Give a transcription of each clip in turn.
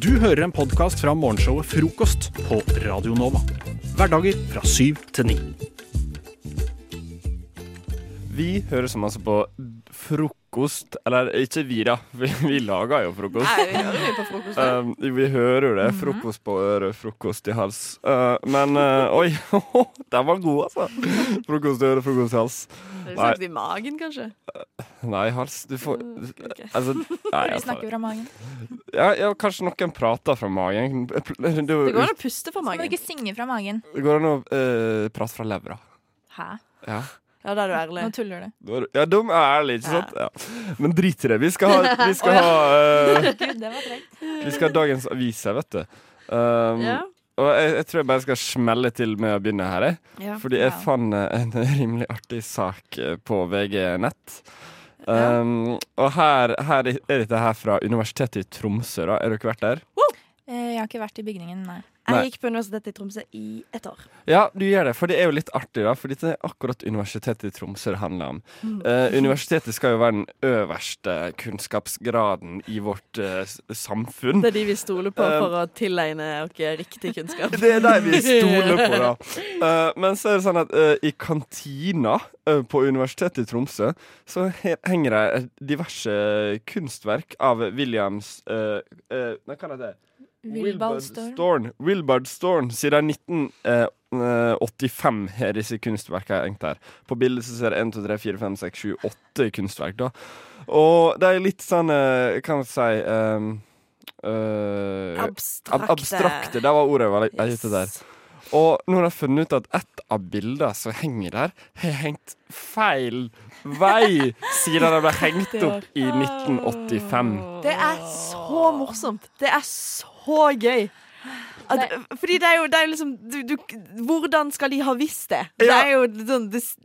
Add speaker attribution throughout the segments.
Speaker 1: Du hører en podkast fra morgenshowet Frokost på Radio Nova. Hverdager fra syv til ni.
Speaker 2: Vi hører sammen altså på frokost Eller ikke vi, da. Vi, vi lager jo frokost.
Speaker 3: Nei, vi hører jo på frokost. da. Mhm.
Speaker 2: Um, vi hører jo det. Frokost på øret, frokost i hals. Uh, men uh, Oi, den var god, altså. Frokost i øret, frokost i hals.
Speaker 3: Dere snakket i magen, kanskje?
Speaker 2: Nei, hals Du får
Speaker 3: Mm,
Speaker 2: Altså, nei,
Speaker 4: Vi
Speaker 2: altså.
Speaker 4: snakker fra magen.
Speaker 2: Ja, ja, kanskje noen prater fra magen. Det
Speaker 3: Det går
Speaker 2: går
Speaker 3: an å puste fra
Speaker 4: Må du
Speaker 3: magen.
Speaker 4: ikke synge fra magen.
Speaker 2: an å eh, prate fra levra.
Speaker 4: Hæ?
Speaker 2: Ja.
Speaker 3: Ja, da er du ærlig.
Speaker 4: Nå tuller du.
Speaker 2: Da er- ja, de er ærlige, ikke sant? Ja. Men drit i det. Vi skal ha, vi skal ha, eh,
Speaker 4: Gud, det var trengt.
Speaker 2: vi skal ha dagens aviser, vet du. Um,
Speaker 3: Ja.
Speaker 2: Og jeg, jeg tror jeg bare skal smelle til med å begynne her. Jeg.
Speaker 3: Ja.
Speaker 2: Fordi jeg
Speaker 4: Ja.
Speaker 2: fant eh, en rimelig artig sak eh, på VG Nett. Um, Og her, her er dette her fra Universitetet i Tromsø. Da. Har dere vært der?
Speaker 4: Eh, Jeg har ikke vært i bygningen, nei.
Speaker 2: Nei.
Speaker 5: Jeg gikk på Universitetet i Tromsø i et år.
Speaker 2: Ja, du gjør det, for det er jo litt artig, da. For dette er akkurat Universitetet i Tromsø det handler om.
Speaker 3: Mm.
Speaker 2: Eh, universitetet skal jo være den øverste kunnskapsgraden i vårt eh, s- samfunn.
Speaker 3: Det er de vi stoler på for å tilegne dere riktig kunnskap.
Speaker 2: Um, Det er de vi stoler på, da. Eh, men så er det sånn at eh, i kantina eh, på Universitetet i Tromsø så he henger det eh, diverse kunstverk av Williams eh, eh, Nei, hva heter det?
Speaker 4: Wilbald Storm.
Speaker 2: Storm. Wilbard Storm. Siden eh, 1985 har disse kunstverkene hengt her. På bildet så ser jeg 1, 2, 3, 4, 5, 6, 7, 8 kunstverk. da Og det er litt sånn eh, Hva kan man si ehm, eh, ab-
Speaker 3: Abstrakte.
Speaker 2: Abstrakte. Det var ordet jeg var jeg var ute der.
Speaker 3: Yes.
Speaker 2: Og nå har jeg funnet ut at ett av bildene som henger der, har hengt feil vei siden det ble hengt opp i 1985.
Speaker 3: Det er så morsomt. Det er så gøy. At, fordi det er jo, det er jo liksom du, du, Hvordan skal de ha visst det? Det
Speaker 2: Ja.
Speaker 3: er jo sånn det, s-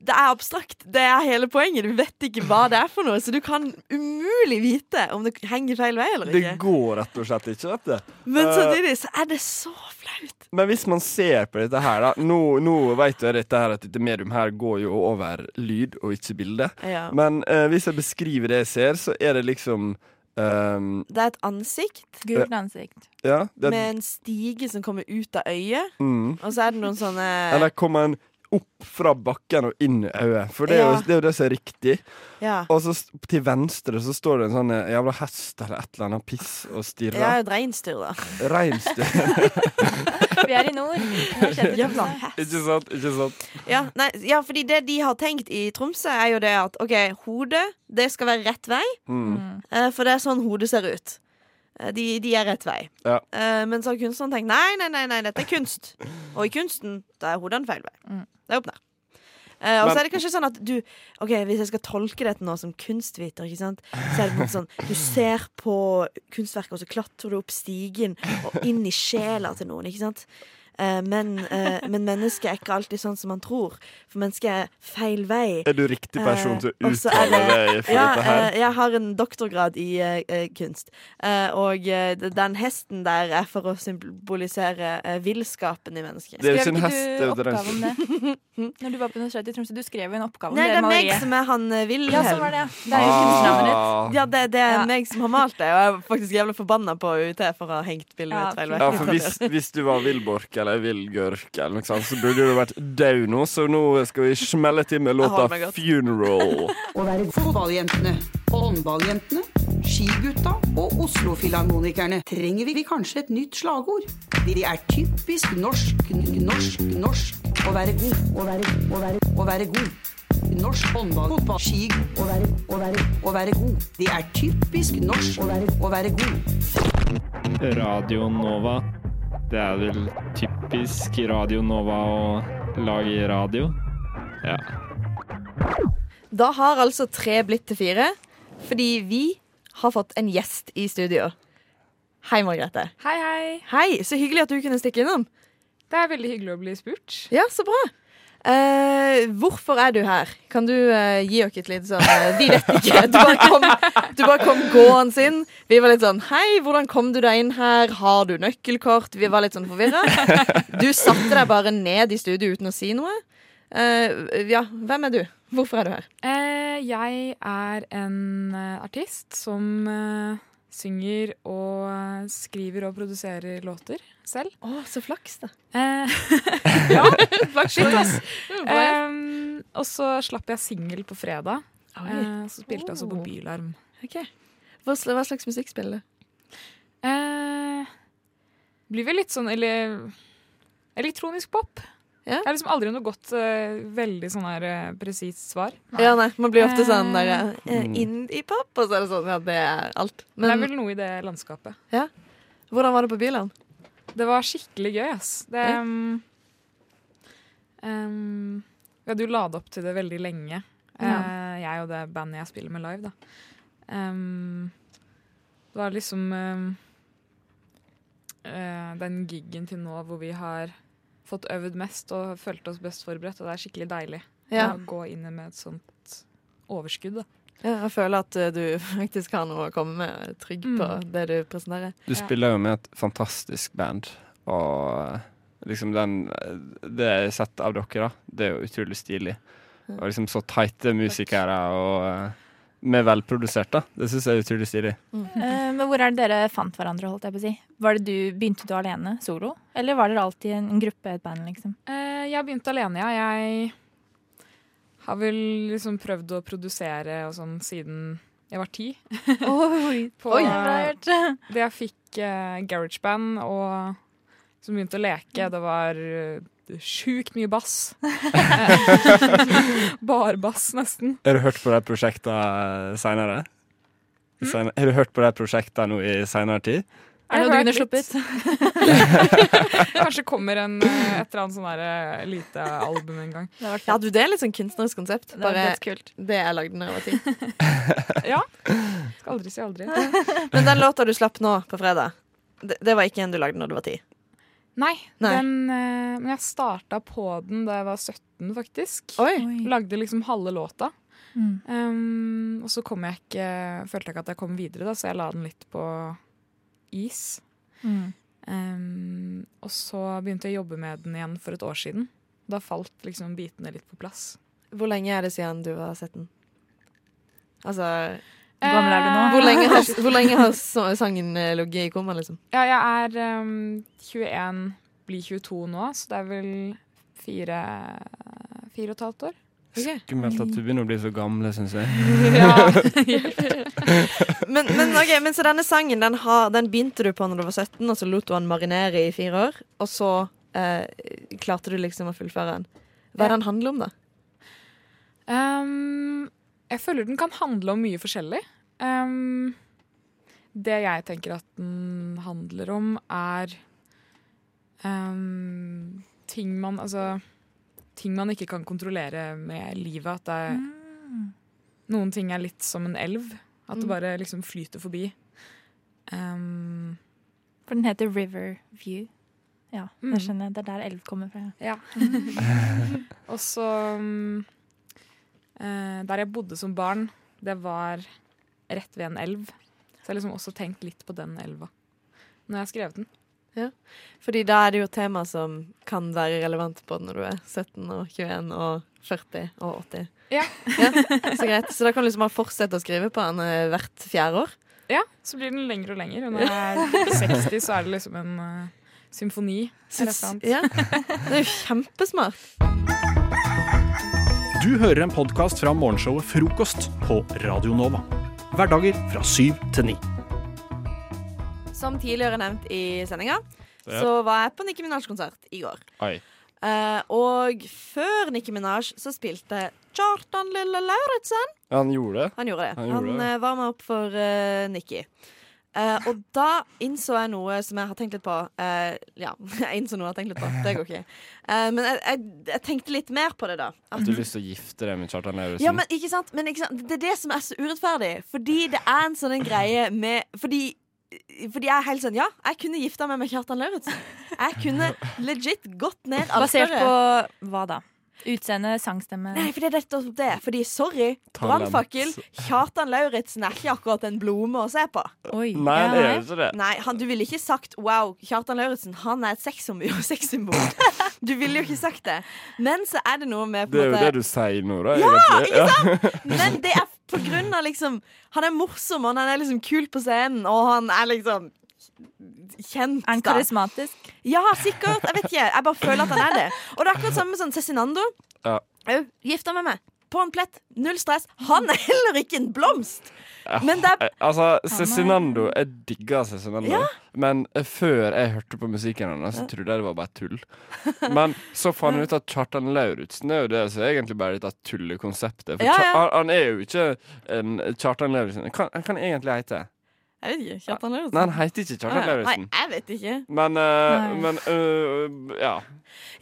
Speaker 3: det er abstrakt. Det er hele poenget. Du vet ikke hva det er for noe, så du kan umulig vite om det henger feil vei eller
Speaker 2: Det
Speaker 3: ikke.
Speaker 2: går rett og slett ikke, vet du.
Speaker 3: Men
Speaker 2: eh,
Speaker 3: samtidig så er det så flaut.
Speaker 2: Men hvis man ser på dette her, da Nå, nå vet jeg dette her, at dette medium her går jo over lyd og ikke bilde.
Speaker 3: Ja.
Speaker 2: Men eh, hvis jeg beskriver det jeg ser, så er det liksom ehm,
Speaker 3: Det er et ansikt
Speaker 4: Gult ansikt.
Speaker 2: Ja. Det,
Speaker 3: med en stige som kommer ut av øyet,
Speaker 2: mm.
Speaker 3: og så er det noen sånne
Speaker 2: Eller kommer en opp fra bakken og inn i øyet. For det er,
Speaker 3: Ja.
Speaker 2: jo, det er jo det som er riktig.
Speaker 3: ja.
Speaker 2: Og så s- til venstre så står det en sånn eh, jævla hest eller et eller annet piss og stirrer.
Speaker 3: Ja, et reinsdyr, da.
Speaker 2: Reinsdyr.
Speaker 4: Vi er i nord. Jeg kjenner til
Speaker 3: Jævla
Speaker 4: det.
Speaker 2: ikke sant? Ikke sant?
Speaker 3: Ja, nei, ja, fordi det de har tenkt i Tromsø, er jo det at OK, hodet det skal være rett vei,
Speaker 2: Mm.
Speaker 3: eh, for det er sånn hodet ser ut. Eh, De, de er rett vei.
Speaker 2: Ja.
Speaker 3: Eh, Men så har kunstneren tenkt nei, nei, nei, nei, dette er kunst. Og i kunsten da er hodene feil vei.
Speaker 4: Mm.
Speaker 3: Det er opp ned. Eh, og
Speaker 2: Men-
Speaker 3: så er det kanskje sånn at du Ok, Hvis jeg skal tolke dette nå som kunstviter, ikke sant? så er det på en måte sånn Du ser på kunstverket, og så klatrer du opp stigen og inn i sjela til noen. ikke sant? Eh, men, eh, men mennesket er ikke alltid sånn som man tror. For mennesket er feil vei.
Speaker 2: Er du riktig person til å
Speaker 3: Eh, og så er
Speaker 2: uttale deg for
Speaker 3: Ja,
Speaker 2: dette her?
Speaker 3: eh, jeg har en doktorgrad i eh, eh, kunst. Eh, og eh, den hesten der er for å symbolisere eh, villskapen i mennesket.
Speaker 2: Det er jo ikke
Speaker 4: Skrev
Speaker 2: en hest, det
Speaker 4: ikke
Speaker 2: er
Speaker 4: du
Speaker 2: jo et
Speaker 4: oppgave
Speaker 2: reinsdyr.
Speaker 4: om det? Når du var på Universitetet i Tromsø, du skrev jo en oppgave om
Speaker 3: Nei, det er meg
Speaker 4: maleriet.
Speaker 3: som er han eh, Wilhelm.
Speaker 4: Ja, så var det. ja. Det er jo kunstnavnet ditt.
Speaker 2: Ah.
Speaker 3: Ja, det, det er
Speaker 4: Ja.
Speaker 3: meg som har malt det, og jeg er faktisk jævlig forbanna på UiT for å ha hengt bildet
Speaker 4: Ja,
Speaker 3: ut feil
Speaker 4: fy
Speaker 3: vei.
Speaker 2: Ja, for hvis, hvis du var Vilborg eller Vilgørk eller noe sånt, så burde du vært død nå, så nå skal vi smelle til med låta
Speaker 3: Hold meg godt.
Speaker 2: 'Funeral'.
Speaker 6: Å være fotballjentene, håndballjentene, skigutta og Oslo-filharmonikerne trenger vi kanskje et nytt slagord. De er typisk norsk, norsk, norsk å være god. Å være, å være, å være god. Norsk håndball, fotball, ski å være, å være, å være god. De er typisk norsk å være, å være god.
Speaker 7: Radio Nova. Det er vel typisk Radio Nova å lage radio. Ja.
Speaker 5: Da har altså tre blitt til fire, fordi vi har fått en gjest i studio. Hei, Margrethe.
Speaker 8: Hei, hei.
Speaker 3: Hei, så hyggelig at du kunne stikke innom.
Speaker 8: Det er veldig hyggelig å bli spurt.
Speaker 3: Ja, så bra. Eh, hvorfor er du her? Kan du eh, gi oss et litt sånn eh, Vi vet ikke. Du bare, kom, du bare kom gående inn. Vi var litt sånn Hei, hvordan kom du deg inn her? Har du nøkkelkort? Vi var litt sånn forvirra. Du satte deg bare ned i studio uten å si noe. Eh, ja, hvem er du? Hvorfor er du her?
Speaker 8: Eh, jeg er en eh, artist som eh, synger og eh, skriver og produserer låter selv.
Speaker 3: Å, så flaks, da.
Speaker 8: Eh, ja, flagship, ass. Ehm, og så slapp jeg singel på fredag. Eh, så spilte jeg også på
Speaker 3: Oh.
Speaker 8: Bylarm.
Speaker 3: Hva, sl hva slags musikk spiller du?
Speaker 8: Eh, blir vel litt sånn eller, elektronisk pop.
Speaker 3: Ja.
Speaker 8: Jeg har liksom aldri noe godt, eh, veldig sånn her eh, presist svar.
Speaker 3: Ja, nei, Man blir ofte
Speaker 8: Eh,
Speaker 3: sånn der eh, indie-pop, og så er det sånn. Ja, det er alt.
Speaker 8: Men det er
Speaker 3: Men
Speaker 8: vel noe i det landskapet.
Speaker 3: hvordan var det på Byland?
Speaker 8: Det var skikkelig gøy, ass. Det,
Speaker 3: Ja.
Speaker 8: um, um, vi hadde jo ladet opp til det veldig lenge. Eh, jeg og det bandet jeg spiller med live, da. Um, det var liksom um, eh, den giggen til nå hvor vi har fått øvd mest og følt oss best forberedt, og det er skikkelig deilig
Speaker 3: Ja.
Speaker 8: å gå inn med et sånt overskudd. Da.
Speaker 3: Ja, jeg føler at eh, du faktisk har noe å komme med, trygg på det du presenterer.
Speaker 2: Du spiller jo med et fantastisk band, og liksom den Det jeg har sett av dere, da, det er jo utrolig stilig. Og liksom så tighte musikere og eh, med velprodusert, da. Det syns jeg er utrolig stilig.
Speaker 3: Mm.
Speaker 4: Eh, men hvor er det dere fant hverandre, holdt jeg på å si? Var det du, Begynte du alene, solo? Eller var dere alltid en, en gruppe, et band, liksom?
Speaker 8: Eh, jeg begynte alene, ja. Jeg har vel liksom prøvd å produsere og sånn siden jeg var ti.
Speaker 4: Oi,
Speaker 8: På
Speaker 9: eh,
Speaker 8: det jeg fikk eh, garageband og som begynte å leke, det var eh, sjukt mye bass. Eh, Barbass, nesten.
Speaker 2: Har du hørt på de prosjektene seinere? Har du hørt på de prosjektene nå i seinere tid?
Speaker 4: Er det noe du kunne sluppet?
Speaker 8: Kanskje kommer en, eh, et eller annet sånn der, eh, lite album en gang.
Speaker 4: Det var
Speaker 3: Ja, du, det er litt sånn kunstnerisk konsept. Bare
Speaker 4: dødskult.
Speaker 3: det jeg lagde da jeg var ti.
Speaker 8: Skal aldri si aldri.
Speaker 3: Men den låta du slapp nå på fredag, det, det var ikke en du lagde når du var ti?
Speaker 8: Nei,
Speaker 3: Nei.
Speaker 8: Den, eh, men jeg starta på den da jeg var 17, faktisk.
Speaker 3: Oi!
Speaker 4: Oi.
Speaker 8: Lagde liksom halve låta.
Speaker 4: Mm.
Speaker 8: Um, og så kom jeg ikke Følte jeg ikke at jeg kom videre, da, så jeg la den litt på is.
Speaker 4: Mm.
Speaker 8: Um, og så begynte jeg å jobbe med den igjen for et år siden. Da falt liksom bitene litt på plass.
Speaker 3: Hvor lenge er det siden du var 17? Altså
Speaker 4: Hvor gammel er du nå?
Speaker 3: Hvor lenge har, hvor lenge har så, sangen eh, ligget i koma, liksom?
Speaker 8: Ja, jeg er um, 21, blir 22 nå, så det er vel fire Fire og et halvt år.
Speaker 2: Skummelt at du begynner å bli så gamle, syns jeg.
Speaker 3: Men, men, ok, men så denne sangen den, har, den begynte du på når du var 17, og så lot du den marinere i fire år. Og så eh, klarte du liksom å fullføre den. Hva er det den handler om, da?
Speaker 8: Um, jeg føler den kan handle om mye forskjellig. Um, det jeg tenker at den handler om, er um, ting man Altså ting man ikke kan kontrollere med livet. At det er,
Speaker 3: Mm.
Speaker 8: noen ting er litt som en elv. At det bare liksom flyter forbi. Um,
Speaker 4: For den heter River View. Ja,
Speaker 8: Mm.
Speaker 4: det skjønner jeg. Det er der elv kommer fra.
Speaker 8: Ja. og så mm, eh, Der jeg bodde som barn, det var rett ved en elv. Så jeg har liksom også tenkt litt på den elva når jeg har skrevet den.
Speaker 3: Fordi da er det jo et tema som kan være relevant både når du er 17 og 21 og 40 og 80.
Speaker 8: Ja.
Speaker 3: Så greit. Så da kan du liksom bare fortsette å skrive på den eh, hvert fjerde år.
Speaker 8: Ja, Så blir den lengre og lengre. Og når jeg er 60, så er det liksom en eh, symfoni.
Speaker 3: Så-
Speaker 8: Er det sant?
Speaker 3: Ja. Det er jo kjempesmart.
Speaker 1: Du hører en podkast fra morgenshowet Frokost på Radio Nova. Hverdager fra syv til ni.
Speaker 3: Som tidligere nevnt i sendinga,
Speaker 2: Ja.
Speaker 3: så var jeg på Nicki Minaj-konsert i går.
Speaker 2: Oi.
Speaker 3: Eh, og før Nicki Minaj så spilte Kjartan Lille Lauritzen.
Speaker 2: Ja, han gjorde det.
Speaker 3: Han gjorde det.
Speaker 2: Han
Speaker 3: Han,
Speaker 2: gjorde det.
Speaker 3: eh, var med opp for eh, Nicki. Eh, og da innså jeg noe som jeg har tenkt litt på. Eh, ja, jeg innså noe jeg har tenkt litt på. Det går ikke. Eh, men jeg, jeg, jeg tenkte litt mer på det, da.
Speaker 2: At du har lyst til å gifte deg med Kjartan Lauritzen.
Speaker 3: Ja, men ikke sant? Men ikke sant? Det er det som er så urettferdig. Fordi det er en sånn en greie med Fordi fordi jeg er helt sånn Ja, jeg kunne gifta meg med Kjartan Lauritzen. Jeg kunne legit gått ned
Speaker 4: Basert
Speaker 3: alteret.
Speaker 4: på hva da? Utseende, sangstemme
Speaker 3: Nei, for det er rett og slett det. Fordi, sorry,
Speaker 2: Talent.
Speaker 3: brannfakkel. Kjartan Lauritzen er ikke akkurat en blome å se på.
Speaker 4: Oi.
Speaker 2: Nei,
Speaker 4: Ja,
Speaker 2: det er jo ikke det.
Speaker 3: Nei, han, du ville ikke sagt 'wow, Kjartan Lauritzen, han er et sexsymbol'. sexsymbol. Du ville jo ikke sagt det. Men så er det noe med på
Speaker 2: Det er
Speaker 3: en
Speaker 2: jo
Speaker 3: måte-
Speaker 2: det du sier nå, da. egentlig. Ja,
Speaker 3: Men det er På grunn av liksom Han er morsom, og han er liksom kul på scenen, og han er liksom kjent,
Speaker 4: Er han
Speaker 3: da.
Speaker 4: karismatisk?
Speaker 3: Ja, sikkert. Jeg vet ikke. Jeg bare føler at han er det. Og det er akkurat samme med sånn Cezinando.
Speaker 2: Ja.
Speaker 3: Au, Gifta med meg. På en plett. Null stress. Han er heller ikke en blomst! Men det er
Speaker 2: Eh, Altså, Cezinando Jeg digger Cezinando. Men eh, før jeg hørte på musikken hennes, så trodde jeg det var bare tull. Men så fant jeg ut at Kjartan Lauritzen er jo det som egentlig bare dette tullekonseptet. For
Speaker 3: Ja,
Speaker 2: Kjar-
Speaker 3: ja.
Speaker 2: Han, han er jo ikke en Kjartan Lauritzen. Hva hva han egentlig heter
Speaker 3: Jeg vet ikke. Kjartan Lauritzen.
Speaker 2: Nei, han altså? heter ikke Kjartan
Speaker 3: Nei,
Speaker 2: Lauritzen.
Speaker 3: jeg vet ikke.
Speaker 2: Men, eh,
Speaker 4: Nei.
Speaker 2: men eh, ja.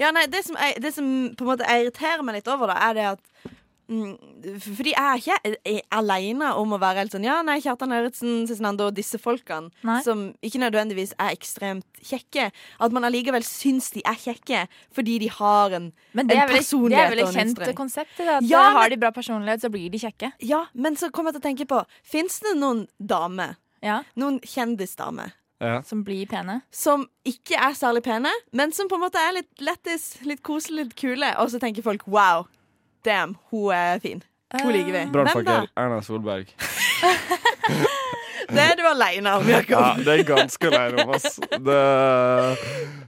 Speaker 3: Ja, nei, det som, jeg, det som på en måte jeg irriterer meg litt over, da, er det at mm, f- Fordi jeg er ikke eh, alene om å være helt sånn Ja, nei, Kjartan Lauritzen, Cezinando og disse folkene,
Speaker 4: Nei.
Speaker 3: som ikke nødvendigvis er ekstremt kjekke, at man allikevel syns de er kjekke fordi de har en
Speaker 4: Men det
Speaker 3: En
Speaker 4: er vel, det er
Speaker 3: personlighet
Speaker 4: vel
Speaker 3: og
Speaker 4: et
Speaker 3: en
Speaker 4: kjent
Speaker 3: innstreng.
Speaker 4: konsept. det, At
Speaker 3: Ja,
Speaker 4: eh, Har
Speaker 3: men-
Speaker 4: de bra personlighet, så blir de kjekke.
Speaker 3: Ja, men så kom jeg til å tenke på Fins det noen dame,
Speaker 4: Ja,
Speaker 3: noen kjendisdame,
Speaker 4: Som blir pene.
Speaker 3: som ikke er særlig pene, men som på en måte er litt lettis, litt koselig, litt kule, og så tenker folk wow, damn, hun er fin.
Speaker 4: Eh,
Speaker 3: Hun liker vi. Hvem da?
Speaker 2: Brannfakkel Erna Solberg.
Speaker 3: Det er du aleine om,
Speaker 2: Ja,
Speaker 3: Jakob.
Speaker 2: det er ganske lei om, ass. Det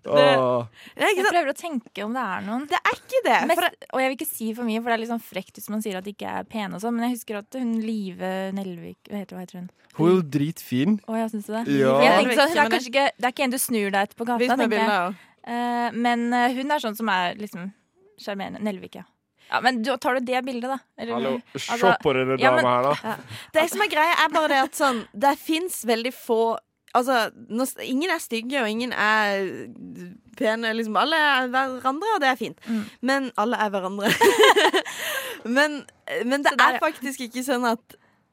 Speaker 2: Åh.
Speaker 3: Det er
Speaker 4: Jeg
Speaker 3: ikke sant?
Speaker 4: prøver å tenke om det er noen.
Speaker 3: Det er ikke det. For det
Speaker 4: Mest, og jeg vil ikke si for mye, for det er litt sånn frekt hvis man sier at de ikke er pene. og sånn Men jeg husker at hun Live Nelvik Hva heter, hva heter hun?
Speaker 2: Hun er jo dritfin.
Speaker 4: Å, jeg syns du det?
Speaker 2: Ja.
Speaker 4: Jeg tenkte sånn, hun
Speaker 3: Ja,
Speaker 4: er
Speaker 3: men det-
Speaker 4: kanskje ikke, Det er ikke en du snur deg etter på gata.
Speaker 3: Vis meg
Speaker 4: tenker jeg.
Speaker 3: bildet òg.
Speaker 4: Eh, men eh, hun er sånn som er liksom sjarmerende. Nelvik, ja. ja. Men du, tar du det bildet, da? Eller-
Speaker 2: Hallo, se
Speaker 4: Altså,
Speaker 2: på denne
Speaker 4: ja, men-
Speaker 2: dama her, da.
Speaker 3: Det som er greia, er bare det at sånn Det fins veldig få Altså, nå, s- ingen er stygge, og ingen er pene. Liksom, alle er hverandre, og det er fint.
Speaker 4: Mm.
Speaker 3: Men alle er hverandre. men, men det
Speaker 4: Så der,
Speaker 3: er
Speaker 4: ja.
Speaker 3: faktisk ikke sånn at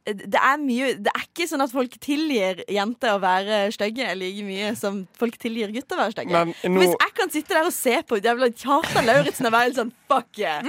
Speaker 3: det er, mye, det er ikke sånn at folk tilgir jenter å være stygge like mye som folk tilgir gutter å være stygge.
Speaker 2: Men nå
Speaker 3: Hvis jeg kan sitte der og se på jævla Kjartan Lauritzen og være helt sånn fuck yeah,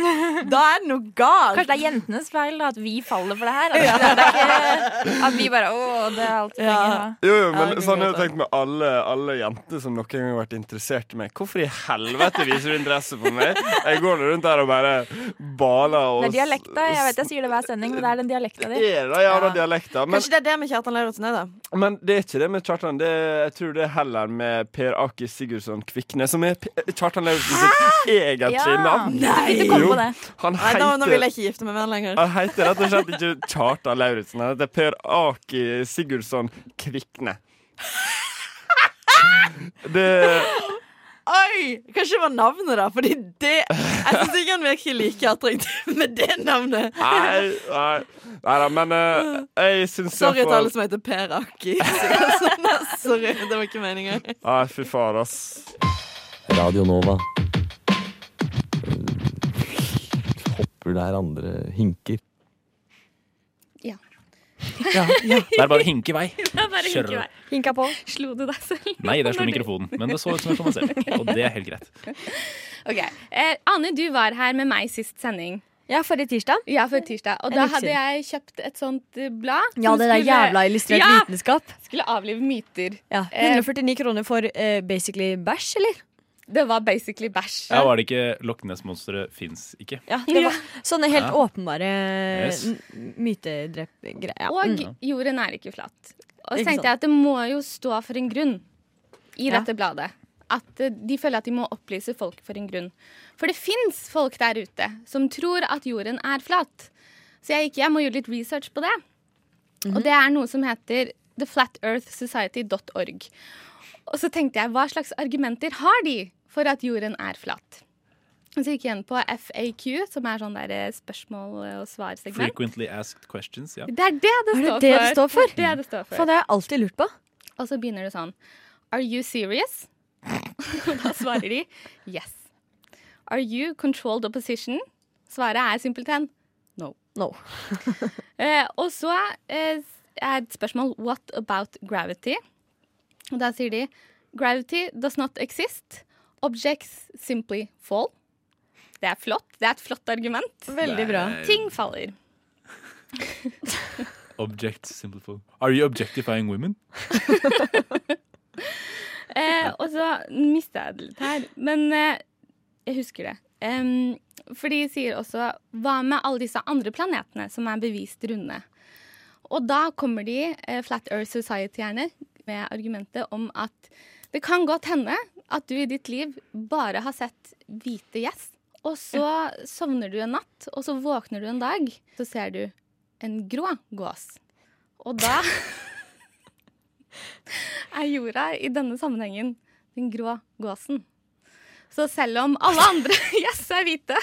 Speaker 3: da er det noe galt.
Speaker 4: Kanskje Ah, det er jentenes feil da, at vi faller for det her? At, det er ikke, at vi bare Å, det er alt vi
Speaker 3: Ja.
Speaker 4: trenger. da.
Speaker 2: Jo, jo, men
Speaker 3: Ja, det
Speaker 2: sånn
Speaker 3: kan
Speaker 2: er det
Speaker 3: godt
Speaker 2: tenkt med alle, alle jenter som noen gang har vært interessert i meg. Hvorfor i helvete viser du interesse for meg? Jeg går rundt der og bare baler og
Speaker 4: Det er dialekta. Jeg vet jeg sier det hver sending, men det er den dialekta di.
Speaker 2: Er det jævla
Speaker 4: Ja.
Speaker 2: dialekta? Men,
Speaker 3: Kanskje det er det med Kjartan Lauritzen òg, da.
Speaker 2: men det er ikke det med Kjartan. Det er, jeg tror det er heller med Per Aki Sigurdsson Kvikne, som er P- Kjartan Lauritzen sitt egentlige
Speaker 4: Ja.
Speaker 2: navn.
Speaker 4: Så fint du kom
Speaker 2: Jo.
Speaker 4: på det.
Speaker 2: Han
Speaker 3: Nei, nå, nå vil
Speaker 2: heter
Speaker 3: jeg ikke gifte meg med han lenger.
Speaker 2: han heter rett og slett ikke Kjartan Lauritzen. Han heter Per Aki Sigurdsson Kvikne. Det
Speaker 3: Oi! Kanskje det var navnet, da. Fordi det Jeg syns ikke han virker like attraktiv med det navnet.
Speaker 2: Nei, nei. nei da, men eh, jeg syns
Speaker 3: Sorry
Speaker 2: jeg
Speaker 3: til
Speaker 2: får-
Speaker 3: alle som heter Per Aki. Sånn, da. Sorry, det var ikke meninga.
Speaker 2: Nei, fy faen, ass.
Speaker 10: Radio Nova. Hopper der andre hinker.
Speaker 11: Det er bare å hinke i vei. Kjører du.
Speaker 12: Hinka på. Slo du deg selv?
Speaker 11: Nei, der slo mikrofonen. Men det så ut som jeg slo meg selv. Og det er helt greit.
Speaker 12: Ok. Eh, Anne, du var her med meg sist sending.
Speaker 13: Ja, forrige tirsdag.
Speaker 12: Ja, for tirsdag. Og
Speaker 13: En
Speaker 12: da
Speaker 13: uke
Speaker 12: hadde
Speaker 13: siden.
Speaker 12: jeg kjøpt et sånt eh, blad.
Speaker 13: Ja,
Speaker 12: som
Speaker 13: det der
Speaker 12: skulle-
Speaker 13: jævla illustrert
Speaker 12: Ja!
Speaker 13: vitenskap.
Speaker 12: Skulle avlive myter. Eh,
Speaker 13: Ja, 149 kroner for eh, basically bæsj, eller?
Speaker 12: Det var basically bæsj.
Speaker 11: Ja, var det ikke Loch Ness-monsteret fins ikke?
Speaker 13: Ja, det var Sånne helt
Speaker 11: Ja.
Speaker 13: åpenbare eh,
Speaker 11: Yes.
Speaker 13: yes. mytedrep-greier. Ja.
Speaker 12: Og
Speaker 13: Mm.
Speaker 12: jorden er ikke flat. Og så
Speaker 13: Ikke sant.
Speaker 12: tenkte jeg at det må jo stå for en grunn i
Speaker 13: Ja.
Speaker 12: dette bladet. At eh, de føler at de må opplyse folk for en grunn. For det fins folk der ute som tror at jorden er flat. Så jeg gikk hjem og gjorde litt research på det.
Speaker 13: Mhm.
Speaker 12: Og det er noe som heter theflatearthsociety.org. Og så tenkte jeg, hva slags argumenter har de for at jorden er flat? Og så gikk jeg inn på FAQ, som er sånn der eh, spørsmål- og svarsegment.
Speaker 11: Frequently asked questions, ja.
Speaker 12: Det er det det
Speaker 13: Er det
Speaker 12: står for.
Speaker 13: det det står for?
Speaker 12: Det er det det står
Speaker 13: Faen,
Speaker 12: for.
Speaker 13: det har jeg alltid lurt på.
Speaker 12: Og så begynner det sånn Are you serious? Og da svarer de yes. Are you controlled opposition? Svaret er simpelthen no.
Speaker 13: No.
Speaker 12: Eh, og så eh, er et spørsmål What about gravity? Og da sier de Gravity does not exist. Objects simply fall. Det er flott. Det er et flott argument.
Speaker 13: Veldig bra.
Speaker 12: Ting faller.
Speaker 11: Object simple. Are you objectifying women?
Speaker 12: Eh, og så mista jeg det litt her. Men eh, jeg husker det. Em, for de sier også Hva med alle disse andre planetene som er bevist runde? Og da kommer de, eh, Flat Earth Society-erne, med argumentet om at det kan godt hende at du i ditt liv bare har sett hvite gjess, og så sovner du en natt, og så våkner du en dag, så ser du en grå gås. Og da er jorda i denne sammenhengen den grå gåsen. Så selv om alle andre gjess er hvite,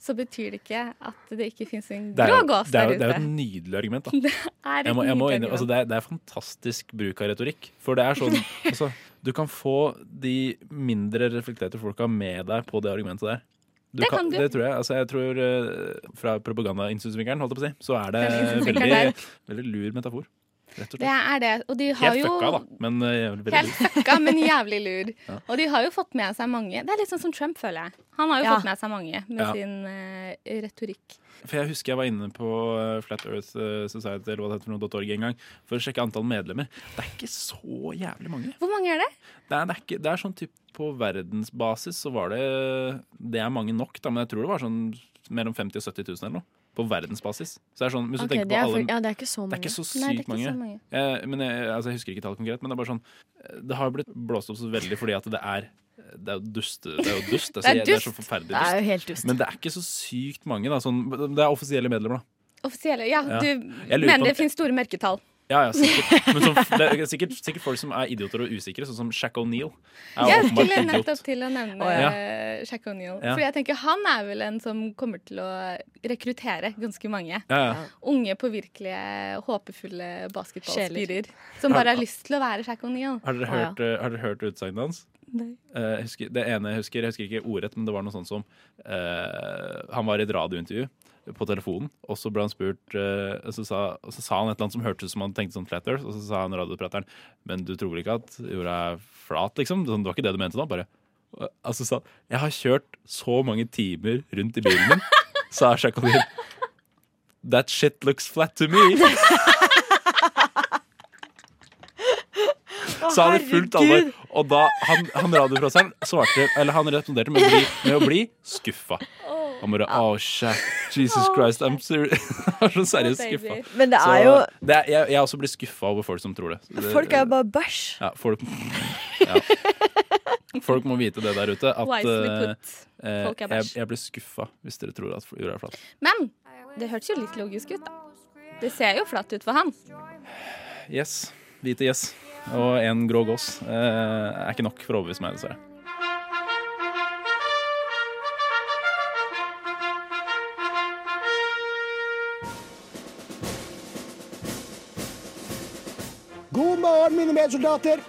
Speaker 12: så betyr det ikke at det ikke fins en
Speaker 11: Det er,
Speaker 12: grå
Speaker 11: jo,
Speaker 12: gås
Speaker 11: det, er,
Speaker 12: der
Speaker 11: jo- det er jo
Speaker 12: ute.
Speaker 11: et nydelig argument, da.
Speaker 12: Det er et
Speaker 11: jeg må, jeg må
Speaker 12: nydelig
Speaker 11: innrømme- altså, det, er, det er fantastisk bruk av retorikk. For det er sånn altså, Du kan få de mindre reflekterte folka med deg på det argumentet der.
Speaker 12: Det kan du.
Speaker 11: Det tror jeg. Altså, jeg tror eh, Fra propagandainstituttsvinkelen, holdt jeg på å si, så er det
Speaker 12: Propagandainstituttsvinkelen
Speaker 11: veldig, veldig lur metafor. Rett og
Speaker 12: Det
Speaker 11: slett.
Speaker 12: er det. Og de har
Speaker 11: Helt
Speaker 12: jo
Speaker 11: fucka, da. Men eh, veldig, veldig
Speaker 12: Helt
Speaker 11: lur.
Speaker 12: fucka, men jævlig lur.
Speaker 11: Ja.
Speaker 12: Og de har jo fått med seg mange. Det er litt sånn som Trump, føler jeg. Han har jo
Speaker 11: Ja.
Speaker 12: fått med seg mange med
Speaker 11: Ja.
Speaker 12: sin eh, retorikk.
Speaker 11: For jeg husker jeg var inne på eh, Flat Earth eh, Society eller hva det heter for noe, .org en gang for å sjekke antall medlemmer. Det er ikke så jævlig mange.
Speaker 12: Hvor mange er det?
Speaker 11: Det er, det er, ikke, det er sånn typ på verdensbasis så var det Det er mange nok, da, men jeg tror det var sånn mellom 50 og 70 000 eller noe. På verdensbasis. Så det er sånn, hvis du
Speaker 13: Ok,
Speaker 11: tenker
Speaker 13: det
Speaker 11: på
Speaker 13: er
Speaker 11: alle
Speaker 13: for- ja, det er ikke så
Speaker 11: Det er
Speaker 13: mange.
Speaker 11: ikke så sykt
Speaker 13: Nei, det er ikke
Speaker 11: mange.
Speaker 13: så mange.
Speaker 11: Eh, men jeg, altså, jeg husker ikke tallet konkret, men det er bare sånn eh, Det har jo blitt blåst opp så veldig fordi at det er det er jo dust. Det er, jo dust.
Speaker 12: Det
Speaker 11: Altså,
Speaker 12: er
Speaker 11: jeg- det er så
Speaker 12: dust.
Speaker 11: forferdelig
Speaker 12: Det er jo
Speaker 11: dust.
Speaker 12: helt dust.
Speaker 11: Men det er ikke så sykt mange. Da. Sånn, det er offisielle medlemmer, da.
Speaker 12: Offisielle. Ja,
Speaker 11: Ja. Jeg
Speaker 12: du
Speaker 11: lurer på om-
Speaker 12: mener det finnes store mørketall.
Speaker 11: Ja, ja, sikkert. Men som, det er sikkert, sikkert folk som er idioter og usikre, sånn som Shack O'Neill. er
Speaker 12: Jeg
Speaker 11: åpenbart
Speaker 12: skulle
Speaker 11: idiot.
Speaker 12: nettopp til å nevne
Speaker 11: Å, ja.
Speaker 12: eh, Jack O'Neill.
Speaker 11: Ja.
Speaker 12: For jeg tenker han er vel en som kommer til å rekruttere ganske mange.
Speaker 11: Ja, ja.
Speaker 12: Unge, påvirkelige, håpefulle
Speaker 13: Sjeler.
Speaker 12: basketballspirer. Som bare har lyst til å være Jack O'Neill.
Speaker 11: Har dere hørt, eh, har dere hørt utsagnet hans?
Speaker 12: Nei.
Speaker 11: Eh, jeg husker, det ene jeg husker, jeg husker ikke ordrett, men det var noe sånt som eh, Han var i et radiointervju på telefonen, og så ble han spurt eh, og, så sa, og så sa han et eller annet som hørtes ut som han tenkte sånn flat earth, og så sa han radioprateren Men du tror vel ikke at jorda er flat, liksom? Sånn, Det var ikke det du mente da? Bare eh, Altså sa han Jeg har kjørt så mange timer rundt i bilen min, sa Shakolin. That shit looks flat to me.
Speaker 14: Å,
Speaker 11: Sa han i fullt alvor.
Speaker 14: herregud.
Speaker 11: Og da han, han radioprateren svarte Eller han responderte med å bli, med å bli skuffa. Han bare Å, shit. Jesus Christ. I'm ser Han var så seriøst
Speaker 13: baby.
Speaker 11: skuffa.
Speaker 13: Men det er
Speaker 11: Så
Speaker 13: jo-
Speaker 11: det er, jeg, jeg også blir skuffa over folk som tror det. Så det
Speaker 13: Folk er jo bare bæsj.
Speaker 11: ja, folk, ja. folk må vite det der ute. At
Speaker 12: Wisely
Speaker 11: eh,
Speaker 12: put.
Speaker 11: eh,
Speaker 12: Folk er
Speaker 11: jeg,
Speaker 12: bæsj.
Speaker 11: jeg blir skuffa hvis dere tror at jorda er flat.
Speaker 12: Men det hørtes jo litt logisk ut, da. Det ser jo flatt ut for han.
Speaker 11: Yes. Hvite yes. Og en grå gås eh, er ikke nok for å overbevise meg, dessverre.
Speaker 15: God morgen, mine medsoldater.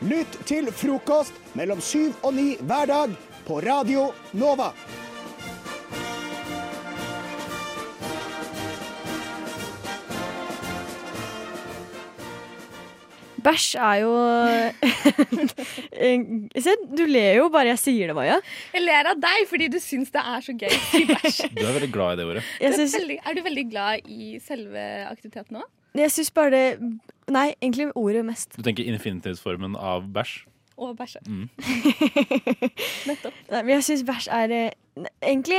Speaker 15: Lytt til frokost mellom syv og ni hver dag på Radio Nova.
Speaker 13: Bæsj er jo Eh, Se, du ler jo bare jeg sier det, Maja.
Speaker 12: Jeg ler av deg fordi du syns det er så gøy å si bæsj.
Speaker 11: Du er veldig glad i det ordet.
Speaker 12: Du
Speaker 13: Jeg
Speaker 12: er,
Speaker 13: syns-
Speaker 12: veldig, er du veldig glad i selve aktiviteten òg?
Speaker 13: Jeg syns bare det Nei, egentlig ordet mest.
Speaker 11: Du tenker infinitivsformen av bæsj?
Speaker 12: Og bæsje.
Speaker 11: Mm.
Speaker 13: Nei, men jeg syns bæsj er eh, ne- Egentlig,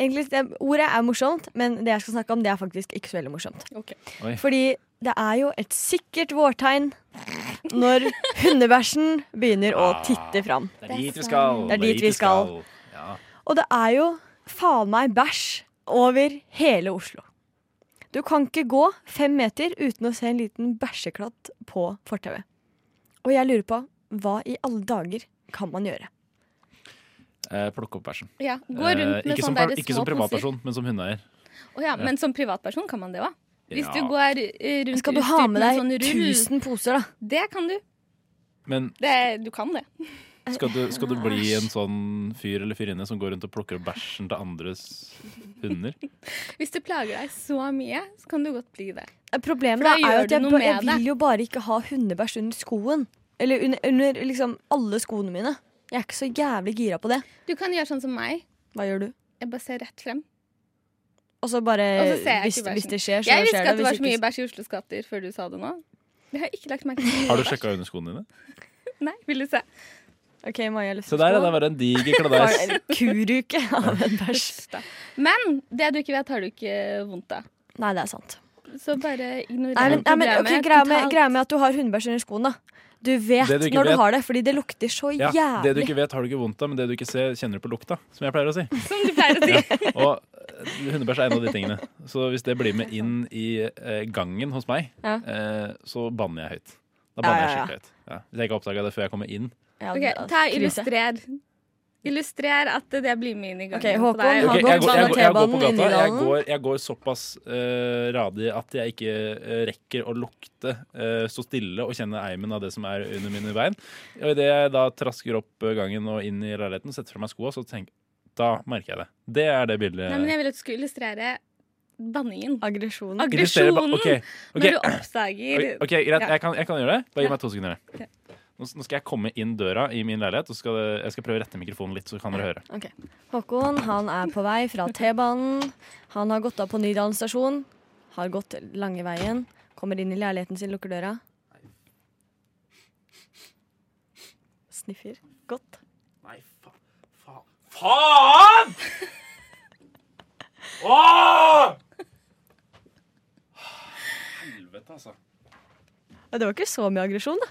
Speaker 13: egentlig det, Ordet er morsomt, men det jeg skal snakke om, det er faktisk ikke så veldig morsomt.
Speaker 14: Oi.
Speaker 13: Fordi det er jo et sikkert vårtegn når hundebæsjen begynner å titte fram.
Speaker 14: Det er dit vi skal.
Speaker 13: Det er dit vi skal.
Speaker 14: Ja.
Speaker 13: Og det er jo faen meg bæsj over hele Oslo. Du kan ikke gå fem meter uten å se en liten bæsjeklatt på fortauet. Og jeg lurer på hva i alle dager kan man gjøre?
Speaker 11: Eh, plukke opp bæsjen.
Speaker 12: Ja, gå rundt
Speaker 11: Eh,
Speaker 12: med
Speaker 11: ikke som,
Speaker 12: sånne der
Speaker 11: per- ikke som
Speaker 12: små
Speaker 11: privatperson, men som hundeeier.
Speaker 12: Å ja,
Speaker 11: Ja.
Speaker 12: Men som privatperson kan man det òg. Hvis
Speaker 11: Ja.
Speaker 12: du går eh, rundt
Speaker 13: Skal du
Speaker 12: utstyrt
Speaker 13: ha med
Speaker 12: en sånn
Speaker 13: deg
Speaker 12: rull,
Speaker 13: 1000 poser, da?
Speaker 12: Det kan du.
Speaker 11: Men
Speaker 12: Det, du kan det.
Speaker 11: skal du, skal du bli en sånn fyr eller fyrinne som går rundt og plukker opp bæsjen til andres hunder? sånn-
Speaker 12: Hvis det plager deg så mye, så kan du godt bli det.
Speaker 13: Problemet
Speaker 12: For da
Speaker 13: da er
Speaker 12: gjør
Speaker 13: jo at
Speaker 12: du
Speaker 13: jeg,
Speaker 12: noe
Speaker 13: ba- jeg
Speaker 12: med det.
Speaker 13: vil jo bare ikke ha hundebæsj under skoen. Eller under, under liksom alle skoene mine. Jeg er ikke så jævlig gira på det.
Speaker 12: Du kan gjøre sånn som meg.
Speaker 13: Hva gjør du?
Speaker 12: Jeg bare ser rett frem.
Speaker 13: Og så bare
Speaker 12: Og så ser jeg
Speaker 13: hvis,
Speaker 12: ikke bæsjen.
Speaker 13: hvis det skjer, så
Speaker 12: jeg visste
Speaker 13: skjer
Speaker 12: ikke at det var
Speaker 13: hvis
Speaker 12: så mye
Speaker 13: ikke-
Speaker 12: bæsj i Oslos gater før du sa det nå. Jeg har ikke lagt merke til mye
Speaker 11: Har du
Speaker 12: bæsj.
Speaker 11: sjekka under skoene dine?
Speaker 12: Nei, vil du se.
Speaker 13: OK, Maja.
Speaker 11: Se der, ja. Det var en diger kladeis.
Speaker 13: Kuruke av en bæsj.
Speaker 12: Men det du ikke vet, har du ikke vondt av.
Speaker 13: Nei, det er sant.
Speaker 12: Så bare ignorer
Speaker 13: Nei, men, nei, men ok,
Speaker 12: problemet
Speaker 13: greia, med,
Speaker 12: totalt.
Speaker 13: greia med at du har hundebæsj under skoen, da. Du vet
Speaker 11: Det du ikke
Speaker 13: når
Speaker 11: vet-
Speaker 13: du har det, fordi det lukter så
Speaker 11: Ja, det du
Speaker 13: jævlig.
Speaker 11: ikke vet, har du ikke vondt av, men det du ikke ser, kjenner du på lukta. Som jeg pleier å si.
Speaker 12: Som du pleier å si.
Speaker 11: Ja, og eh, hundebæsj er en av de tingene. Så hvis det blir med inn i eh, gangen hos meg,
Speaker 12: Ja.
Speaker 11: eh, så banner jeg høyt. Da banner
Speaker 12: Ja,
Speaker 11: jeg
Speaker 12: ja,
Speaker 11: skikkelig høyt. Ja. Hvis jeg ikke har oppdaga det før jeg kommer inn.
Speaker 12: Ok, ta illustrer. Illustrer at det blir med inn i gangen.
Speaker 13: Ok, Håkon,
Speaker 12: på deg.
Speaker 11: Ok, jeg, går, jeg, går, jeg går på
Speaker 13: T-banen inn i
Speaker 11: gata. Jeg
Speaker 13: dalen.
Speaker 11: går, jeg går såpass eh, radig at jeg ikke eh, rekker å lukte, eh, stå stille og kjenne eimen av det som er under mine bein. Og idet jeg da trasker opp gangen og inn i leiligheten, setter fra meg skoa, så tenker da merker jeg det. Det er det bildet.
Speaker 12: Nei, men jeg vil at du skulle illustrere banningen.
Speaker 13: Aggresjonen.
Speaker 11: Illustrere ba-
Speaker 12: Aggresjonen.
Speaker 11: ok, ok.
Speaker 12: Når du oppdager
Speaker 11: Ok, ok, greit.
Speaker 12: Ja.
Speaker 11: Jeg, kan, jeg kan gjøre det. Bare gi meg to sekunder.
Speaker 12: Ja.
Speaker 11: Nå s- nå skal jeg komme inn døra i min leilighet, og så skal det- jeg skal prøve å rette mikrofonen litt, så kan dere høre.
Speaker 13: Ok. Håkon han er på vei fra T-banen. Han har gått av på Nydalen stasjon. Har gått lange veien. Kommer inn i leiligheten sin, lukker døra. Sniffer godt.
Speaker 11: Nei, fa faen! Åh! Helvete, altså.
Speaker 13: Ja, Det var ikke så mye aggresjon, da.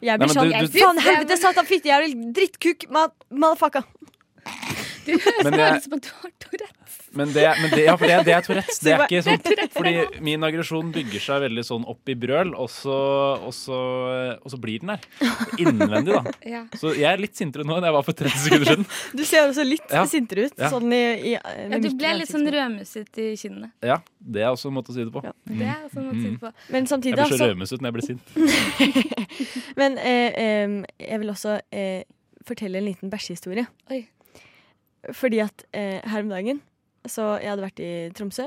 Speaker 13: Jeg
Speaker 11: Nei,
Speaker 13: blir
Speaker 11: men
Speaker 13: sånn
Speaker 11: du- du-
Speaker 13: Faen, helvete, satan, fitte, jævel, drittkuk, ma- motherfucka.
Speaker 11: Men det er-
Speaker 12: Men du har Tourettes.
Speaker 11: Men det, men det, ja, for det, det er Tourettes. Det er ikke
Speaker 12: Det er
Speaker 11: sånn
Speaker 12: Tourettes.
Speaker 11: Fordi min aggresjon bygger seg veldig sånn opp i brøl, og så, og så, og så blir den der. Innvendig, da.
Speaker 13: Ja.
Speaker 11: Så jeg er litt sintere nå enn jeg var for 30 sekunder siden.
Speaker 13: Du ser også litt
Speaker 11: Ja.
Speaker 13: sintere ut.
Speaker 11: Ja.
Speaker 13: Sånn i, i
Speaker 12: Ja, du ble litt sånn rødmusset i kinnene.
Speaker 11: Ja, det er også en måte å si det på. Mm.
Speaker 12: Det er også en måte å si det på.
Speaker 13: Men samtidig,
Speaker 11: Jeg blir så
Speaker 13: altså-
Speaker 11: rødmusset når jeg blir sint.
Speaker 13: Men eh, em, jeg vil også eh, fortelle en liten bæsjehistorie. Fordi at eh, her om dagen Så jeg hadde vært i Tromsø.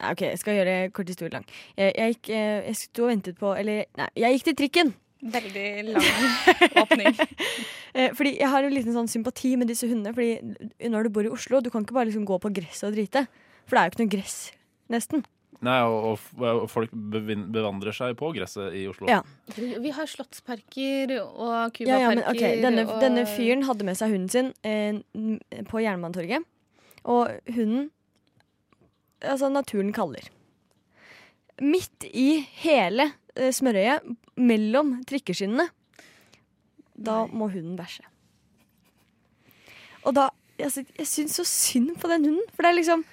Speaker 13: Nei, OK, jeg skal gjøre kort historie lang. Jeg, jeg, gikk, eh, jeg sto og ventet på Eller nei, jeg gikk til trikken.
Speaker 12: Veldig lang.
Speaker 13: Eh, fordi jeg har en liten sånn sympati med disse hundene. Fordi når du bor i Oslo, du kan ikke bare liksom gå på gresset og drite. For det er jo ikke noe gress, nesten.
Speaker 11: Nei, og, og, og folk bevin- bevandrer seg på gresset i Oslo.
Speaker 13: Ja.
Speaker 12: Vi har slottsparker og kubaparker.
Speaker 13: Ja, ja, men ok, denne,
Speaker 12: og...
Speaker 13: denne fyren hadde med seg hunden sin eh, n- på Jernbanetorget. Og hunden Altså, naturen kaller. Midt i hele eh, smørøyet, mellom trikkeskinnene, da må hunden bæsje. Og da altså, Jeg syns så synd på den hunden. For det er liksom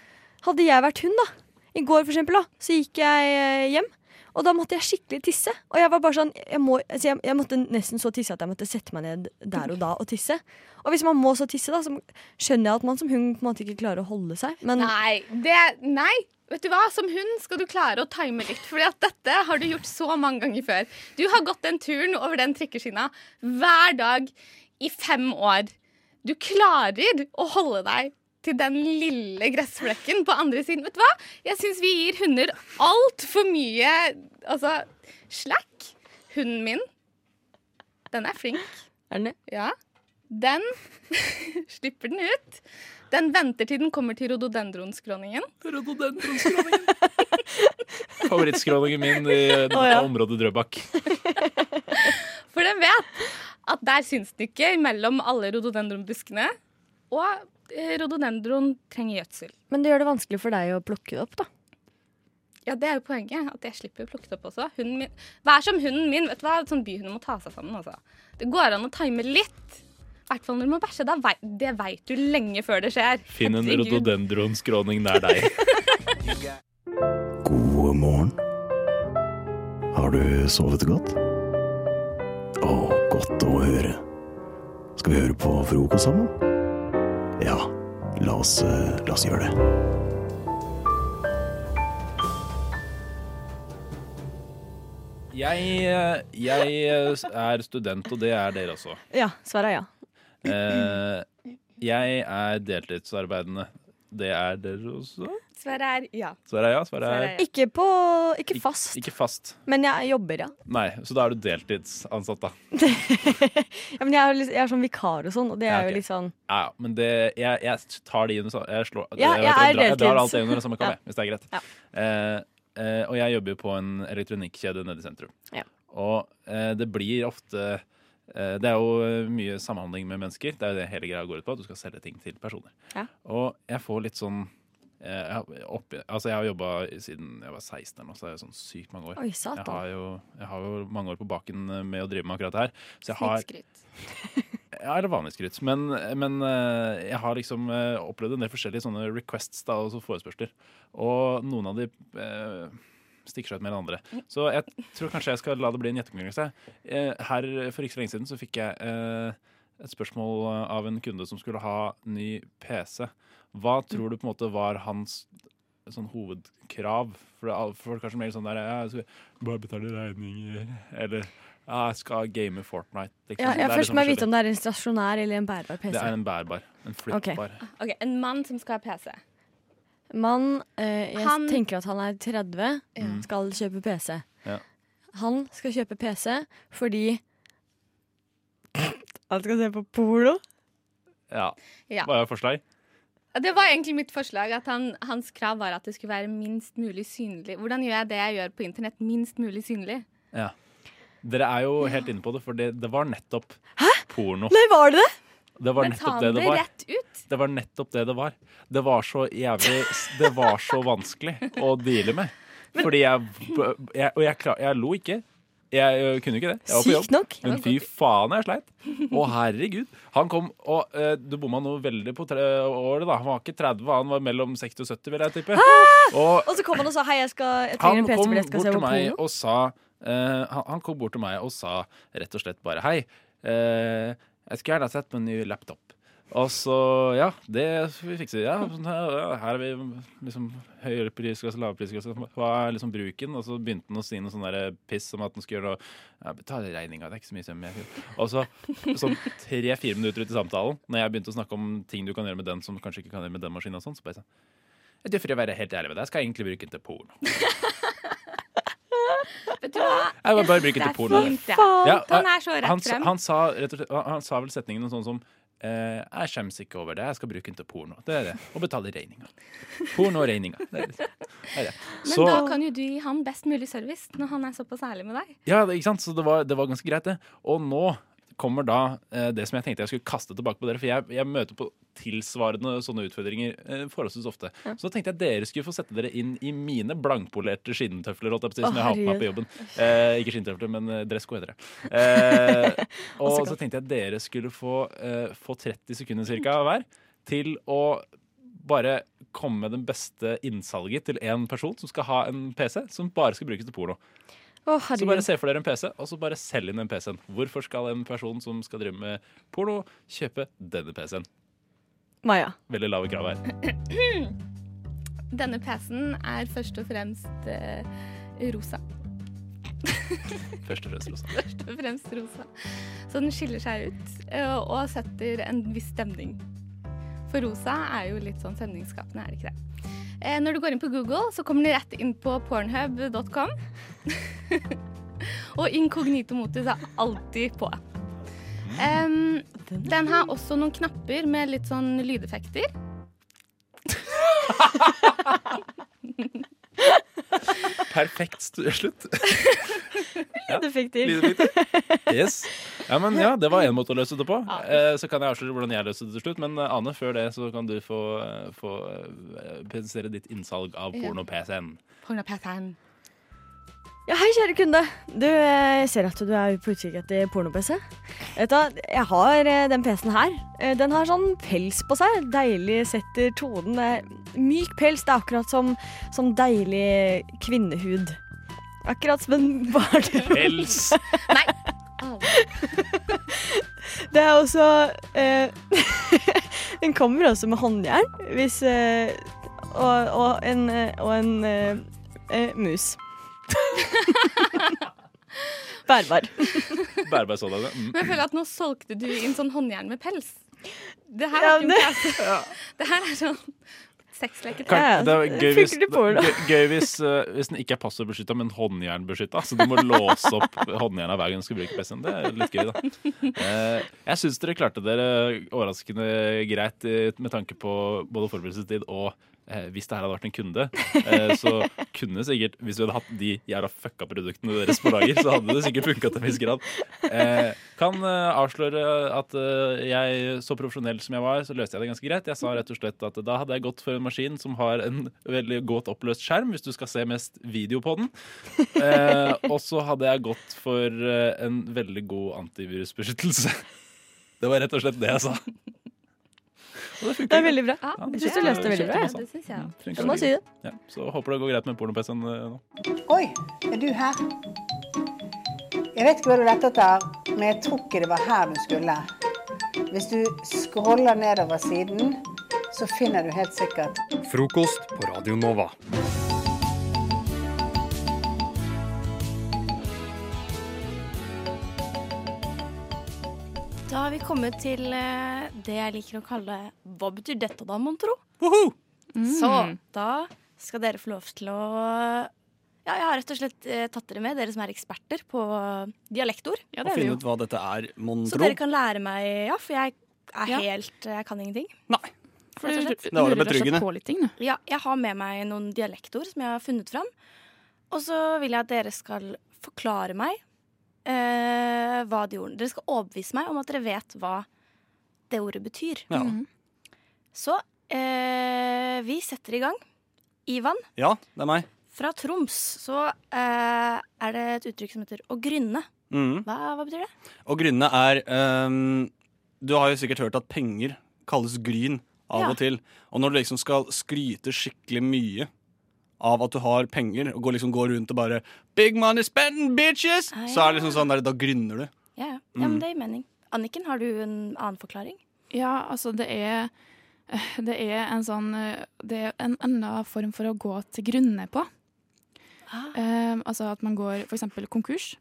Speaker 13: Hadde jeg vært hund, da, i går for eksempel, da, så gikk jeg eh, hjem. Og da måtte jeg skikkelig tisse. Og jeg var bare sånn jeg, må, altså jeg, jeg måtte nesten så tisse at jeg måtte sette meg ned der og da og tisse. Og hvis man må så tisse, da, så skjønner jeg at man som hund på en måte ikke klarer å holde seg. Men
Speaker 12: Nei, det, nei. Vet du hva? Som hund skal du klare å time litt. Fordi at dette har du gjort så mange ganger før. Du har gått den turen over den trikkeskinna hver dag i fem år. Du klarer å holde deg til den lille gressflekken på andre siden. Vet du hva? Jeg syns vi gir hunder altfor mye altså, slack. Hunden min, den er flink.
Speaker 13: Er den det?
Speaker 12: Ja. Den slipper den ut. Den venter til den kommer til rododendronskråningen.
Speaker 11: Favorittskråningen min i dette
Speaker 12: Å, ja.
Speaker 11: området Drøbak.
Speaker 12: For den vet at der syns den ikke mellom alle rododendronbuskene. Og eh, rododendron trenger gjødsel.
Speaker 13: Men det gjør det vanskelig for deg å plukke det opp, da.
Speaker 12: Ja, det er jo poenget. At jeg slipper å plukke det opp også. Hunden min, Vær som hunden min. vet du hva? Sånn Byhunder må ta seg sammen. altså. Det går an å time litt. I hvert fall når du må bæsje. Da vei, det veit du lenge før det skjer.
Speaker 11: Finn en
Speaker 12: Herregud.
Speaker 11: rododendronskråning nær deg.
Speaker 14: God morgen. Har du sovet godt? Å, godt å høre. Skal vi høre på frokost sammen? Ja, la oss, eh, la oss gjøre det.
Speaker 11: Jeg, eh, jeg er student, og det er dere også.
Speaker 13: Ja, svaret er ja.
Speaker 11: Eh, Jeg er deltidsarbeidende. Det er dere også?
Speaker 12: Svaret er ja.
Speaker 11: Svaret er ja. Svaret er
Speaker 13: Ikke på Ikke fast,
Speaker 11: ikke fast.
Speaker 13: men jeg jobber, ja.
Speaker 11: Nei, så da er du deltidsansatt, da.
Speaker 13: ja men jeg er, litt, jeg er sånn vikar og sånn, og det
Speaker 11: Ja,
Speaker 13: er
Speaker 11: ok.
Speaker 13: jo litt sånn
Speaker 11: Ja, ja, men det, jeg, jeg tar de under sa- Jeg, slår,
Speaker 13: Ja,
Speaker 11: vet
Speaker 13: jeg
Speaker 11: hva,
Speaker 13: er
Speaker 11: drar- Jeg drar
Speaker 13: deltids.
Speaker 11: alt det under samme kam,
Speaker 13: Ja.
Speaker 11: jeg, hvis det er greit.
Speaker 13: Ja.
Speaker 11: Eh, eh, og jeg jobber jo på en elektronikkjede nede i sentrum.
Speaker 13: Ja.
Speaker 11: Og eh, det blir ofte Eh, Det er jo eh, mye samhandling med mennesker. Det er jo det hele greia går ut på. at Du skal selge ting til personer.
Speaker 16: Ja.
Speaker 11: Og jeg får litt sånn eh, jeg har, opp, altså jeg har jobba siden jeg var 16 eller noe, så det er jo sånn sykt mange år.
Speaker 13: Oi, satan.
Speaker 11: Jeg, har jo, jeg har jo mange år på baken eh, med å drive med akkurat det her. Så jeg har, ja, eller vanlig skryt. Men, men eh, jeg har liksom eh, opplevd en del forskjellige sånne requests da, og så forespørsler. Og noen av de eh, stikker seg ut mer enn andre. Så jeg tror kanskje jeg skal la det bli en gjettekonkurranse. Eh, her eh, for ikke så lenge siden så fikk jeg eh, et spørsmål eh, av en kunde som skulle ha ny PC. Hva tror du på en måte var hans sånn hovedkrav? For det er al- folk er så mer sånn der ja, jeg skal Bare betale regninger. Eller ja, jeg skal game Fortnite. liksom.
Speaker 13: Ja,
Speaker 11: Det
Speaker 13: jeg
Speaker 11: er litt
Speaker 13: først
Speaker 11: sånn
Speaker 13: må jeg vite
Speaker 11: forskjellig.
Speaker 13: om det er en stasjonær eller en bærbar PC.
Speaker 11: Det er en bærbar. En flyttbar.
Speaker 12: Ok, En mann som skal ha PC.
Speaker 13: Mann, eh, jeg
Speaker 12: Han-
Speaker 13: tenker at han er 30,
Speaker 11: Ja. Mm.
Speaker 13: skal kjøpe PC.
Speaker 11: Ja.
Speaker 13: Han skal kjøpe PC fordi Han skal se på porno.
Speaker 11: Ja.
Speaker 12: Ja.
Speaker 11: Hva er forslag?
Speaker 12: Det var egentlig mitt forslag. at han, Hans krav var at det skulle være minst mulig synlig. Hvordan gjør jeg det jeg gjør på internett, minst mulig synlig?
Speaker 11: Ja. Dere er jo helt inne på det, for det, det var nettopp porno.
Speaker 13: Nei, var det det?
Speaker 11: Det var
Speaker 12: Men ta
Speaker 11: nettopp
Speaker 12: han
Speaker 11: det det
Speaker 12: det
Speaker 11: var.
Speaker 12: rett ut?
Speaker 11: Det var nettopp det det var. Det var så jævlig Det var så vanskelig å deale med. Fordi jeg, jeg Og jeg, klar, jeg lo ikke. Jeg ø, kunne ikke det. Jeg var på
Speaker 13: Sykt
Speaker 11: jobb.
Speaker 13: nok.
Speaker 11: Men fy faen, jeg sleit. Å, herregud. Han kom og ø, Du bomma noe veldig på tre året, da. Han var ikke 30, han var mellom 60 og 70, vil jeg tippe. Og
Speaker 13: Og så kom han og sa hei, jeg, skal, jeg trenger en
Speaker 11: han
Speaker 13: PC
Speaker 11: kom
Speaker 13: fordi jeg
Speaker 11: bort
Speaker 13: skal se
Speaker 11: til
Speaker 13: på
Speaker 11: meg
Speaker 13: porno.
Speaker 11: og sa eh, han, han kom bort til meg og sa rett og slett bare hei. eh, jeg skulle gjerne ha sett på en ny laptop. Og så ja, det skal vi fikse. Ja, sånn her, ja, her er vi liksom høyere prisklasse, lavere prisklasse. Hva er liksom bruken? Og så begynte han å si noe sånn der piss om at han skulle gjøre noe ja, Betale regninga, det er ikke så mye søm. jeg gjør. Og så sånn tre-fire minutter ut i samtalen, når jeg begynte å snakke om ting du kan gjøre med den som kanskje ikke kan gjøre med den maskinen og sånn, så bare sånn «Jeg tror For å være helt ærlig med deg, jeg skal egentlig bruke den til porno.
Speaker 12: Vet du hva?
Speaker 11: Jeg må bare bruke
Speaker 12: Det
Speaker 11: til
Speaker 12: er
Speaker 11: porno.
Speaker 12: fint, det.
Speaker 11: Ja, eh,
Speaker 12: han er så rett
Speaker 11: han,
Speaker 12: frem.
Speaker 11: han, sa, rett og slett, han, han sa vel setningen noe sånn som eh, Jeg skjemmes ikke over det, jeg skal bruke den til porno. Det er det. Og betale regninga. Porno og regninga. Det er det. Det er det.
Speaker 12: Men
Speaker 11: Så,
Speaker 12: da kan jo du gi han best mulig service når han er såpass ærlig med deg.
Speaker 11: ja, det- ikke sant? Så det var, det var ganske greit, det. Og nå kommer da eh, det som jeg tenkte jeg skulle kaste tilbake på dere, for jeg, jeg møter på tilsvarende sånne utfordringer eh, forholdsvis ofte. Så da tenkte jeg dere skulle få sette dere inn i mine blankpolerte skinntøfler, holdt jeg på å si,
Speaker 10: Å,
Speaker 11: som jeg har på meg på
Speaker 10: herregud.
Speaker 11: jobben. Eh, ikke skinntøfler, men eh, dressko heter det. Eh,
Speaker 10: Også
Speaker 11: og
Speaker 10: godt.
Speaker 11: så tenkte jeg dere skulle få, eh, få 30 sekunder cirka hver til å bare komme med den beste innsalget til en person som skal ha en PC som bare skal brukes til porno.
Speaker 13: Å,
Speaker 11: Så bare
Speaker 13: herregud.
Speaker 11: se for dere en PC, og så bare selg inn den PC-en. Hvorfor skal en person som skal drive med porno, kjøpe denne PC-en?
Speaker 13: Maja.
Speaker 11: Veldig lave krav her.
Speaker 12: Denne PC-en er først og fremst eh, rosa.
Speaker 11: Først og fremst rosa.
Speaker 12: Først og fremst rosa. Så den skiller seg ut eh, og setter en viss stemning. For rosa er jo litt sånn stemningsskapende, er det ikke det? Eh, Når du går inn på Google, så kommer du rett inn på pornhub.com. og inkognito motus er alltid på. Em, den har også noen knapper med litt sånn lydeffekter.
Speaker 11: Perfekt stu- slutt. Ja.
Speaker 13: Lydeffekter.
Speaker 11: Lydeffekter. Yes. Ja, men ja, det var én måte å løse det på. Eh, Så kan jeg avsløre hvordan jeg løste det til slutt. Men eh, Ane, før det så kan du få, eh, få eh, presentere ditt innsalg av
Speaker 13: Ja.
Speaker 11: porno-PC-en.
Speaker 12: Porno-PC-en.
Speaker 13: Ja, hei, kjære kunde. Du, eh, jeg ser at du er på utkikk etter porno-PC. Vet du, hva, jeg har eh, den PC-en her. Eh, Den har sånn pels på seg. Deilig setter tonen. eh, Myk pels. Det er akkurat som, som deilig kvinnehud. Akkurat som en barnehud.
Speaker 11: Pels!
Speaker 13: Det er også eh, Den kommer også med håndjern hvis, eh, og, og en, eh, og en eh, eh, mus. Bærbar.
Speaker 11: Bærbar sådan. ja.
Speaker 12: Men jeg
Speaker 11: Mm.
Speaker 12: føler at nå solgte du inn sånn håndjern med pels. Det her
Speaker 13: Ja,
Speaker 12: er, ikke
Speaker 13: men
Speaker 12: en pels. Det her er sånn sexleketøy.
Speaker 11: Kan, det er gøy hvis,
Speaker 12: Funker det porno?
Speaker 11: gøy, gøy hvis, eh, hvis den ikke er passordbeskytta, men håndjernbeskytta. Så du må låse opp håndjerna hver gang du skal bruke PC-en. Det er litt gøy, da. Eh, Jeg syns dere klarte dere overraskende greit eh, med tanke på både forberedelsestid og eh, hvis det her hadde vært en kunde, eh, så kunne sikkert Hvis vi hadde hatt de jævla fucka produktene deres på lager, så hadde det sikkert funka til en viss grad. Eh, kan eh, avsløre at eh, jeg, så profesjonell som jeg var, så løste jeg det ganske greit. Jeg sa rett og slett at da hadde jeg gått for en maskin som har en veldig godt oppløst skjerm, hvis du skal se mest video på den. Eh, og så hadde jeg gått for eh, en veldig god antivirusbeskyttelse. Det var rett og slett det jeg sa.
Speaker 13: Det er veldig bra. jeg syns du
Speaker 11: det
Speaker 13: løste det veldig
Speaker 11: funker
Speaker 13: bra.
Speaker 11: også.
Speaker 13: jeg.
Speaker 11: Funker
Speaker 13: Jeg må
Speaker 11: veldig
Speaker 13: si det.
Speaker 11: godt. Ja, så håper det går greit med porno-PC-en eh, nå.
Speaker 16: Oi, er du her? Jeg vet ikke hva du lette etter, men jeg tror ikke det var her du skulle. Hvis du scroller nedover siden, så finner du helt sikkert
Speaker 10: Frokost på Radio Nova.
Speaker 17: Da har vi kommet til eh, det jeg liker å kalle Hva betyr dette da, mon tro? Så da skal dere få lov til å Ja, jeg har rett og slett eh, tatt dere med, dere som er eksperter på eh, dialektord.
Speaker 1: Og finne ut hva dette er, mon
Speaker 17: Så
Speaker 1: tro.
Speaker 17: dere kan lære meg, ja, for jeg er helt Jeg kan ingenting. Nei.
Speaker 1: du Da var det lurer rett og slett betryggende. på litt
Speaker 17: Ja, jeg har med meg noen dialektord som jeg har funnet fram. Og så vil jeg at dere skal forklare meg eh, hva de ordene Dere skal overbevise meg om at dere vet hva det ordet betyr.
Speaker 1: Ja. Mhm.
Speaker 17: Så eh, vi setter i gang. Ivan,
Speaker 1: Ja, det er meg.
Speaker 17: fra Troms så eh, er det et uttrykk som heter å grynne.
Speaker 1: Mhm.
Speaker 17: Hva, hva betyr det?
Speaker 1: Og grunnene er ehm, Du har jo sikkert hørt at penger kalles gryn av
Speaker 17: Ja.
Speaker 1: og til. Og når du liksom skal skryte skikkelig mye av at du har penger, og går liksom går rundt og bare Big money spending, bitches!
Speaker 17: Ah,
Speaker 1: Så er det liksom sånn der, da grynner du.
Speaker 17: Ja, ja. ja men
Speaker 1: Mm.
Speaker 17: det gir mening. Anniken, har du en annen forklaring?
Speaker 9: Ja, altså det er Det er en sånn eh, Det er en annen form for å gå til grunne på.
Speaker 17: Ah.
Speaker 9: Eh, altså at man går for eksempel konkurs.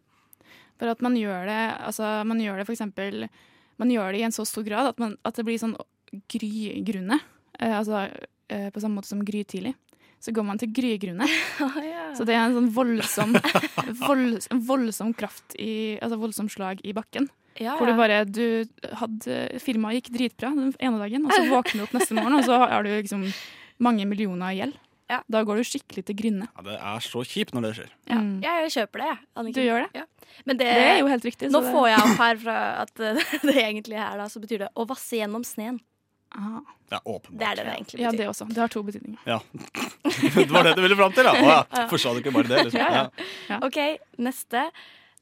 Speaker 9: For at man gjør det altså man gjør det for eksempel Man gjør det i en så stor grad at, man, at det blir sånn grygrunne. Eh, altså eh, på samme måte som grytidlig. Så går man til grygrunne.
Speaker 17: Ah,
Speaker 9: Så det er en sånn voldsom, volds, en voldsom kraft i Altså voldsom slag i bakken.
Speaker 17: Ja,
Speaker 9: Hvor du
Speaker 17: ja.
Speaker 9: bare du hadde, Firmaet gikk dritbra den ene dagen, og så våkner du opp neste morgen, og så har du liksom mange millioner i gjeld. Da går du skikkelig til grynne.
Speaker 1: Ja, det er så kjipt når det skjer.
Speaker 17: Ja, jeg kjøper det, jeg.
Speaker 9: Mm.
Speaker 17: Anniken.
Speaker 9: Du gjør det?
Speaker 17: Ja. Men det,
Speaker 9: Det er jo helt riktig,
Speaker 17: Nå
Speaker 9: så det-
Speaker 17: får jeg opp her fra at eh, det egentlig er da, så betyr det å vasse gjennom sneen.
Speaker 1: Det er åpenbart.
Speaker 17: Det er det det egentlig betyr.
Speaker 9: Ja, det også. Det har to betydninger.
Speaker 1: Ja. det var det du ville fram til, da? Å ja.
Speaker 17: Ja.
Speaker 1: Forstår du ikke bare det? Liksom.
Speaker 17: Ja, ja.
Speaker 1: Ja.
Speaker 17: OK, neste.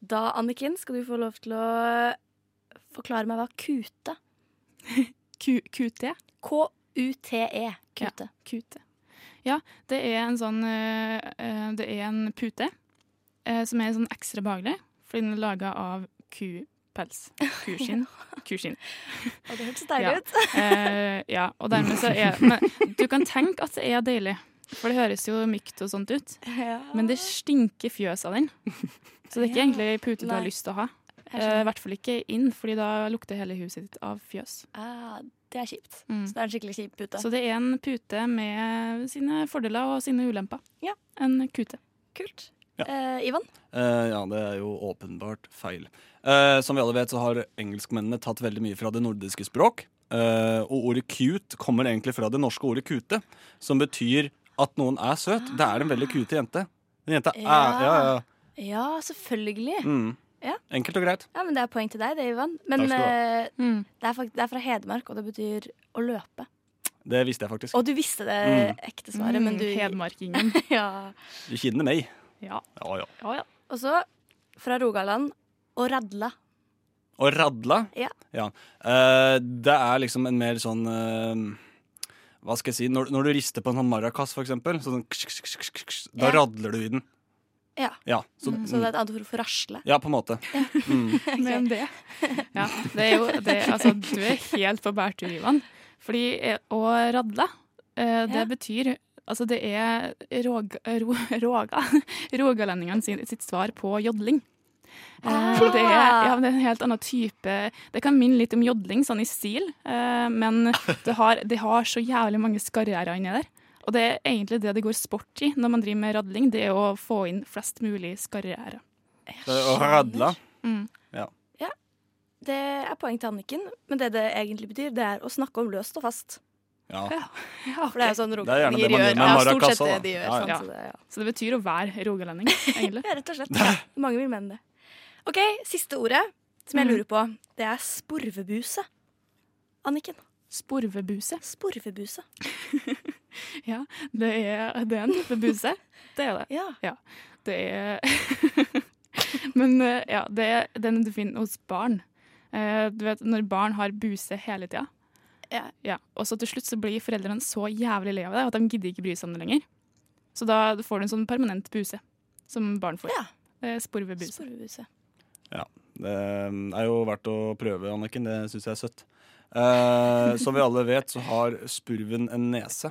Speaker 17: Da, Anniken, skal du få lov til å forklare meg hva kute
Speaker 9: Q- QT?
Speaker 17: K-U-T-E. Kute.
Speaker 9: kute. Ja, det er en sånn eh, eh, Det er en pute eh, som er sånn ekstra behagelig, fordi den er laga av kupels. Kuskinn. Kuskinn.
Speaker 17: Og det hørtes
Speaker 9: ja.
Speaker 17: deilig ut.
Speaker 9: Eh, ja, og dermed så er Men du kan tenke at det er deilig, for det høres jo mykt og sånt ut.
Speaker 17: Ja.
Speaker 9: Men det stinker fjøs av den. Så det er ikke
Speaker 17: Ja.
Speaker 9: egentlig ei pute du har
Speaker 17: Nei.
Speaker 9: lyst til å ha. Eh,
Speaker 17: Jeg skjønner.
Speaker 9: I hvert fall ikke inn, fordi da lukter hele huset ditt av fjøs.
Speaker 17: Ah, det er kjipt.
Speaker 9: Mm.
Speaker 17: Så det er en skikkelig kjip pute.
Speaker 9: Så det er en pute med sine fordeler og sine ulemper. En kute.
Speaker 17: Kult. Eh, Ivan?
Speaker 1: Eh, ja, det er jo åpenbart feil. Eh, som vi alle vet, så har engelskmennene tatt veldig mye fra det nordiske språk. Eh, og ordet cute kommer egentlig fra det norske ordet kute, som betyr at noen er søt. Det er en veldig kute jente. En jente er Ja, ja.
Speaker 17: Ja, selvfølgelig.
Speaker 1: Mm.
Speaker 17: Ja.
Speaker 1: Enkelt og greit.
Speaker 17: Ja, men Det er poeng til deg, det, Ivan. Men
Speaker 1: Takk skal du ha.
Speaker 17: eh, det, er fakt det er fra Hedmark, og det betyr å løpe.
Speaker 1: Det visste jeg faktisk.
Speaker 17: Og du visste det
Speaker 1: Mm.
Speaker 17: ekte svaret, men
Speaker 9: Mm,
Speaker 17: du
Speaker 9: Hedmarkingen.
Speaker 17: ja.
Speaker 1: Du kjenner meg.
Speaker 9: Ja.
Speaker 1: Ja, ja.
Speaker 17: Og så, fra Rogaland, å radla.
Speaker 1: Og radla.
Speaker 17: Ja.
Speaker 1: Ja. Eh, det er liksom en mer sånn eh, Hva skal jeg si Når, når du rister på en sånn maracas, for eksempel, så sånn, ksh, ksh, ksh, ksh, ksh, ksh, da
Speaker 17: Ja.
Speaker 1: radler du i den.
Speaker 17: Ja.
Speaker 1: Ja, så-
Speaker 17: Mm, så det er et annet ord for rasle.
Speaker 1: Ja, på en måte. Mm.
Speaker 9: Mer om det. Ja, det er jo det, altså, du er helt på bærtur, Ivan. Fordi eh, å radle, eh, det
Speaker 17: Ja.
Speaker 9: betyr Altså, det er rog, ro, roga, rogalendingene sin, sitt svar på jodling. Eh,
Speaker 17: Ah.
Speaker 9: det, er, ja, men det er en helt annen type Det kan minne litt om jodling, sånn i stil, eh, men det har, det har så jævlig mange skarrierer inni der. Og det er egentlig det det går sport i når man driver med radling, det er å få inn flest mulig skarrierer.
Speaker 1: Så, og radla.
Speaker 9: Mm.
Speaker 1: Ja.
Speaker 17: Ja, det er poeng til Anniken, men det det egentlig betyr, det er å snakke om løst og fast.
Speaker 1: Ja.
Speaker 12: For det er jo sånn
Speaker 1: Det er gjerne det man gjør med
Speaker 12: rogalendinger gjør. Ja, stort
Speaker 1: Maracasa,
Speaker 12: sett det
Speaker 1: da.
Speaker 12: de gjør.
Speaker 1: Ja, ja.
Speaker 12: Sånn, så, det, ja. så det betyr å være rogalending, egentlig. ja, rett og slett.
Speaker 17: Mange vil mene det. OK, siste ordet som jeg lurer på, det er sporvebuse. Anniken.
Speaker 9: Sporvebuse?
Speaker 17: Sporvebuse.
Speaker 9: Ja, det er, det er en type buse. Det er det.
Speaker 17: Ja.
Speaker 9: Det er Men eh, ja, det er, den du finner hos barn. Eh, Du vet når barn har buse hele tida.
Speaker 12: Ja.
Speaker 9: Og så til slutt så blir foreldrene så jævlig lei av det at de gidder ikke bry seg om det lenger. Så da får du en sånn permanent buse som barn får. Ja. Sporvebuse.
Speaker 17: Sporvebuse.
Speaker 1: Ja, det um, er jo verdt å prøve, Anniken. Det syns jeg er søtt. Eh, som vi alle vet, så har spurven en nese.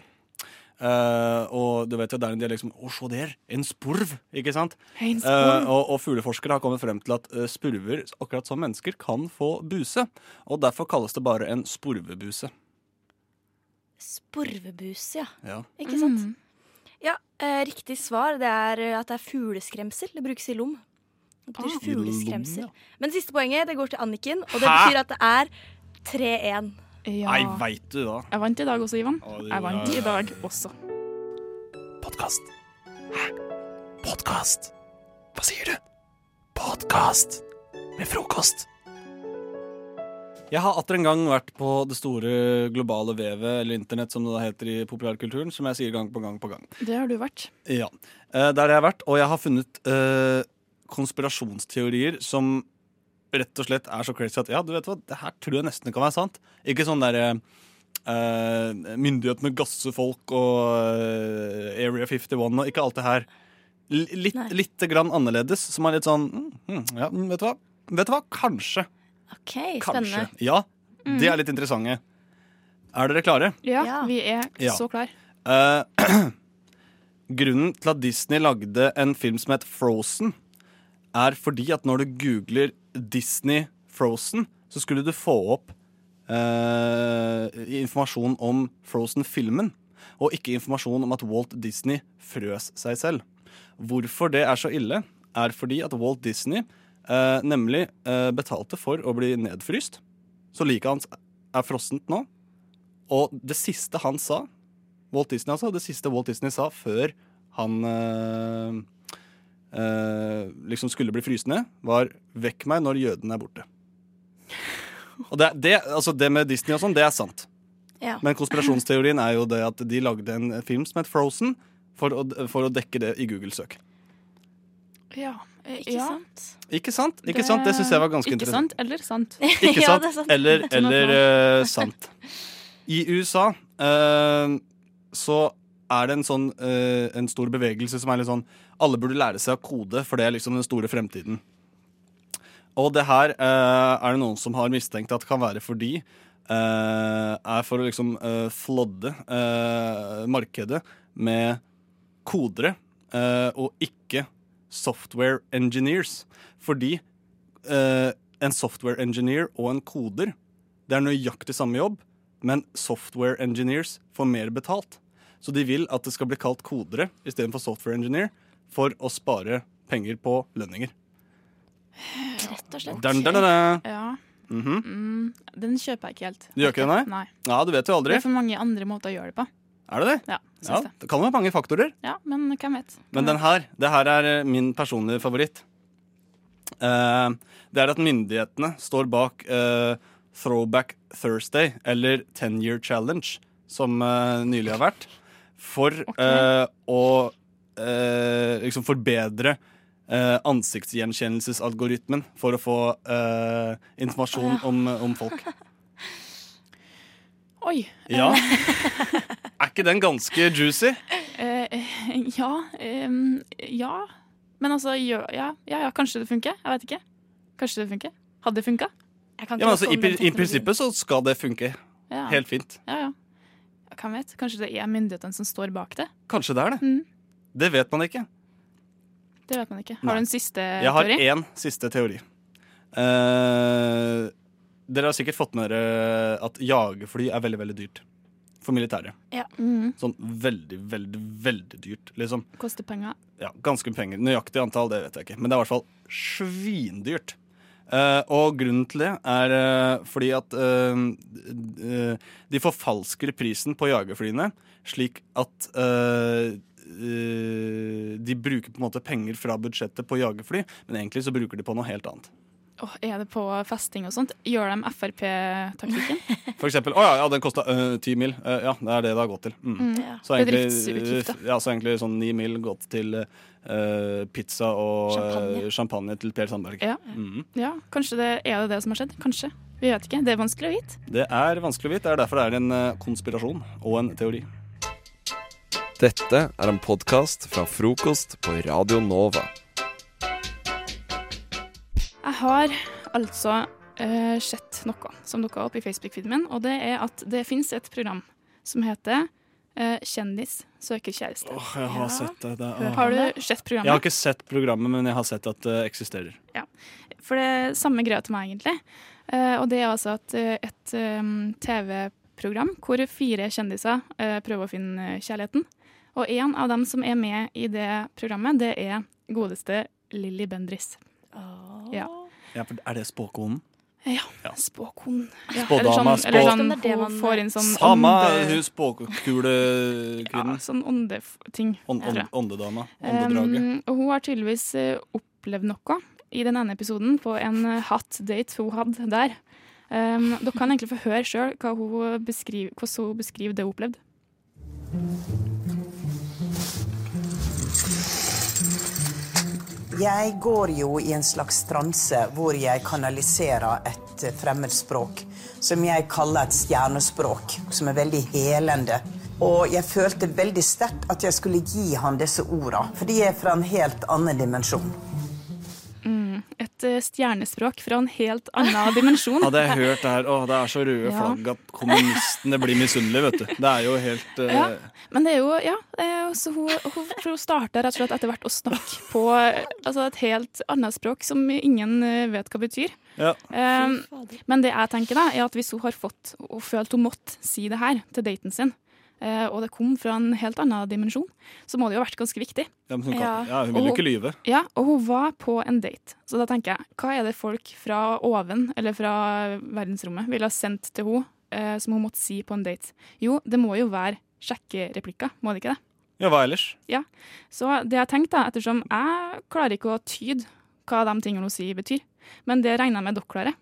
Speaker 1: Eh, og du vet jo, det er en dialekt som Å, se der! En spurv! Ikke sant?
Speaker 9: En spurv.
Speaker 1: Eh, og, og fugleforskere har kommet frem til at eh, spurver, akkurat som mennesker, kan få buse. Og derfor kalles det bare en spurvebuse.
Speaker 17: Sporvebuse, ja.
Speaker 1: Ja.
Speaker 17: Ikke sant?
Speaker 9: Mm.
Speaker 17: Ja, eh, riktig svar det er eh, at det er fugleskremsel. Det brukes i lom. Det
Speaker 9: Ah.
Speaker 17: betyr
Speaker 9: I lom,
Speaker 17: fugleskremsel.
Speaker 9: ja.
Speaker 17: Men det siste poenget det går til Anniken, og det
Speaker 9: Hæ?
Speaker 17: betyr at det er 3-1.
Speaker 1: Nei, veit du da.
Speaker 9: Jeg vant i dag også, Ivan.
Speaker 1: Ja, det gjorde
Speaker 9: Jeg vant
Speaker 1: jeg.
Speaker 9: i dag også.
Speaker 10: Podkast. Hæ? Podkast? Hva sier du? Podkast med frokost.
Speaker 1: Jeg har atter en gang vært på det store globale vevet, eller internett som det da heter i populærkulturen, som jeg sier gang på gang på gang.
Speaker 9: Det har du vært.
Speaker 1: Ja, eh, Der har jeg vært, og jeg har funnet eh, konspirasjonsteorier som rett og slett er så crazy at ja, du vet hva, det her tror jeg nesten kan være sant. Ikke sånn derre eh, myndighetene gasser folk og eh, Area 51 og ikke alt det her. L litt, lite grann annerledes, som er litt sånn mm, mm, Ja, mm, vet du hva? Vet du hva? Kanskje.
Speaker 17: OK,
Speaker 1: Kanskje.
Speaker 17: spennende.
Speaker 1: Ja,
Speaker 17: Mhm.
Speaker 1: det er litt interessante. Er dere klare?
Speaker 9: Ja, vi er
Speaker 1: Ja.
Speaker 9: så klar.
Speaker 1: Eh, grunnen til at Disney lagde en film som het Frozen, er fordi at når du googler Disney Frozen, så skulle du få opp eh, informasjon om Frozen-filmen, og ikke informasjon om at Walt Disney frøs seg selv. Hvorfor det er så ille, er fordi at Walt Disney eh, nemlig eh, betalte for å bli nedfryst. Så liket hans er frossent nå. Og det siste han sa, Walt Disney altså, det siste Walt Disney sa før han eh, eh, liksom skulle bli fryst ned, var 'vekk meg når jødene er borte'. Og det, det, altså det med Disney og sånn, det er sant.
Speaker 17: Ja.
Speaker 1: Men konspirasjonsteorien er jo det at de lagde en film som het Frozen, for å, for å dekke det i Google-søk.
Speaker 9: Ja. eh,
Speaker 17: Ikke
Speaker 9: ja.
Speaker 17: sant?
Speaker 1: Ikke sant? Ikke sant? Det syns jeg var ganske
Speaker 9: ikke
Speaker 1: interessant.
Speaker 9: Sant, eller sant.
Speaker 1: Ikke sant? Eller, eller eh, sant. I USA eh, så er det en sånn eh, En stor bevegelse som er litt sånn Alle burde lære seg å kode, for det er liksom den store fremtiden. Og det her eh, er det noen som har mistenkt at kan være fordi eh, Er for å liksom eh, flodde eh, markedet med kodere eh, og ikke software engineers. Fordi eh, en software engineer og en koder Det er nøyaktig samme jobb, men software engineers får mer betalt. Så de vil at det skal bli kalt kodere istedenfor software engineer for å spare penger på lønninger.
Speaker 9: Rett og slett.
Speaker 1: eh, Dun, dun, dun, dun.
Speaker 9: Ja.
Speaker 1: Mhm.
Speaker 9: Mm, den kjøper jeg ikke helt.
Speaker 1: Du gjør ikke det, nei?
Speaker 9: Nei.
Speaker 1: Ja, du vet jo
Speaker 9: Det
Speaker 1: aldri.
Speaker 9: er for mange andre måter å gjøre det på.
Speaker 1: Er det det?
Speaker 9: Ja,
Speaker 1: Ja,
Speaker 9: synes det.
Speaker 1: det kan være mange faktorer.
Speaker 9: Ja, men hvem vet.
Speaker 1: Men den her, det her er eh, min personlige favoritt. Eh, det er at myndighetene står bak eh, Throwback Thursday, eller Ten Year Challenge, som eh, nylig har vært, for eh, å eh, liksom forbedre eh, ansiktsgjenkjennelsesalgoritmen for å få eh, informasjon om, eh, om folk.
Speaker 9: Oi.
Speaker 1: Ja. Er ikke den ganske juicy?
Speaker 9: Eh, eh, ja. em, ja. Men altså, gjør- ja, ja, ja, kanskje det funker. Jeg vet ikke. Kanskje det funker. Hadde det funka?
Speaker 1: Ja, men altså, i, pri- I prinsippet så skal det funke.
Speaker 9: Ja.
Speaker 1: Helt fint.
Speaker 9: Ja, ja. Ja, Hvem vet? Kanskje det er myndighetene som står bak det?
Speaker 1: Kanskje det er det. Det vet man ikke.
Speaker 9: Det vet man ikke.
Speaker 1: Nei.
Speaker 9: Mm. Har du en siste
Speaker 1: Jeg har
Speaker 9: teori?
Speaker 1: én siste teori. Eh, dere har sikkert fått med dere at jagerfly er veldig veldig dyrt for militæret.
Speaker 9: Ja. Mhm.
Speaker 1: Sånn veldig, veldig, veldig dyrt, liksom.
Speaker 9: Koster penger.
Speaker 1: Ja, ganske mye penger. Nøyaktig antall, det vet jeg ikke. Men det er i hvert fall svindyrt. Eh, og grunnen til det er eh, fordi at eh, eh, de forfalsker prisen på jagerflyene, slik at eh, eh, de bruker på en måte penger fra budsjettet på jagerfly, men egentlig så bruker de på noe helt annet.
Speaker 9: Åh, er det på festing og sånt? Gjør de Frp-taktikken?
Speaker 1: For eksempel, å ja, ja, den kosta ti mil. Eh, ja, det er det det har gått til. Mm.
Speaker 9: Mm, ja.
Speaker 1: Så, egentlig,
Speaker 9: Bedriftsutgift, da.
Speaker 1: ja, så egentlig sånn ni mil gått til eh, pizza og champagne, champagne til Per Sandberg.
Speaker 9: Ja.
Speaker 1: Mhm.
Speaker 9: ja, kanskje det er det det som har skjedd? Kanskje. Vi vet ikke. Det er vanskelig å vite.
Speaker 1: Det er vanskelig å vite. Det er derfor det er en eh, konspirasjon og en teori.
Speaker 18: Dette er en podkast fra frokost på Radio Nova.
Speaker 9: Jeg har altså eh, sett noe som dukka opp i Facebook-feeden min, og det er at det fins et program som heter eh, Kjendis søker kjæreste.
Speaker 1: Åh, jeg har sett det. det er-
Speaker 9: Har du sett programmet?
Speaker 1: Jeg har ikke sett programmet, men jeg har sett at det eksisterer.
Speaker 9: Ja, for det er samme greia til meg egentlig. Eh, og det er altså at eh, et eh, TV-program hvor fire kjendiser eh, prøver å finne eh, kjærligheten. Og en av dem som er med i det programmet, det er godeste Lilly Bendriss. Ja.
Speaker 1: Ja, for er det spåkonen?
Speaker 9: ja. Spåkon. Ja,
Speaker 1: Spådama,
Speaker 9: eller sånn, eller
Speaker 1: spå-
Speaker 9: sånn,
Speaker 1: Det er det
Speaker 9: hun
Speaker 1: man-
Speaker 9: får inn sånn
Speaker 1: Samme
Speaker 9: ånde-
Speaker 1: hun spåkulekvinnen.
Speaker 9: Ja, sånn åndeting.
Speaker 1: Ånd-
Speaker 9: tror jeg.
Speaker 1: ånd- Åndedama. Åndedraget.
Speaker 9: Um, og hun har tydeligvis eh, opplevd noe i den ene episoden på en eh, hot date hun hadde der. Um, dere kan egentlig få høre sjøl hvordan hun beskriver det hun opplevde.
Speaker 19: Jeg går jo i en slags transe hvor jeg kanaliserer et fremmedspråk som jeg kaller et stjernespråk, som er veldig helende. Og jeg følte veldig sterkt at jeg skulle gi han disse orda, for de er fra en helt annen dimensjon.
Speaker 9: Mm, et eh, stjernespråk fra en helt annen dimensjon.
Speaker 1: Hadde jeg hørt det her, åh, det er så røde
Speaker 9: Ja.
Speaker 1: flagg at kommunistene blir misunnelige, vet du. Det er jo helt eh,
Speaker 9: Ja, men det er jo Ja, eh, så hun, hun, for hun starta rett og slett etter hvert å snakke på eh, altså et helt annet språk som ingen eh, vet hva betyr.
Speaker 1: Ja.
Speaker 9: Um, men det jeg tenker da, er at hvis hun har fått og følt hun måtte si det her til daten sin, eh, og det kom fra en helt annen dimensjon, så må det jo ha vært ganske viktig.
Speaker 1: Ja, men hun kan- ja, hun vil jo
Speaker 9: Og
Speaker 1: ikke lyve.
Speaker 9: Ja, og hun var på en date. Så da tenker jeg, hva er det folk fra oven, eller fra verdensrommet, ville ha sendt til henne, eh, som hun måtte si på en date? Jo, det må jo være sjekkereplikker, må det ikke det?
Speaker 1: Ja, hva ellers?
Speaker 9: Ja. Så det jeg tenkte, da, ettersom jeg klarer ikke å tyde hva de tingene hun sier, betyr, men det regner jeg med dere klarer.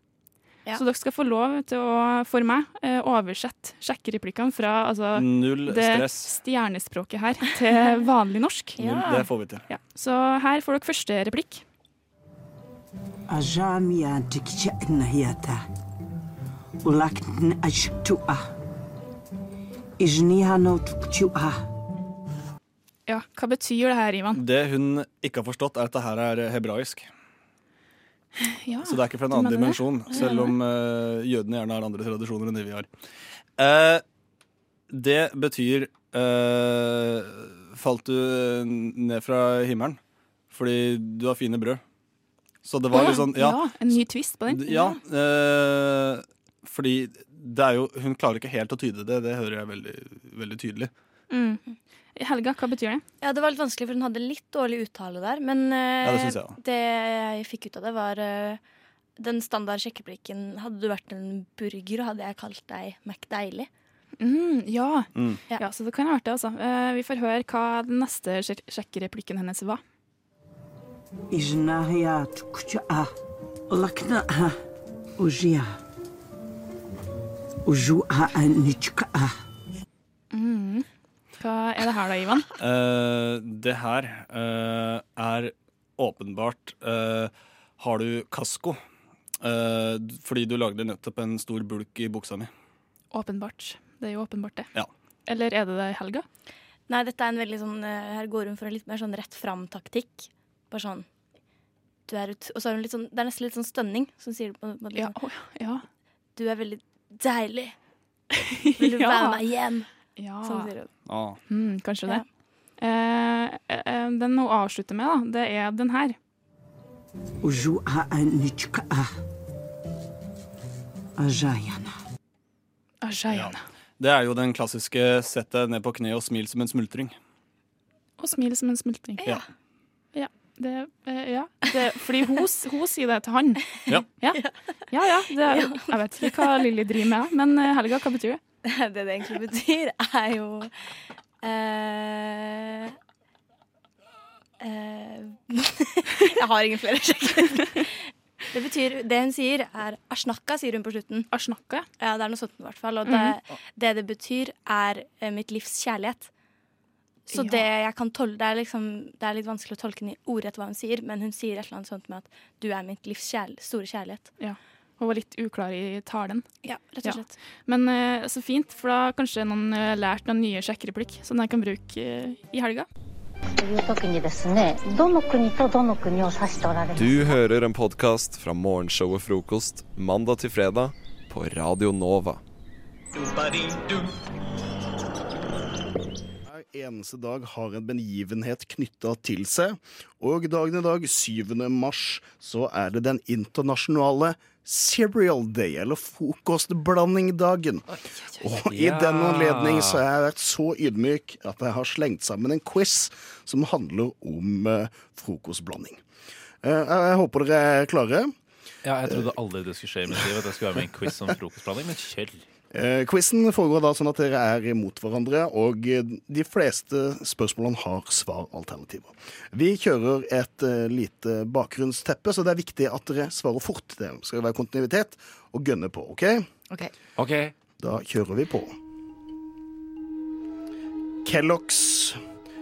Speaker 17: Ja.
Speaker 9: Så dere skal få lov til å, for meg, eh, oversette sjekkereplikkene fra altså,
Speaker 1: Null
Speaker 9: det
Speaker 1: stress.
Speaker 9: stjernespråket her til vanlig norsk.
Speaker 1: Null, det får vi til.
Speaker 9: Ja. Så her får dere første replikk.
Speaker 20: أجامي تكجأن هيتا ولكن أجتوأ إجنيها نو تكتوأ
Speaker 9: Ja, Hva betyr det her, Ivan?
Speaker 1: Det hun ikke har forstått, er at det her er hebraisk.
Speaker 9: Ja,
Speaker 1: Så det er ikke fra en
Speaker 9: du
Speaker 1: annen
Speaker 9: mener det?
Speaker 1: dimensjon,
Speaker 9: Ja.
Speaker 1: selv om eh, jødene gjerne har andre tradisjoner enn de vi har. Eh, det betyr eh, Falt du ned fra himmelen fordi du har fine brød? Så det var
Speaker 9: Å,
Speaker 1: litt sånn Ja.
Speaker 9: En ny twist på den.
Speaker 1: ja eh, fordi det er jo Hun klarer ikke helt å tyde det, det hører jeg veldig, veldig tydelig.
Speaker 9: Mm. Helga, hva betyr det?
Speaker 17: Ja, Det var litt vanskelig, for hun hadde litt dårlig uttale der. Men eh,
Speaker 1: Ja, det synes jeg også.
Speaker 17: det jeg fikk ut av det, var eh, den standard sjekkeplikken. Hadde du vært en burger, hadde jeg kalt deg McDeilig.
Speaker 9: Mm, ja.
Speaker 1: Mm.
Speaker 9: ja. Så det kan ha vært det, altså. Eh, vi får høre hva den neste sjek- sjekkereplikken hennes var.
Speaker 20: إجناها تكتوأ ولكنها وجيها وجوءها نتكأ
Speaker 9: Mm. Hva er det her da, Ivan?
Speaker 1: Eh, det her eh, er åpenbart eh, Har du kasko? Eh, d- fordi du lagde nettopp en stor bulk i buksa mi.
Speaker 9: Åpenbart. Det er jo åpenbart, det.
Speaker 1: Ja.
Speaker 9: Eller er det det, Helga?
Speaker 17: Nei, dette er en veldig sånn eh, Her går hun for en litt mer sånn rett fram-taktikk. Bare sånn du er ut, Og så er hun litt sånn Det er nesten litt sånn stønning som sier det på en måte. Liksom. Du er veldig deilig. Vil du
Speaker 9: Ja.
Speaker 17: være med hjem?
Speaker 9: Ja.
Speaker 17: Sånn sier hun.
Speaker 20: Ah.
Speaker 9: Mm, kanskje det. Eh, eh, den hun avslutter med, da, det er den her.
Speaker 20: وجوءها نتكأ أجاينا
Speaker 9: Ah, Ajayana.
Speaker 1: Det er jo den klassiske 'sett deg ned på kne og smil som en smultring'.
Speaker 9: Og smil som en smultring.
Speaker 1: Ja.
Speaker 9: Ja, Det, eh, ja. det, fordi hun, s- hun sier det til han.
Speaker 10: Ja.
Speaker 9: Ja, ja. ja det, jeg vet ikke hva Lilly driver med, men eh, Helga, hva betyr det?
Speaker 17: Det det egentlig betyr, er jo eh, eh, Jeg har ingen flere sjekker. Det betyr, det hun sier, er ashnakka, sier hun på slutten.
Speaker 9: Ashnakka?
Speaker 17: Ja, det er noe sånt i hvert fall. Og det
Speaker 9: Mhm.
Speaker 17: det, det betyr, er eh, mitt livs kjærlighet. Så
Speaker 9: Ja.
Speaker 17: det jeg kan tolke, det er, liksom, det er litt vanskelig å tolke den i ordrett hva hun sier, men hun sier et eller annet sånt med at du er mitt livs kjærl store kjærlighet.
Speaker 9: Ja. Hun var litt uklar i talen.
Speaker 17: Ja, rett og slett.
Speaker 9: Men eh, så fint, for da har kanskje noen eh, lært noen nye sjekkereplikk som de kan bruke eh, i helga.
Speaker 6: という時にですねどの国とどの国を指しておられます
Speaker 18: Du hører en podkast fra morgenshowet Frokost mandag til fredag på Radio Nova.
Speaker 15: Hver eneste dag har en begivenhet knytta til seg, og dagen i dag, 7. mars, så er det den internasjonale Cereal Day, eller frokostblandingdagen. Og i
Speaker 21: Ja.
Speaker 15: den anledning så har jeg vært så ydmyk at jeg har slengt sammen en quiz som handler om eh, frokostblanding. Eh, jeg, jeg håper dere er klare.
Speaker 11: Ja, jeg trodde aldri det skulle skje i mitt liv at jeg skulle være med i en quiz om frokostblanding, men kjell.
Speaker 15: Eh, Quizen foregår da sånn at dere er imot hverandre, og eh, de fleste spørsmålene har svaralternativer. Vi kjører et eh, lite bakgrunnsteppe, så det er viktig at dere svarer fort. Det skal være kontinuitet, og gønne på, OK? Da kjører vi på. Kellogg's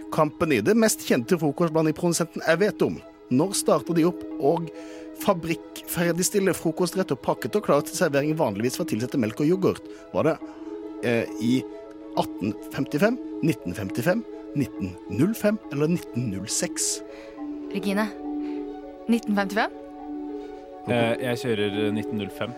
Speaker 15: Company, det mest kjente frokostblandingprodusenten jeg vet om. Når starter de opp og fabrikkferdigstiller frokostrett og pakket og klar til servering vanligvis for å tilsette melk og yoghurt? Var det eh, i 1855, 1955, 1905 eller 1906?
Speaker 22: Regine. 1955?
Speaker 11: Eh, jeg kjører eh, 1905.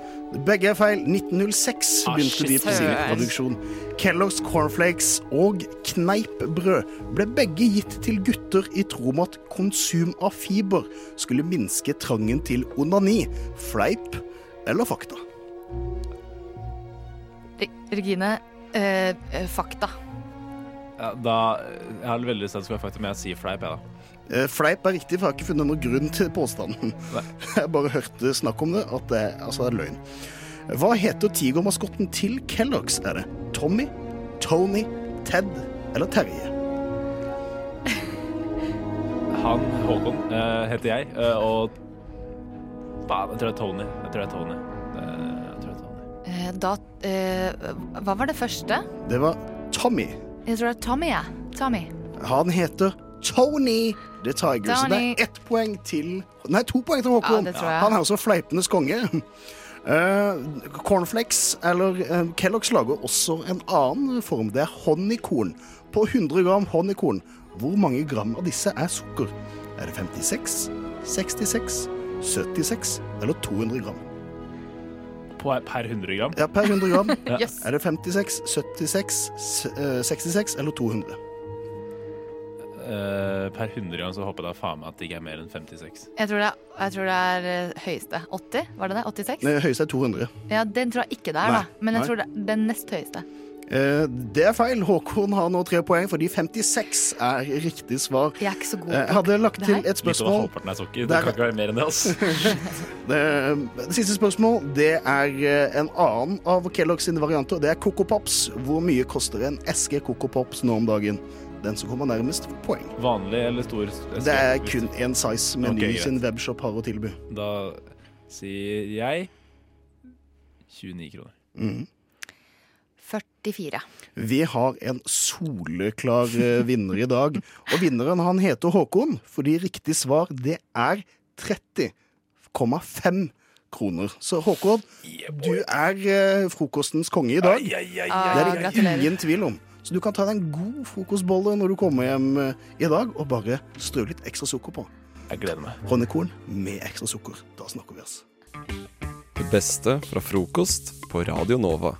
Speaker 15: Begge er feil. 1906
Speaker 11: Ah,
Speaker 15: begynte de
Speaker 11: shit.
Speaker 15: på sin
Speaker 11: Søren.
Speaker 15: produksjon. Kellogg's cornflakes og kneippbrød ble begge gitt til gutter i tro om at konsum av fiber skulle minske trangen til onani. Fleip eller fakta?
Speaker 22: Re Regine, eh, eh, fakta.
Speaker 11: Ja, da, jeg har veldig lyst til at det skal være faktum, men jeg sier fleip, jeg, da.
Speaker 15: Eh, Fleip er riktig, for jeg har ikke funnet noen grunn til påstanden. Jeg bare hørte snakk om det, at det er- altså, det er løgn. Hva heter tigermaskotten til Kellogg's? Er det Tommy, Tony, Ted eller Terje?
Speaker 11: Han, Håkon, eh, heter jeg, eh, og Bah, jeg tror det er Tony. Jeg tror det er Tony. Eh, jeg tror det er Tony.
Speaker 22: Eh, da eh, Hva var det første?
Speaker 15: Det var Tommy.
Speaker 22: Jeg tror det er Tommy, jeg. Ja. Tommy.
Speaker 15: Han heter Tony The Tiger. Så det
Speaker 22: Tony.
Speaker 15: er ett poeng til Nei, to poeng til Håkon.
Speaker 22: Ja, det tror jeg.
Speaker 15: Han er også fleipenes konge. Eh, cornflakes, eller eh, Kellogg's, lager også en annen form. Det er honeykorn. På 100 gram honeykorn, hvor mange gram av disse er sukker? Er det 56, 66, 76 eller 200 gram?
Speaker 11: På, per 100 gram?
Speaker 15: Ja, per 100 gram.
Speaker 11: Ja.
Speaker 15: Er det 56, 76, s- eh, 66 eller 200?
Speaker 11: Eh, per 100 gram så håper jeg da faen meg at det ikke er mer enn 56.
Speaker 22: Jeg tror det er, jeg tror det er eh, høyeste. 80? Var det det? 86?
Speaker 15: Eh, Høyeste er 200.
Speaker 22: Ja, den tror jeg ikke det er,
Speaker 15: Nei.
Speaker 22: da. Men jeg
Speaker 15: Nei.
Speaker 22: tror det er den nest høyeste.
Speaker 15: Eh, Det er feil. Håkon har nå tre poeng, fordi 56 er riktig svar.
Speaker 22: Jeg er ikke så god
Speaker 15: Eh, Jeg hadde lagt til et spørsmål.
Speaker 11: Litt over halvparten er sokker. Det
Speaker 15: Der-
Speaker 11: kan ikke være mer enn det, altså.
Speaker 15: Det, det siste spørsmål det er eh, en annen av Kellogg's sine varianter. Det er Coco Pops. Hvor mye koster en eske Coco Pops nå om dagen? Den som kommer nærmest, får poeng.
Speaker 11: Vanlig eller stor? eske?
Speaker 15: Det er kun én size Meny
Speaker 11: Ok, greit.
Speaker 15: sin webshop har å tilby.
Speaker 11: Da sier jeg 29 kroner.
Speaker 15: Mhm.
Speaker 22: 44.
Speaker 15: Vi har en soleklar eh, vinner i dag. Og vinneren han heter Håkon, fordi riktig svar det er 30,5 kroner. Så Håkon, du er eh, frokostens konge i dag.
Speaker 22: ai,
Speaker 15: Det er det
Speaker 22: gratulerer.
Speaker 15: ingen tvil om. Så du kan ta deg en god frokostbolle når du kommer hjem eh, i dag, og bare strø litt ekstra sukker på.
Speaker 11: Jeg gleder meg.
Speaker 15: Honnekorn med ekstra sukker. Da snakker vi altså. oss.
Speaker 18: Det beste fra frokost på Radio Nova.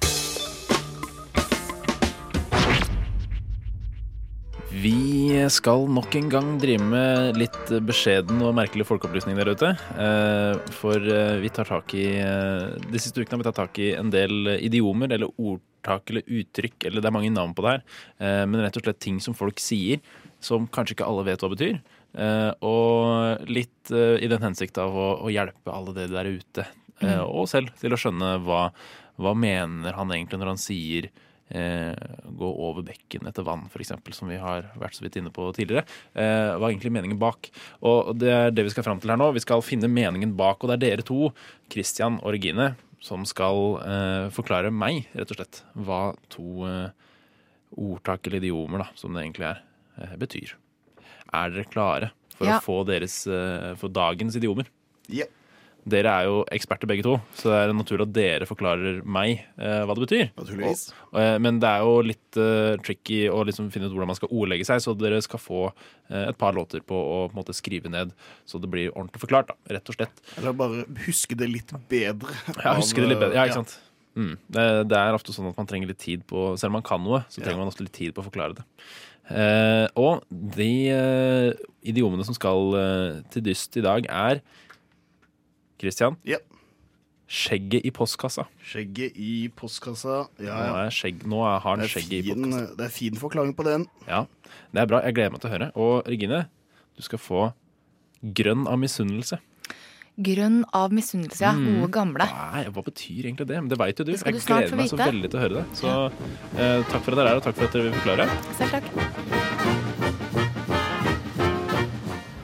Speaker 11: Vi skal nok en gang drive med litt beskjeden og merkelig folkeopplysning der ute. Eh, For eh, vi tar tak i eh, De siste ukene har vi tatt tak i en del idiomer eller ordtak eller uttrykk, eller det er mange navn på det her, eh, men rett og slett ting som folk sier som kanskje ikke alle vet hva betyr. Eh, og litt eh, i den hensikt av å, å hjelpe alle dere der ute, eh,
Speaker 23: Mm.
Speaker 11: og selv, til å skjønne hva, hva mener han egentlig når han sier eh, gå over bekken etter vann, f.eks., som vi har vært så vidt inne på tidligere. Eh, hva er egentlig meningen bak? Og det er det vi skal fram til her nå. Vi skal finne meningen bak, og det er dere to, Christian og Regine, som skal eh, forklare meg, rett og slett, hva to eh, ordtak eller idiomer, da, som det egentlig er, eh, betyr. Er dere klare for
Speaker 22: Ja.
Speaker 11: å få deres, eh, for dagens idiomer?
Speaker 15: Ja.
Speaker 11: Dere er jo eksperter begge to, så det er naturlig at dere forklarer meg eh, hva det betyr.
Speaker 15: Naturligvis.
Speaker 11: Og, eh, men det er jo litt eh, tricky å liksom finne ut hvordan man skal ordlegge seg, så dere skal få eh, et par låter på å på en måte, skrive ned så det blir ordentlig forklart, da, rett og slett.
Speaker 15: Eller bare huske det litt bedre. eh,
Speaker 11: Ja, husker det litt bedre. Ja, ikke
Speaker 15: Ja.
Speaker 11: sant? Mm. Det, det er ofte sånn at man trenger litt tid på Selv om man kan noe, så trenger man ofte litt tid på å forklare det. Eh, og de eh, idiomene som skal eh, til dyst i dag, er Christian. Skjegget i postkassa.
Speaker 15: Skjegget i postkassa. Ja,
Speaker 11: Nå,
Speaker 15: ja.
Speaker 11: er skjegg, nå er- har han skjegget i
Speaker 15: Fin, eh,
Speaker 11: postkassa.
Speaker 15: det er fin forklaring på den.
Speaker 11: Ja, Det er bra. Jeg gleder meg til å høre. Og Regine, du skal få grønn av misunnelse.
Speaker 22: Grønn av misunnelse, ja.
Speaker 11: Mm.
Speaker 22: Gode gamle.
Speaker 11: Nei, hva betyr egentlig det? Men det veit jo du.
Speaker 22: Det skal
Speaker 11: Jeg
Speaker 22: du snart
Speaker 11: gleder
Speaker 22: få
Speaker 11: meg så
Speaker 22: vite.
Speaker 11: veldig til å høre det. Så eh, takk for at dere er her, og takk for at dere vil forklare.
Speaker 22: Selv takk.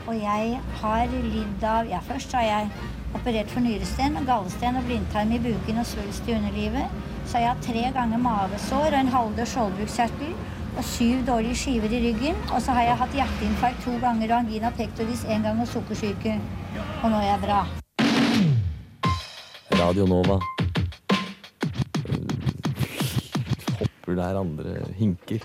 Speaker 24: Og jeg har lidd av Ja, først har jeg operert for nyresten og gallesten og blindtarm i buken og svulst i underlivet. Så har jeg hatt tre ganger mavesår og en halvdød skjoldbruskkjertel og syv dårlige skiver i ryggen. Og så har jeg hatt hjerteinfarkt to ganger og angina pectoris én gang og sukkersyke. Og nå er jeg bra.
Speaker 21: Radio Nova. Eh, Hopper der andre hinker.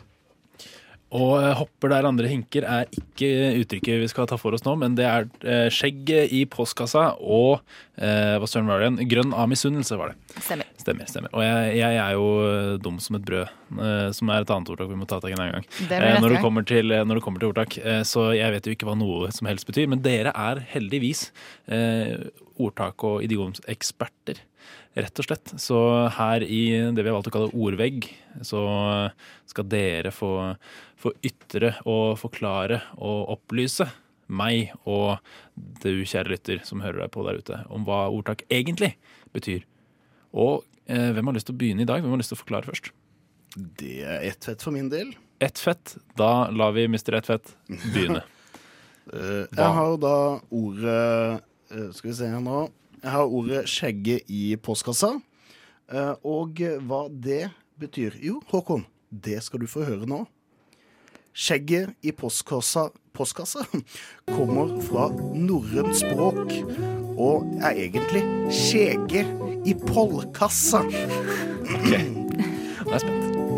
Speaker 11: Og eh, hopper der andre hinker er ikke uttrykket vi skal ta for oss nå, men det er eh, skjegget i postkassa og eh, hva søren var det igjen? Grønn av misunnelse, var det.
Speaker 22: Stemmer.
Speaker 11: Stemmer. stemmer. Og jeg, jeg er jo eh, dum som et brød, eh, som er et annet ordtak vi må ta tak i en annen gang.
Speaker 22: Det blir neste
Speaker 11: Eh, når, det
Speaker 22: gang.
Speaker 11: kommer til, eh, når det kommer til ordtak. Eh, så jeg vet jo ikke hva noe som helst betyr, men dere er heldigvis eh, ordtak- og idiomseksperter. Rett og slett. Så her i det vi har valgt å kalle ordvegg, så skal dere få, få ytre og forklare og opplyse meg og du, kjære lytter som hører deg på der ute, om hva ordtak egentlig betyr. Og eh, hvem har lyst til å begynne i dag? Hvem har lyst til å forklare først?
Speaker 15: Det er ett fett for min del.
Speaker 11: Ett fett. Da lar vi Mr. Ett fett begynne.
Speaker 15: Eh,
Speaker 11: Hva?
Speaker 15: Jeg har jo da ordet eh, Skal vi se her nå. Jeg har ordet 'skjegget i postkassa'. Eh, Og hva det betyr Jo, Håkon, det skal du få høre nå. Skjegget i postkassa, postkassa kommer fra norrønt språk og er egentlig skjege i pollkassa.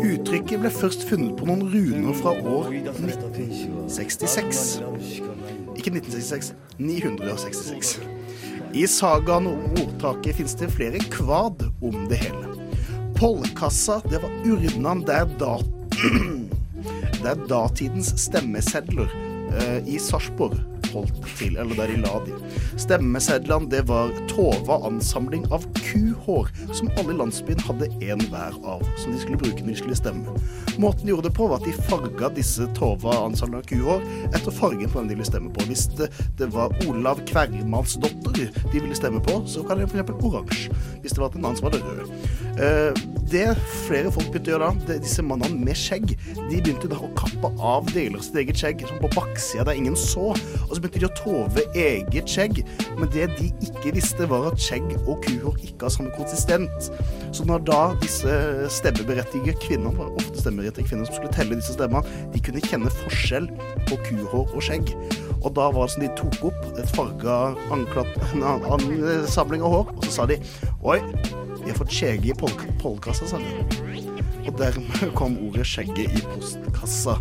Speaker 15: Uttrykket ble først funnet på noen runer fra år 1966. Ikke 1966, 966. I sagaen om ordtaket fins det flere kvad om det hele. Pollkassa, det var urnan der da... der datidens stemmesedler eh, i Sarpsborg holdt til, eller der de la de. Stemmesedlene, det var Tova ansamling av kuhår, som alle i landsbyen hadde en hver av, som de skulle bruke når de skulle stemme. Måten de gjorde det på, var at de farga disse Tova ansamling av kuhår etter fargen på hvem de ville stemme på. Hvis det, det var Olav Kvermansdotter de ville stemme på, så kan det f.eks. oransje. Hvis det var en annen som hadde rød. Eh, det flere folk begynte å gjøre da, det, disse mannene med skjegg, de begynte da å kappe av deler av sitt eget skjegg som på baksida der ingen så. Og så begynte de å tove eget skjegg. Men det de ikke visste, var at skjegg og kuhår ikke har samme konsistent. Så når da disse stemmeberettigede kvinnene, det var ofte stemmeberettigede kvinner som skulle telle disse stemmene, de kunne kjenne forskjell på kuhår og skjegg. Og da var det som de tok opp et farga anklatt, en annen annen samling av hår, og så sa de Oi, vi har fått skjegget i polk polkassa, sa de. Og dermed kom ordet 'skjegget i postkassa'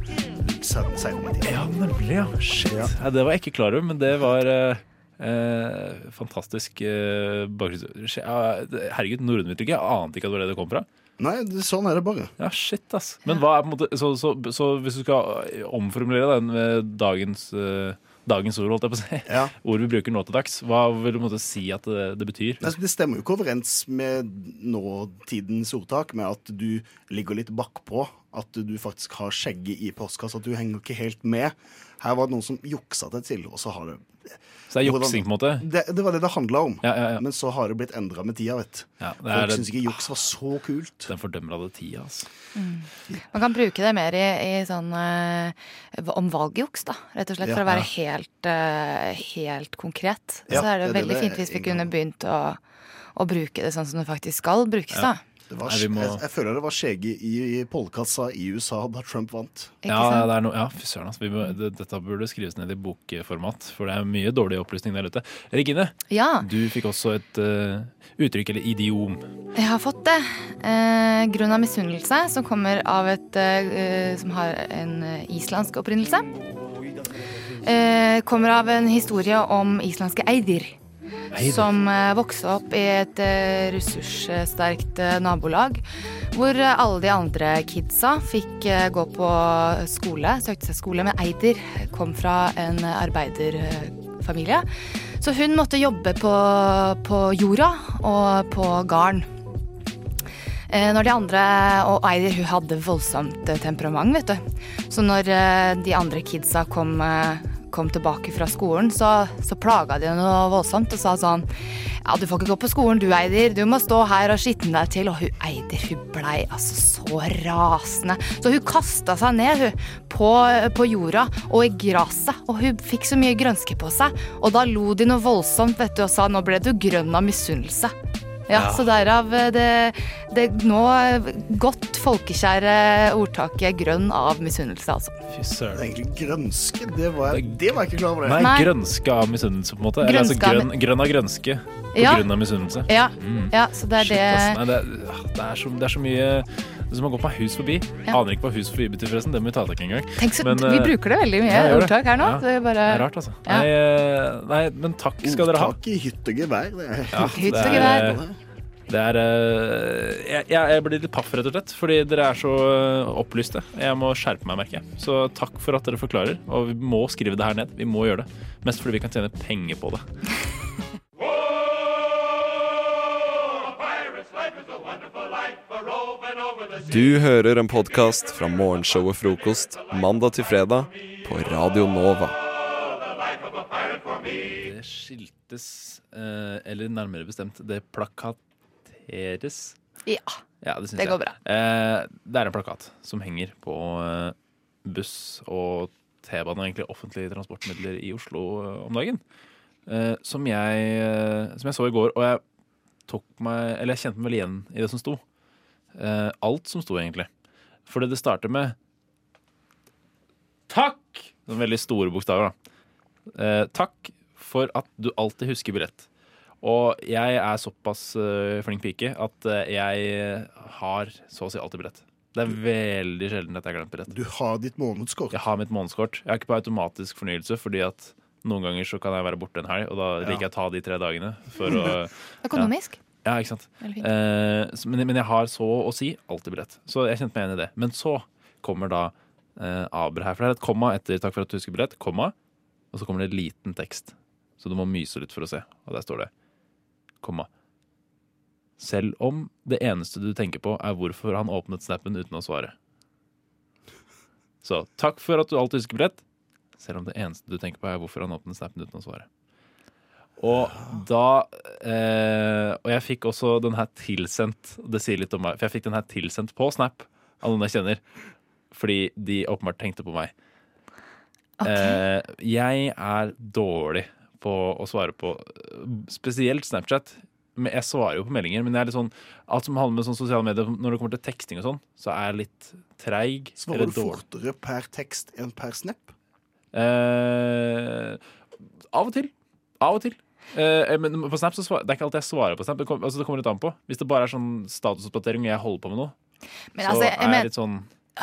Speaker 15: sen- senere i tid.
Speaker 11: Ja, nemlig, ja. Shit. Nei, det var jeg ikke klar over, men det var eh, eh, fantastisk eh, bakgrunns... Skje- ja, det- Herregud, norrønuttrykket. Jeg ante ikke at det var det det kom fra.
Speaker 15: Nei, det- sånn er det bare.
Speaker 11: Ja, shit, ass. Men hva er på en måte Så, så, så hvis du skal omformulere den eh, dagens, eh, dagens ord, holdt jeg på å si, ord vi bruker nå til dags, hva vil du på en måte si at det, det betyr?
Speaker 15: Nei, så Det stemmer jo ikke overens med nåtidens ordtak, med at du ligger litt bakpå at du faktisk har skjegget i postkassa, at du henger ikke helt med. Her var det noen som juksa det til, og så har det
Speaker 11: Så det er juksing, på en måte?
Speaker 15: Det, det var det det handla om. Men så har det blitt endra med tida, vet du.
Speaker 11: det er
Speaker 15: Folk
Speaker 11: det-
Speaker 15: syns ikke juks var så kult.
Speaker 11: Den fordømrede tida, altså.
Speaker 22: Man kan bruke det mer i, i sånn eh, om valgjuks, da. Rett og slett
Speaker 11: Ja.
Speaker 22: for å være
Speaker 11: Ja.
Speaker 22: helt, eh, helt konkret.
Speaker 15: Ja,
Speaker 22: så er det,
Speaker 15: det er det
Speaker 22: veldig
Speaker 15: det
Speaker 22: fint hvis vi
Speaker 15: egentlig
Speaker 22: kunne begynt å, å bruke det sånn som det faktisk skal brukes,
Speaker 15: Ja.
Speaker 22: da.
Speaker 15: Det var,
Speaker 11: Nei, vi må-
Speaker 15: jeg, jeg føler det var skjege i, i pollkassa i USA da Trump vant.
Speaker 11: Ja, ja, det er noe- ja, fy søren. Altså, vi må, det, dette burde skrives ned i bokformat, for det er mye dårlig opplysning der ute. Regine,
Speaker 22: Ja.
Speaker 11: du fikk også et eh, uttrykk, eller idiom.
Speaker 22: Jeg har fått det. Eh, grunn av misunnelse, som kommer av et eh, som har en eh, islandsk opprinnelse. Eh, kommer av en historie om islandske Eidir. Som eh, vokste opp i et eh, ressurssterkt eh, nabolag. Hvor eh, alle de andre kidsa fikk eh, gå på skole, søkte seg skole. Men Eidir kom fra en eh, arbeiderfamilie. Så hun måtte jobbe på, på jorda og på garden. Eh, Når de andre, og Eider hun hadde voldsomt eh, temperament, vet du. Så når eh, de andre kidsa kom, eh, kom tilbake fra skolen, så, så plaga de henne noe voldsomt og sa sånn Ja, du får ikke gå på skolen du, Eider. Du må stå her og skitne deg til. Og hun Eider, hun blei altså så rasende. Så hun kasta seg ned, hun, på, på jorda og i gresset. Og hun fikk så mye grønske på seg. Og da lo de noe voldsomt, vet du, og sa nå ble du grønn av misunnelse. Ja,
Speaker 25: Ja.
Speaker 22: så derav eh, det, det nå eh, godt folkekjære ordtaket 'grønn av misunnelse', altså.
Speaker 11: Fy søren.
Speaker 15: Egentlig grønske, det var jeg, det var jeg ikke klar over.
Speaker 11: Nei,
Speaker 22: Nei.
Speaker 11: grønske av misunnelse, på en måte. Eller, altså,
Speaker 22: Grønske av-
Speaker 11: grønn, grønn av grønske på
Speaker 22: Ja.
Speaker 11: grunn av misunnelse.
Speaker 22: Ja,
Speaker 11: Mm.
Speaker 22: ja, så det er
Speaker 11: Shit, ass. Nei,
Speaker 22: det
Speaker 11: det, er- ah, det, er så, det er så mye Det er som å gå på hus forbi.
Speaker 22: Ja.
Speaker 11: Aner ikke hva hus forbi betyr, forresten. Det må vi ta tak i en gang.
Speaker 22: Tenk så,
Speaker 11: Men,
Speaker 22: Vi
Speaker 11: eh,
Speaker 22: bruker det veldig mye,
Speaker 11: ja, gjør det.
Speaker 22: ordtak her nå.
Speaker 11: Ja.
Speaker 22: Det er bare
Speaker 11: Det er rart, altså.
Speaker 22: Ja.
Speaker 11: Nei, eh, nei, men takk skal dere ha.
Speaker 15: Ordtak Oh, i hytt og gevær. Det er
Speaker 11: Ja,
Speaker 22: Hytt
Speaker 11: det
Speaker 22: og
Speaker 11: er,
Speaker 22: gevær.
Speaker 11: eh, Det er eh, jeg, jeg- jeg blir litt paff, rett og slett, fordi dere er så eh, opplyste. Jeg må skjerpe meg, merker jeg. Så takk for at dere forklarer, og vi må skrive det her ned. Vi må gjøre det. Mest fordi vi kan tjene penger på det.
Speaker 18: Du hører en podkast fra morgenshowet Frokost mandag til fredag på Radio Nova.
Speaker 11: Det skiltes, eh, eller nærmere bestemt, det plakateres.
Speaker 22: Ja.
Speaker 11: Ja, det syns
Speaker 22: Det
Speaker 11: jeg.
Speaker 22: går bra.
Speaker 11: Eh, det er en plakat som henger på eh, buss og T-bane og egentlig offentlige transportmidler i Oslo eh, om dagen. Eh, som, jeg, eh, som jeg så i går, og jeg, tok meg, eller jeg kjente meg vel igjen i det som sto. Eh, alt som sto, egentlig. For det det starter med Takk! Sånn veldig store bokstaver, da. Eh, takk for at du alltid husker billett. Og jeg er såpass eh, flink pike at eh, jeg har så å si alltid billett. Det er veldig sjelden at jeg har glemt billett.
Speaker 15: Du har ditt månedskort?
Speaker 11: Jeg har mitt månedskort. Jeg har ikke på automatisk fornyelse, fordi at noen ganger så kan jeg være borte en helg, og da
Speaker 22: Ja.
Speaker 11: liker jeg å ta de tre dagene for å
Speaker 22: Økonomisk.
Speaker 11: Ja, ikke sant.
Speaker 22: Veldig fint.
Speaker 11: Eh, s- men, men jeg har så å si alltid billett. Så jeg kjente meg igjen i det. Men så kommer da eh, Abra her. For det er et komma etter 'takk for at du husker billett', komma, og så kommer det en liten tekst. Så du må myse litt for å se. Og der står det komma. Selv om det eneste du tenker på, er hvorfor han åpnet snappen uten å svare. Så takk for at du alltid husker billett, selv om det eneste du tenker på, er hvorfor han åpnet snappen uten å svare. Og da eh, Og jeg fikk også den her tilsendt. Det sier litt om meg, for jeg fikk den her tilsendt på Snap av noen jeg kjenner. Fordi de åpenbart tenkte på meg. Eh, jeg er dårlig på å svare på eh, spesielt Snapchat. Men jeg svarer jo på meldinger, men jeg er litt sånn, alt som handler med sånn sosiale medier, når det kommer til teksting og sånn, så er jeg litt treig.
Speaker 15: Svarer
Speaker 11: eller
Speaker 15: du
Speaker 11: dårlig.
Speaker 15: fortere per tekst enn per snap?
Speaker 11: Eh, av og til. Av og til. Eh, men på Snap så svarer, Det er ikke alltid jeg svarer på Snap. Det, kom, altså det kommer litt an på. Hvis det bare er sånn statusoppdatering og jeg holder på med noe,
Speaker 22: Men
Speaker 11: så
Speaker 22: altså, jeg
Speaker 11: er
Speaker 22: men-
Speaker 11: jeg litt sånn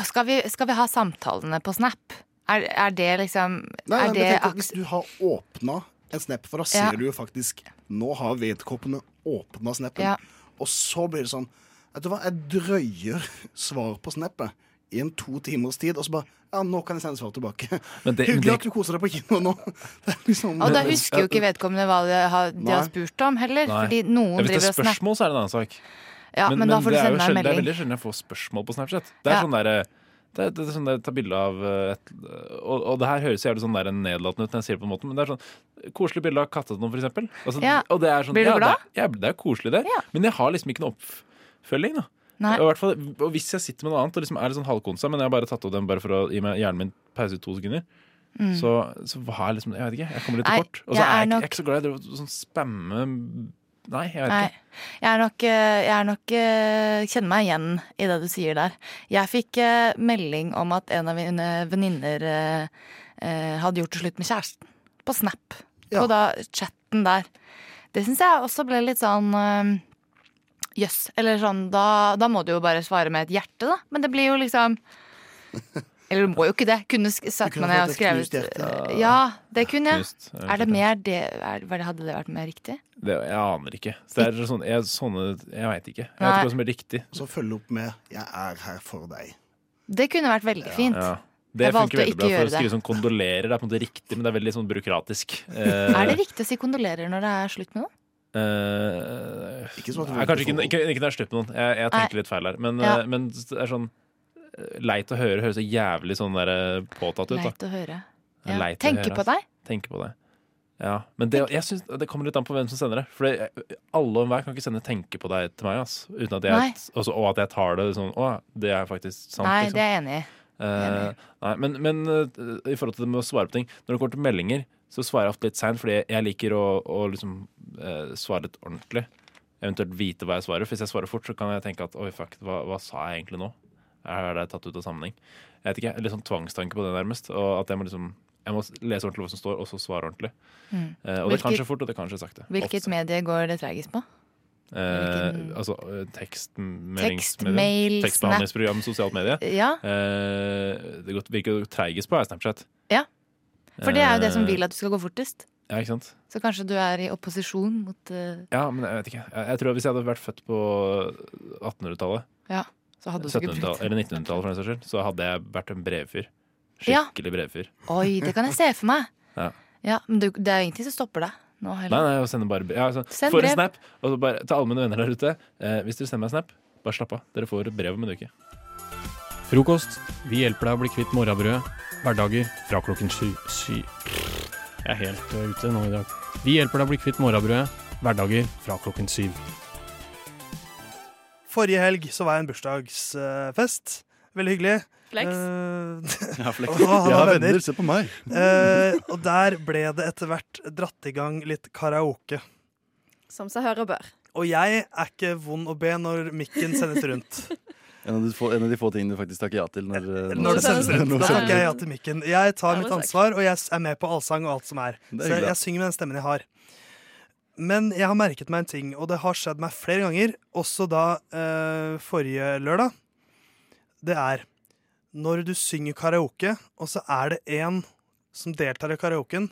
Speaker 22: Skal vi, skal vi ha samtalene på Snap? Er, er det liksom
Speaker 15: Nei,
Speaker 22: er
Speaker 15: nei,
Speaker 22: det
Speaker 15: men tenk, at hvis du har åpna en snap, for da ser
Speaker 22: Ja.
Speaker 15: du jo faktisk Nå har vedkommende åpna snappen.
Speaker 22: Ja.
Speaker 15: Og så blir det sånn Vet du hva, jeg drøyer svar på snappet i en to timers tid, og så bare Ja, nå kan jeg sende svar tilbake.
Speaker 11: Men det- men
Speaker 15: Hyggelig at
Speaker 11: det-
Speaker 15: du koser deg på kino nå. Det er liksom-
Speaker 22: Og da husker jo ikke vedkommende hva de har, de har
Speaker 15: Nei.
Speaker 22: spurt om heller.
Speaker 11: Nei.
Speaker 22: Fordi
Speaker 11: Ja, Hvis
Speaker 22: noen
Speaker 11: det
Speaker 22: driver
Speaker 11: er
Speaker 22: og snapper.
Speaker 11: spørsmål, så er det en annen sak.
Speaker 22: Ja, men da får du
Speaker 11: det er jo
Speaker 22: sende meg en
Speaker 11: sjelden- Det er
Speaker 22: melding.
Speaker 11: veldig sjelden jeg får spørsmål på Snapchat. Det er
Speaker 22: Ja.
Speaker 11: sånn derre Det, det, det er sånn der, ta bilde av eh, et, og, og det her høres jævlig sånn der nedlatende ut når jeg sier det på den måten, men det er sånn koselig bilde av katta til noen, for eksempel. Altså,
Speaker 22: Ja.
Speaker 11: Og det er sånn,
Speaker 22: Blir du
Speaker 11: ja,
Speaker 22: glad?
Speaker 11: Det er, ja, det er koselig, det. Men jeg har liksom ikke noe oppfølging, da.
Speaker 22: Nei.
Speaker 11: Og, i hvert fall, og hvis jeg sitter med noe annet og liksom er litt sånn halvkonsa, men jeg har bare tatt opp den bare for å gi meg hjernen min pause i to sekunder,
Speaker 22: Mm.
Speaker 11: så, så hva er liksom Jeg vet ikke. Jeg kommer litt
Speaker 22: Nei,
Speaker 11: til kort. Og så
Speaker 22: jeg
Speaker 11: er jeg,
Speaker 22: er
Speaker 11: ikke-
Speaker 22: nok-
Speaker 11: jeg er ikke så glad i å sånn spamme Nei, jeg vet
Speaker 22: Nei.
Speaker 11: ikke.
Speaker 22: Jeg er nok, eh, jeg er nok eh, kjenner meg igjen i det du sier der. Jeg fikk eh, melding om at en av mine venninner eh, eh, hadde gjort det slutt med kjæresten. På Snap. På da chatten der. Det syns jeg også ble litt sånn eh, Jøss. Eller sånn, da, da må du jo bare svare med et hjerte, da. Men det blir jo liksom Eller du må jo ikke det. Kunne sk- satt
Speaker 25: kunne
Speaker 22: meg ned
Speaker 25: fått
Speaker 22: og
Speaker 25: et
Speaker 22: skrevet
Speaker 25: knust hjerte.
Speaker 22: Ja, det kunne jeg.
Speaker 11: Knust, ja,
Speaker 22: Er det mer det er, var det- Hadde det vært mer riktig?
Speaker 11: Det, jeg aner ikke. Så det er sånn, jeg, sånne, jeg veit ikke. Jeg vet
Speaker 22: Nei.
Speaker 11: ikke hva som er riktig.
Speaker 15: Så følge opp med 'Jeg er her for deg'.
Speaker 22: Det kunne vært veldig fint.
Speaker 11: Ja. Det
Speaker 22: Jeg valgte
Speaker 11: funker
Speaker 22: å
Speaker 11: veldig
Speaker 22: ikke
Speaker 11: bra for
Speaker 22: gjøre
Speaker 11: å skrive
Speaker 22: det.
Speaker 11: sånn kondolerer. Det er på en måte riktig, men det er veldig sånn byråkratisk. Eh,
Speaker 22: Er det riktig å si kondolerer når det er slutt med noe?
Speaker 11: ikke
Speaker 15: sånn at du
Speaker 11: Eh, Nei, kanskje ikke,
Speaker 15: får-
Speaker 11: ikke, ikke når det er slutt med noen. Jeg, jeg
Speaker 22: Nei.
Speaker 11: tenker litt feil her. Men,
Speaker 22: Ja.
Speaker 11: eh, men det er sånn eh, leit å høre. Høres så jævlig sånn der eh, påtatt ut. Da.
Speaker 22: Leit å høre.
Speaker 11: Det er
Speaker 22: Ja.
Speaker 11: leit å
Speaker 22: Tenke
Speaker 11: høre,
Speaker 22: på
Speaker 11: altså.
Speaker 22: deg.
Speaker 11: Tenke på deg. Ja. Men det, jeg synes, det kommer litt an på hvem som sender det. For det- alle og enhver kan ikke sende 'tenke på deg' til meg. ass. Uten at
Speaker 22: Nei.
Speaker 11: jeg, også, og at jeg tar det sånn Å, det er faktisk sant.
Speaker 22: Nei,
Speaker 11: liksom.
Speaker 22: det er jeg enig i.
Speaker 11: Eh, nei, men men eh, i forhold til det med å svare på ting Når det kommer til meldinger, så svarer jeg ofte litt seint, fordi jeg liker å, å liksom, eh, svare litt ordentlig. Eventuelt vite hva jeg svarer. For hvis jeg svarer fort, så kan jeg tenke at oi, fuck, hva, hva sa jeg egentlig nå? Er det tatt ut av sammenheng? Jeg vet ikke, Litt sånn tvangstanke på det, nærmest. Og at jeg må liksom jeg må lese ordentlig hva som står, og så svare ordentlig.
Speaker 22: Mm.
Speaker 11: Eh, og det kan
Speaker 22: Hvilket-
Speaker 11: skje fort, og det kan skje sakte.
Speaker 22: Hvilket medie går det tregest på?
Speaker 11: Eh,
Speaker 22: Hvilken-
Speaker 11: altså eh, tekstmeldings...
Speaker 22: Tekst, mail, snap.
Speaker 11: Tekstbehandlingsprogram, sosialt medie.
Speaker 22: Ja.
Speaker 11: Eh, det går- virker jo treigest på er Snapchat.
Speaker 22: Ja. For det er jo det som
Speaker 11: Eh,
Speaker 22: vil at du skal gå fortest.
Speaker 11: Ja, ikke sant?
Speaker 22: Så kanskje du er i opposisjon mot eh,
Speaker 11: Ja, men jeg vet ikke. Jeg, jeg tror Hvis jeg hadde vært født på 1800-tallet,
Speaker 22: Ja, så hadde du sikkert
Speaker 11: 1700-tallet,
Speaker 22: blitt
Speaker 11: eller 1900-tallet, for den saks skyld, så hadde jeg vært en brevfyr.
Speaker 22: Ja.
Speaker 11: Skikkelig brevfyr.
Speaker 22: Oi, det kan jeg se for meg.
Speaker 11: Ja.
Speaker 22: Ja, Men du, det er jo ingenting som stopper deg nå
Speaker 11: Nei,
Speaker 22: heller.
Speaker 11: nei, å sende bare brev. Ja, sånn,
Speaker 22: Send
Speaker 11: får
Speaker 22: brev.
Speaker 11: en snap, og så bare til alle mine venner der ute. Eh, hvis dere sender meg en snap, bare slapp av. Dere får et brev om en uke.
Speaker 23: Frokost. Vi hjelper deg å bli kvitt morrabrødet. Hverdager fra klokken sju. Sy... Jeg er helt eh, ute nå i dag. Vi hjelper deg å bli kvitt morrabrødet. Hverdager fra klokken syv.
Speaker 26: Forrige helg så var jeg i en bursdagsfest. Veldig hyggelig.
Speaker 3: Flex.
Speaker 26: Eh,
Speaker 3: Ja, flex.
Speaker 26: og han
Speaker 3: Jeg
Speaker 26: har
Speaker 3: har venner, se på meg.
Speaker 26: Eh, og der ble det etter hvert dratt i gang litt karaoke.
Speaker 3: Som seg hører bør.
Speaker 26: Og jeg er ikke vond å be når mikken sendes rundt.
Speaker 3: En av de få, en av de få tingene du faktisk takker ja til når, eh,
Speaker 26: Når det sendes rundt,
Speaker 3: når
Speaker 26: da
Speaker 3: det sendes
Speaker 26: takker jeg ja
Speaker 3: rundt.
Speaker 26: til mikken. Jeg tar
Speaker 3: Ærlig
Speaker 26: mitt
Speaker 3: sagt.
Speaker 26: ansvar, og jeg s- er med på allsang og alt som er.
Speaker 3: Det er
Speaker 26: Så jeg,
Speaker 3: hyggelig.
Speaker 26: jeg synger med den stemmen jeg har. Men jeg har merket meg en ting, og det har skjedd meg flere ganger, også da eh, forrige lørdag. Det er når du synger karaoke, og så er det en som deltar i karaoken,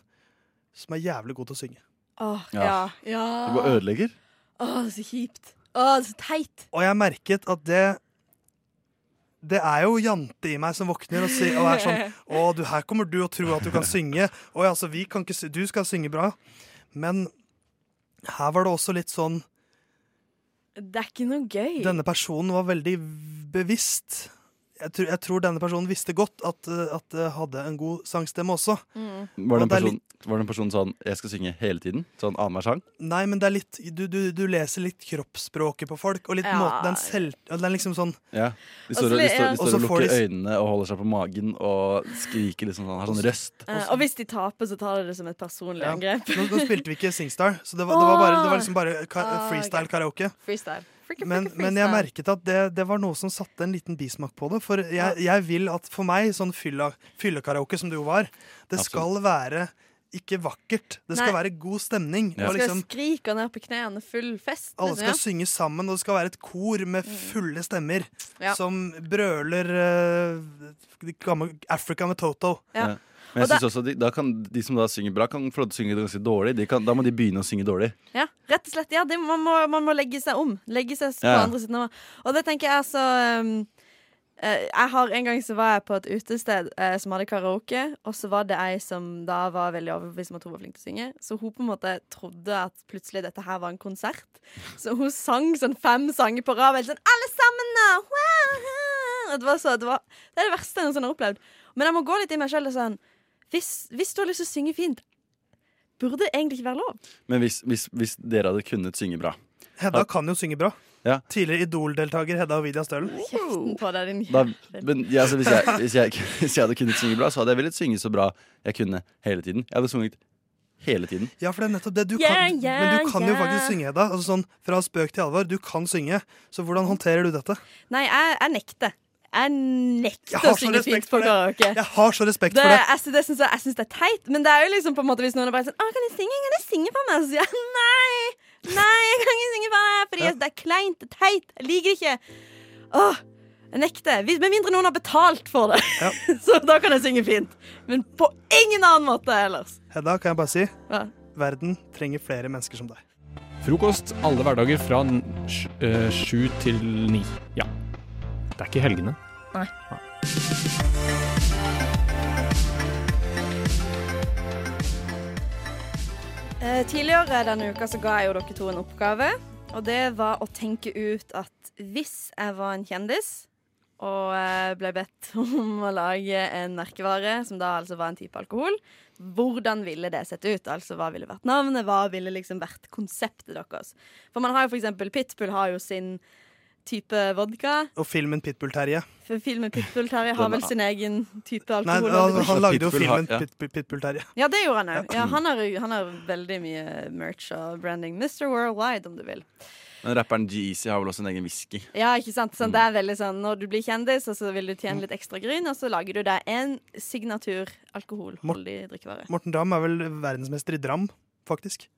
Speaker 26: som er jævlig god til å synge.
Speaker 3: Åh,
Speaker 26: Ja.
Speaker 3: ja. ja.
Speaker 26: Du bare ødelegger.
Speaker 3: Åh, så kjipt. Åh, så teit.
Speaker 26: Og jeg merket at det Det er jo jante i meg som våkner og, sier, og er sånn Å, du, her kommer du og tror at du kan synge. Å ja, altså, vi kan ikke sy Du skal synge bra. Men her var det også litt sånn
Speaker 3: Det er ikke noe gøy.
Speaker 26: Denne personen var veldig v- bevisst. Jeg tror, jeg tror denne personen visste godt at, eh, at det hadde en god sangstemme også.
Speaker 3: Mm.
Speaker 26: Og
Speaker 3: Var
Speaker 26: det
Speaker 3: det, en
Speaker 26: er
Speaker 3: person,
Speaker 26: litt-
Speaker 3: var det en person sånn 'jeg skal synge hele tiden'? Sånn annenhver sang?
Speaker 26: Nei, men det er litt Du, du, du leser litt kroppsspråket på folk, og litt
Speaker 3: Ja.
Speaker 26: måten den selv... Den er liksom sånn
Speaker 3: Ja. De står,
Speaker 26: Altså,
Speaker 3: de
Speaker 26: ja.
Speaker 3: står, de
Speaker 26: Og
Speaker 3: står
Speaker 26: så
Speaker 3: og
Speaker 26: får
Speaker 3: lukker
Speaker 26: de-
Speaker 3: øynene og holder seg på magen og skriker liksom sånn, har sånn røst. Eh, og hvis de taper, så tar de det som et personlig
Speaker 26: Ja.
Speaker 3: angrep.
Speaker 26: Nå, nå spilte vi ikke Singstar, så det var, det var, bare,
Speaker 3: Åh!
Speaker 26: det var liksom bare ka
Speaker 3: Ah,
Speaker 26: freestyle
Speaker 3: ok.
Speaker 26: karaoke.
Speaker 3: Freestyle. Freaky, freaky,
Speaker 26: Men, men jeg merket at det, det var noe som satte en liten bismak på det. For jeg, jeg vil at for meg, sånn fylla- fyllekaraoke som det jo var, det skal være ikke vakkert. Det skal
Speaker 3: Nei.
Speaker 26: være god stemning.
Speaker 3: Ja.
Speaker 26: Og liksom,
Speaker 3: Skal skrike ned på knærne, full fest.
Speaker 26: alle skal
Speaker 3: liksom,
Speaker 26: synge sammen, og det skal være et kor med fulle stemmer
Speaker 3: Mm. Ja.
Speaker 26: som brøler eh, gammel Africa med Toto.
Speaker 3: Ja. Og Og jeg da- synes synes også de, som da synger bra, kan få synge det ganske dårlig. da må de begynne å synge dårlig. ja. ja, rett og slett. Ja, det, man, må, man må legge seg om. Legge seg på Ja. andre siden av meg. Og det tenker jeg altså um, eh, Jeg har En gang så var jeg på et utested eh, som hadde karaoke, og så var det ei som da var veldig overbevist om at hun var flink til å synge. Så hun på en måte trodde at plutselig dette her var en konsert. Så hun sang sånn fem sanger på rad. veldig Sånn, Alle sammen nå! Wow! Det, var så, det, var, det er det verste jeg noensinne har opplevd. Men jeg må gå litt i meg sjøl. Sånn, hvis, hvis du har lyst til å synge fint, burde det egentlig ikke være lov.
Speaker 18: Men hvis, hvis, hvis dere hadde kunnet synge bra
Speaker 26: Hedda kan jo synge bra.
Speaker 18: Ja.
Speaker 26: Tidligere Idol-deltaker Hedda Ovidia Stølen.
Speaker 3: Kjeften på deg, din
Speaker 18: da, men, ja, altså, hvis, jeg, hvis, jeg, hvis jeg hadde kunnet synge bra, så hadde jeg villet synge så bra jeg kunne hele tiden. Jeg hadde sunget hele tiden.
Speaker 26: Ja, for det er nettopp det. Du
Speaker 3: Yeah,
Speaker 26: kan, men du
Speaker 3: yeah,
Speaker 26: kan jo
Speaker 3: yeah.
Speaker 26: faktisk synge, Hedda. Altså sånn fra spøk til alvor. Du kan synge. Så hvordan håndterer du dette?
Speaker 3: Nei, jeg, jeg nekter. Jeg
Speaker 26: Jeg
Speaker 3: nekter
Speaker 26: har
Speaker 3: å
Speaker 26: så
Speaker 3: synge
Speaker 26: respekt
Speaker 3: fint på
Speaker 26: for det.
Speaker 3: karaoke.
Speaker 26: Jeg har så respekt
Speaker 3: Det,
Speaker 26: for det.
Speaker 3: jeg, sy- det syns jeg, jeg syns det er teit, men det er jo liksom på en måte hvis noen er bare sånn 'Å, kan du synge? Kan du synge for meg?' Så sier jeg nei. Nei, jeg kan ikke synge for deg, fordi
Speaker 26: Ja.
Speaker 3: det er kleint, det er teit. Jeg liker det ikke. Åh, jeg nekter. Hvis- Med mindre noen har betalt for det. Så da kan jeg synge fint. Men på ingen annen måte ellers.
Speaker 26: Hedda, kan jeg bare si
Speaker 3: Ja.
Speaker 26: verden trenger flere mennesker som deg.
Speaker 23: Frokost alle hverdager fra n- sj- eh, sju til ni. Ja. Det er ikke helgene.
Speaker 17: Nei.
Speaker 3: Eh, Tidligere denne uka så ga jeg jo dere to en oppgave. Og det var å tenke ut at hvis jeg var en kjendis og eh, ble bedt om å lage en merkevare, som da altså var en type alkohol, hvordan ville det sett ut? Altså hva ville vært navnet, hva ville liksom vært konseptet deres? For man har jo for eksempel Pitbull har jo sin type vodka.
Speaker 26: Og filmen Pitbull-Terje.
Speaker 3: For filmen Pitbull Terje har
Speaker 26: Den
Speaker 3: vel
Speaker 26: er-
Speaker 3: sin egen type
Speaker 26: Nei,
Speaker 3: alkohol.
Speaker 26: han, han lagde jo
Speaker 18: Pitbull har-
Speaker 26: filmen
Speaker 18: ja.
Speaker 26: Pit- Pit- Pitbull-Terje.
Speaker 3: Ja, det gjorde han òg. Ja, han, har- han har veldig mye merch og branding. Mr. Worldwide, om du vil.
Speaker 18: Men rapperen G-Eazy har vel også en egen whisky.
Speaker 3: Ja, ikke sant? Sånn, det er veldig sånn, Når du blir kjendis, og så vil du tjene litt ekstra gryn, og så lager du deg en signatur alkoholholdig drikkevare.
Speaker 26: Morten Dram er vel verdensmester i dram, faktisk.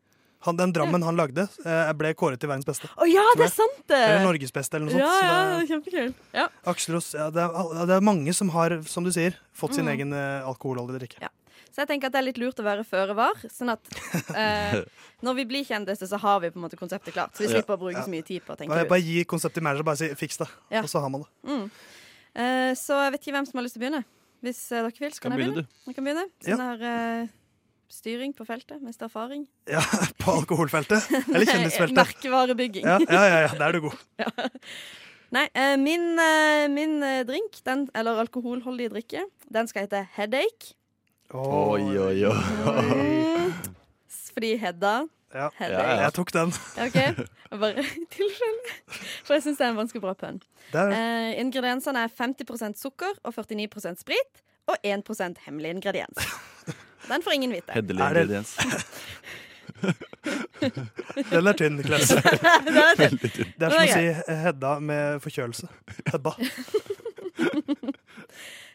Speaker 26: Han, den drammen han lagde, eh, ble kåret til verdens beste.
Speaker 3: Å ja,
Speaker 26: tror
Speaker 3: det er
Speaker 26: jeg.
Speaker 3: sant, det!
Speaker 26: Eller Norges beste, eller noe sånt.
Speaker 3: Ja,
Speaker 26: så
Speaker 3: ja,
Speaker 26: det-
Speaker 3: det er kjempekult. Ja.
Speaker 26: Aksel Ross, ja, det, er, al- det er mange som har, som du sier, fått sin
Speaker 3: Mm.
Speaker 26: egen eh, alkoholholdig drikke.
Speaker 3: Så jeg tenker at det er litt lurt å være føre var. Sånn at eh, når vi blir kjendiser, så har vi på en måte konseptet klart. Så vi
Speaker 26: Ja.
Speaker 3: slipper å bruke
Speaker 26: Ja.
Speaker 3: så mye tid på å tenke
Speaker 26: Bare,
Speaker 3: ut.
Speaker 26: bare gi konseptet til manager, bare si 'fiks det',
Speaker 3: Ja.
Speaker 26: og så har man det.
Speaker 3: Mm. Eh, så jeg vet ikke hvem som har lyst til å begynne. Hvis eh, dere vil, så
Speaker 26: Kan
Speaker 3: kan, jeg
Speaker 26: begynne
Speaker 3: begynne.
Speaker 26: du.
Speaker 3: Jeg kan begynne.
Speaker 26: Ja.
Speaker 3: Sånn her eh, styring på feltet, mest erfaring.
Speaker 26: Ja, På alkoholfeltet. Eller
Speaker 3: Nei,
Speaker 26: kjendisfeltet.
Speaker 3: merkevarebygging.
Speaker 26: Ja, ja, ja, ja, der er du god.
Speaker 3: Nei, eh, min, eh, min eh, drink, den, eller alkoholholdige drikke, den skal hete Headache.
Speaker 18: Oi, oi, oi.
Speaker 3: S- Fordi Hedda
Speaker 26: Ja.
Speaker 3: Headache.
Speaker 26: Jeg tok den.
Speaker 3: Ja, OK? Jeg Bare i tilfelle. For jeg syns det er en ganske bra pønn.
Speaker 26: Det er det.
Speaker 3: Eh, ingrediensene er 50 sukker og 49 sprit og 1 hemmelig ingrediens. Den får ingen vite.
Speaker 18: Hederlig
Speaker 26: Er det-
Speaker 18: ingrediens.
Speaker 26: Den er tynn, Niklas.
Speaker 3: Den er tynn.
Speaker 26: Det er
Speaker 3: Den er
Speaker 26: som å si
Speaker 3: grei.
Speaker 26: eh, Hedda med forkjølelse. Hedda.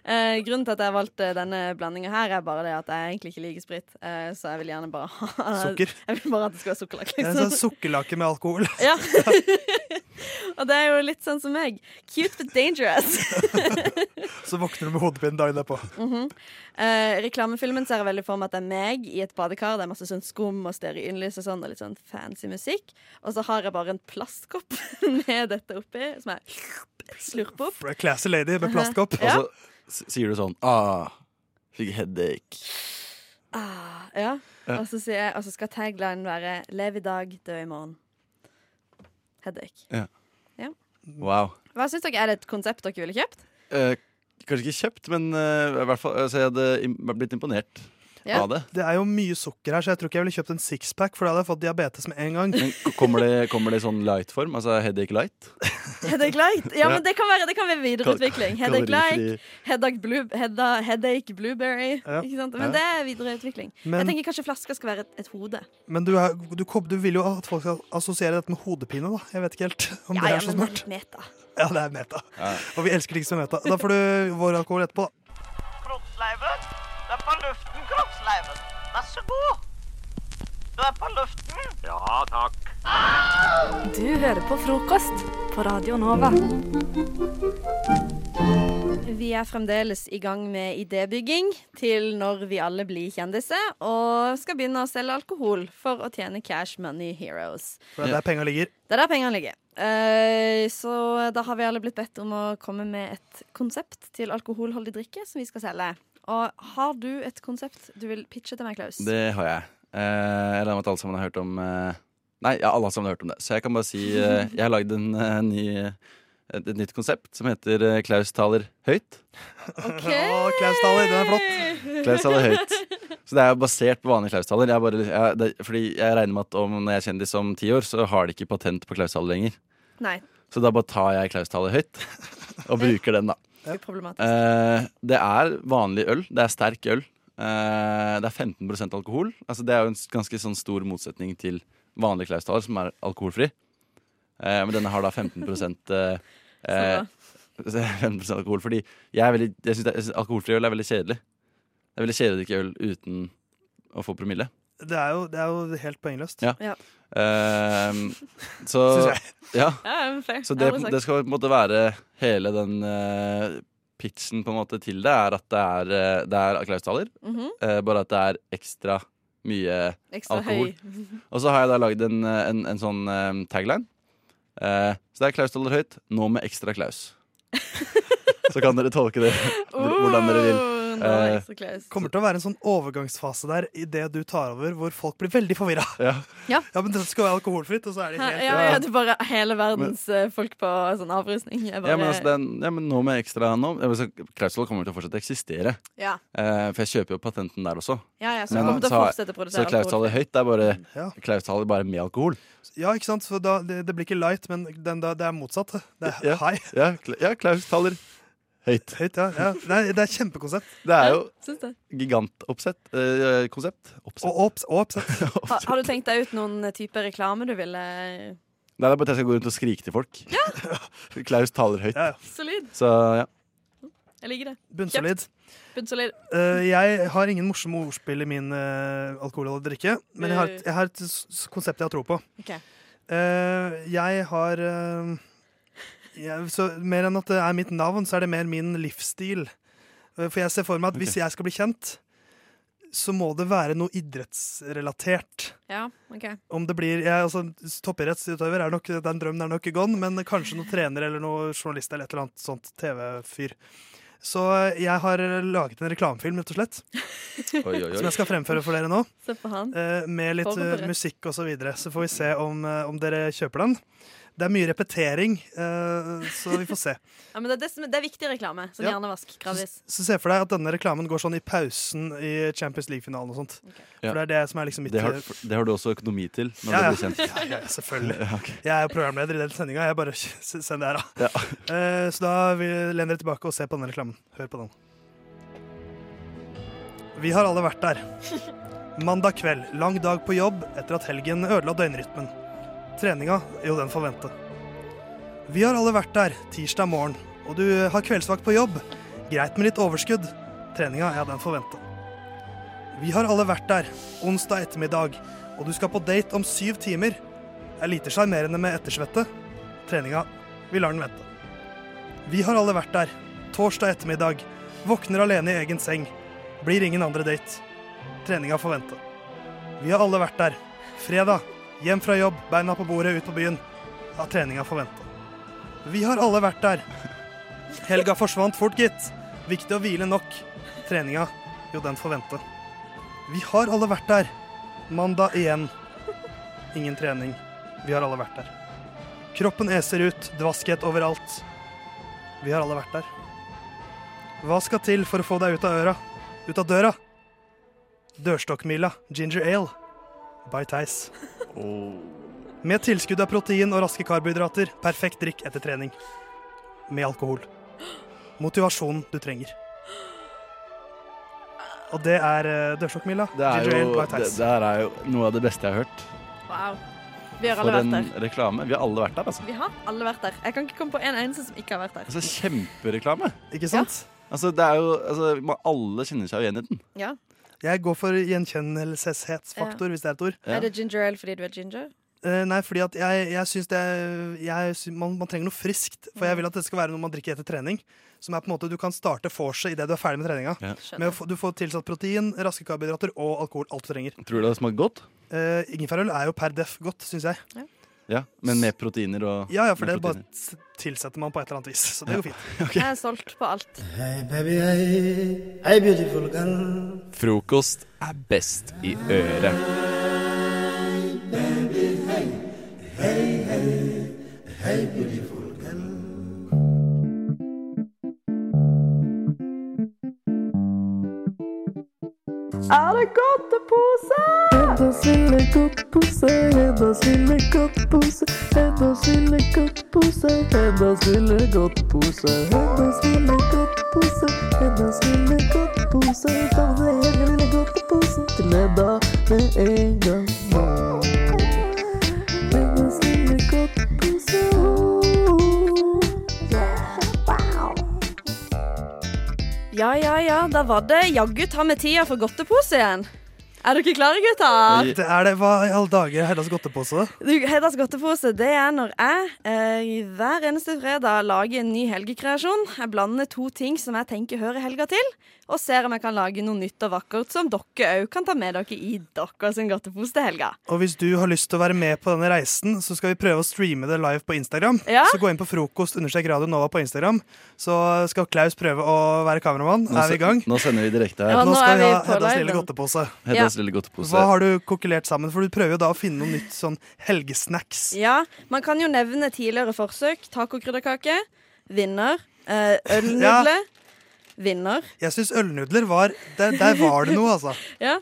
Speaker 3: Eh, grunnen til at jeg valgte denne blandinga her, er bare det at jeg egentlig ikke liker sprit. Eh, så jeg vil gjerne bare ha
Speaker 26: Sukker.
Speaker 3: Jeg vil bare at det skal være sukkerlakk.
Speaker 26: Det er en
Speaker 3: Liksom.
Speaker 26: sånn sukkerlake med alkohol.
Speaker 3: Ja. Og det er jo litt sånn som meg. Cute but dangerous.
Speaker 26: Så våkner du med hodepine dagen derpå.
Speaker 3: Mhm. eh, reklamefilmen ser jeg veldig for meg at det er meg i et badekar. Det er masse sånn skum og stearinlys og sånn, og litt sånn fancy musikk. Og så har jeg bare en plastkopp med dette oppi, som jeg slurper opp.
Speaker 26: Classy lady med plastkopp.
Speaker 3: Ja.
Speaker 18: Og så s- sier du sånn ah, Fikk headache.
Speaker 3: Ah, ja.
Speaker 18: Ja.
Speaker 3: Og så, sier jeg, og så skal taglinen være 'Lev i dag, dø i morgen'. Headache.
Speaker 18: Ja.
Speaker 3: Ja.
Speaker 18: Wow.
Speaker 3: Hva syns dere? Er det et konsept dere ville kjøpt?
Speaker 18: Eh, kanskje ikke kjøpt, men eh, i hvert fall, altså, jeg hadde im blitt imponert
Speaker 3: Ja.
Speaker 18: av det.
Speaker 26: Det er jo mye sukker her, så jeg tror ikke jeg ville kjøpt en sixpack, for da hadde jeg fått diabetes med en gang.
Speaker 18: Men k- kommer det, kommer det i sånn light-form? Altså headache light?
Speaker 3: Headache light? Ja,
Speaker 18: Ja.
Speaker 3: men det kan være, det kan være videreutvikling.
Speaker 18: Kal-
Speaker 3: Headache
Speaker 18: kalorifri.
Speaker 3: light, headache, blue, hedda, headache blueberry.
Speaker 26: Ja.
Speaker 3: Ikke sant?
Speaker 26: Ja.
Speaker 3: Men det er videreutvikling.
Speaker 26: Men-
Speaker 3: Jeg tenker kanskje flaska skal være et, et hode.
Speaker 26: Men du, er, du, kom- du vil jo at folk skal assosiere dette med hodepine, da. Jeg vet ikke helt om
Speaker 3: Ja,
Speaker 26: det
Speaker 3: ja,
Speaker 26: er så
Speaker 3: men
Speaker 26: smart.
Speaker 3: meta.
Speaker 26: Ja, det er meta. Og vi elsker ting som meta. Da får du vår alkohol etterpå, da.
Speaker 25: Kroppsleiven. Du er på luften, kroppsleiven. Vær så god. Du er på luften.
Speaker 2: Ja takk.
Speaker 4: Du hører på frokost på Radio Nova.
Speaker 3: Vi er fremdeles i gang med idébygging til når vi alle blir kjendiser og skal begynne å selge alkohol for å tjene cash money heroes.
Speaker 26: For det er der penga ligger.
Speaker 3: Det er der pengene ligger. Eh, så da har vi alle blitt bedt om å komme med et konsept til alkoholholdig drikke som vi skal selge. Og har du et konsept du vil pitche til meg, Klaus?
Speaker 18: Det har jeg. Eh, jeg regner med at alle sammen har hørt om eh, Nei, ja, alle sammen har hørt om det. Så jeg kan bare si eh, jeg har lagd en eh, ny et, et nytt konsept som heter eh, Klaus taler høyt.
Speaker 26: Å, Klaus Thaler, den er flott.
Speaker 18: Klaus taler høyt. Så det er jo basert på vanlige Klaus taler. Jeg bare, jeg, det, fordi jeg regner med at om når jeg er kjendis om ti år, så har de ikke patent på Klaus taler lenger.
Speaker 17: Nei.
Speaker 18: Så da bare tar jeg Klaus taler høyt og bruker den, da.
Speaker 17: Uproblematisk.
Speaker 18: Eh, det er vanlig øl. Det er sterk øl. Eh, det er 15 alkohol. Altså, det er jo en s- ganske sånn stor motsetning til vanlig Klausthal, som er alkoholfri. Eh, men denne har da 15 eh, eh, 15 alkohol. Fordi jeg, er veldig, jeg, synes det, jeg synes alkoholfri øl er veldig kjedelig. Det er veldig kjedelig å drikke øl uten å få promille.
Speaker 26: Det er jo, det er jo helt poengløst.
Speaker 18: Ja. Eh, så
Speaker 26: Synes
Speaker 18: ja.
Speaker 17: Ja, men fair.
Speaker 18: Så
Speaker 17: Ja,
Speaker 18: det,
Speaker 17: men takk.
Speaker 18: det skal på en måte være hele den eh, pitchen på en måte til det, er at det er, eh, det er Klaus Thaler,
Speaker 17: Mhm.
Speaker 18: eh, bare at det er ekstra mye
Speaker 17: Ekstra
Speaker 18: alkohol.
Speaker 17: høy.
Speaker 18: Og så har jeg da lagd en, eh, en, en sånn eh, tagline. Eh, så det er Klaus Thaler høyt, nå med ekstra Klaus. så kan dere tolke det hvor- hvordan dere vil. Eh,
Speaker 26: kommer til å være en sånn overgangsfase der i det du tar over, hvor folk blir veldig forvirra.
Speaker 18: Ja.
Speaker 17: Ja.
Speaker 26: men det skal være alkoholfritt, og så er de
Speaker 17: Ja,
Speaker 26: helt
Speaker 17: ja, ja, det er bare hele verdens eh, folk på sånn avrusning. Jeg bare,
Speaker 18: Ja, men, altså, det er, ja, men nå med ekstra nå, eh, altså, Klaus Thaler kommer til å fortsette å eksistere.
Speaker 17: Ja.
Speaker 18: Eh, for jeg kjøper jo patenten der også.
Speaker 17: Ja, ja, så han kommer til å
Speaker 18: så-
Speaker 17: fortsette å produsere
Speaker 18: Så Klaus Thaler
Speaker 17: alkohol.
Speaker 18: høyt, det er bare
Speaker 26: Ja.
Speaker 18: Klaus Thaler bare med alkohol.
Speaker 26: Ja, ikke sant? Så da, det, det blir ikke light, men den, da, det er motsatt. Det er
Speaker 18: Ja.
Speaker 26: high.
Speaker 18: Ja, Kla- ja Klaus Thaler høyt.
Speaker 26: Eh, Høyt, ja. ja. Det, er, det er kjempekonsept.
Speaker 18: Det er jo
Speaker 17: Syns det.
Speaker 18: gigantoppsett. eh, konsept. Oppsett.
Speaker 26: Og opps, og oppsett.
Speaker 17: Har, har du tenkt deg ut noen eh, type reklame du ville eh,
Speaker 18: Nei, det er bare at jeg skal gå rundt og skrike til folk. Klaus taler høyt.
Speaker 17: Solid.
Speaker 18: Så ja.
Speaker 17: Jeg liker det.
Speaker 26: Bunnsolid.
Speaker 17: Kjøpt. Bunnsolid.
Speaker 26: Eh, jeg har ingen morsomme ordspill i min uh, alkohol og drikke, men jeg har, et- jeg har et s- s- konsept jeg har tro på.
Speaker 17: Ok.
Speaker 26: Eh, jeg har eh, jeg, så Mer enn at det er mitt navn, så er det mer min livsstil. Eh, for jeg ser for meg at hvis
Speaker 17: Ok.
Speaker 26: jeg skal bli kjent, så må det være noe idrettsrelatert.
Speaker 17: Ja, OK.
Speaker 26: Om det blir jeg, altså, Toppidrettsutøver er nok den drømmen er nok gone, men kanskje noen trener eller noen journalist eller et eller annet sånt TV-fyr. Så eh, jeg har laget en reklamefilm, rett og slett,
Speaker 18: Oi, oi, oi.
Speaker 26: som jeg skal fremføre for dere nå.
Speaker 17: Se på han.
Speaker 26: eh, Med litt eh,
Speaker 17: Forberedt.
Speaker 26: musikk og så videre. Så får vi se om, eh, om dere kjøper den. Det er mye repetering, eh, så vi får se.
Speaker 17: Ja, men det, er det, som- det er viktig reklame. Sånn
Speaker 26: Ja.
Speaker 17: hjernevask gradvis.
Speaker 26: Så se for deg at denne reklamen går sånn i pausen i Champions League-finalen og sånt.
Speaker 18: Ja.
Speaker 26: For det er det som er liksom mitt
Speaker 18: Det har, det har du også økonomi til når
Speaker 26: Ja, ja.
Speaker 18: du blir kjent.
Speaker 26: Ja, ja, ja, selvfølgelig.
Speaker 18: Ja, ok.
Speaker 26: Jeg er programleder i den sendinga. Jeg bare send det her, da. Eh, så da vil- lener dere tilbake og ser på den reklamen. Hør på den. Vi har alle vært der. Mandag kveld, lang dag på jobb etter at helgen ødela døgnrytmen. Treninga, jo, den får vente. Vi har alle vært der tirsdag morgen, og du har kveldsvakt på jobb. Greit med litt overskudd. Treninga, ja, den får vente. Vi har alle vært der onsdag ettermiddag, og du skal på date om syv timer. Det er lite sjarmerende med ettersvette. Treninga, vi lar den vente. Vi har alle vært der. Torsdag ettermiddag. Våkner alene i egen seng. Blir ingen andre date. Treninga får vente. Vi har alle vært der. Fredag. Hjem fra jobb, beina på bordet, ut på byen. Ja, treninga får vente. Vi har alle vært der. Helga forsvant fort, gitt. Viktig å hvile nok. Treninga, jo, den får vente. Vi har alle vært der. Mandag igjen. Ingen trening. Vi har alle vært der. Kroppen eser ut, dvaskhet overalt. Vi har alle vært der. Hva skal til for å få deg ut av øra? Ut av døra? Dørstokkmila, ginger ale. By Theis. Med tilskudd av protein og raske karbohydrater, perfekt drikk etter trening. Med alkohol. Motivasjonen du trenger. Og det er eh, dørstokkmila,
Speaker 18: Det er,
Speaker 26: ginger
Speaker 18: jo,
Speaker 26: ale, By
Speaker 18: det,
Speaker 26: Theis.
Speaker 18: det her er jo noe av det beste jeg har hørt.
Speaker 17: Wow. Vi har alle
Speaker 18: For
Speaker 17: vært
Speaker 18: en
Speaker 17: der.
Speaker 18: reklame. Vi har alle vært der, altså.
Speaker 17: Vi har alle vært der. Jeg kan ikke komme på en eneste som ikke har vært der.
Speaker 18: altså kjempereklame.
Speaker 26: Ikke sant?
Speaker 18: Altså, det er jo, altså, man- alle kjenner seg jo igjen i den.
Speaker 17: Ja.
Speaker 26: Jeg går for gjenkjennelsesfaktor,
Speaker 17: Ja.
Speaker 26: hvis det er et ord.
Speaker 17: Er det ginger ale fordi du er ginger?
Speaker 26: Eh, nei, fordi at jeg, jeg syns det er- jeg, sy- man, man trenger noe friskt. For jeg vil at det skal være noe man drikker etter trening. Som er på en måte Du kan starte vorset idet du er ferdig med treninga.
Speaker 18: Ja.
Speaker 26: Med å få, du får tilsatt protein, raske karbohydrater og alkohol. Alt du trenger.
Speaker 18: Tror du det har smakt godt?
Speaker 26: Uh, Ingefærøl er jo per def godt, syns jeg.
Speaker 18: Ja, Men med proteiner og
Speaker 26: Ja, ja, for
Speaker 18: med
Speaker 26: det bare
Speaker 18: proteiner.
Speaker 26: s- tilsetter man på et eller annet vis. Så det går fint.
Speaker 17: Jeg er solgt på alt.
Speaker 2: Hei, baby, hei. Hei, beautiful girl.
Speaker 10: Frokost er best i øret.
Speaker 8: Er det godtepose? Heddas lille godtepose, Heddas lille godtepose. Heddas lille godtepose, Heddas lille godtepose. Heddas lille godtepose, Heddas lille godtepose. Ta med deg hele lille godteposen til Hedda med en gang. Heddas lille godtepose.
Speaker 3: Ja, ja, ja. Da var det jaggu ta med tida for godtepose igjen. Er dere klare, gutter?
Speaker 26: Det er det, Hva i alle dager er Hellas godtepose?
Speaker 3: Du, Heddas godtepose det er når jeg eh, hver eneste fredag lager en ny helgekreasjon. Jeg blander to ting som jeg tenker hører helga til, og ser om jeg kan lage noe nytt og vakkert som dere òg kan ta med dere i deres godtepose til helga.
Speaker 26: Og hvis du har lyst til å være med på denne reisen, så skal vi prøve å streame det live på Instagram.
Speaker 3: Ja.
Speaker 26: Så gå inn på frokost understrek radio Nova på Instagram, så skal Klaus prøve å være kameramann.
Speaker 18: Nå
Speaker 26: er vi i
Speaker 18: se-
Speaker 26: gang?
Speaker 18: Nå sender vi direkte her.
Speaker 26: nå skal vi ha Heddas lille godtepose.
Speaker 18: Heddas lille godtepose.
Speaker 26: Hva har du kokkelert sammen? For du prøver jo da å finne noe nytt sånn helgesnacks.
Speaker 3: Ja, man kan jo nevne tidligere forsøk. Tacokrydderkake, vinner, eh, ølnudler, vinner.
Speaker 26: Jeg syns ølnudler var der, der var det noe, altså.
Speaker 3: Ja.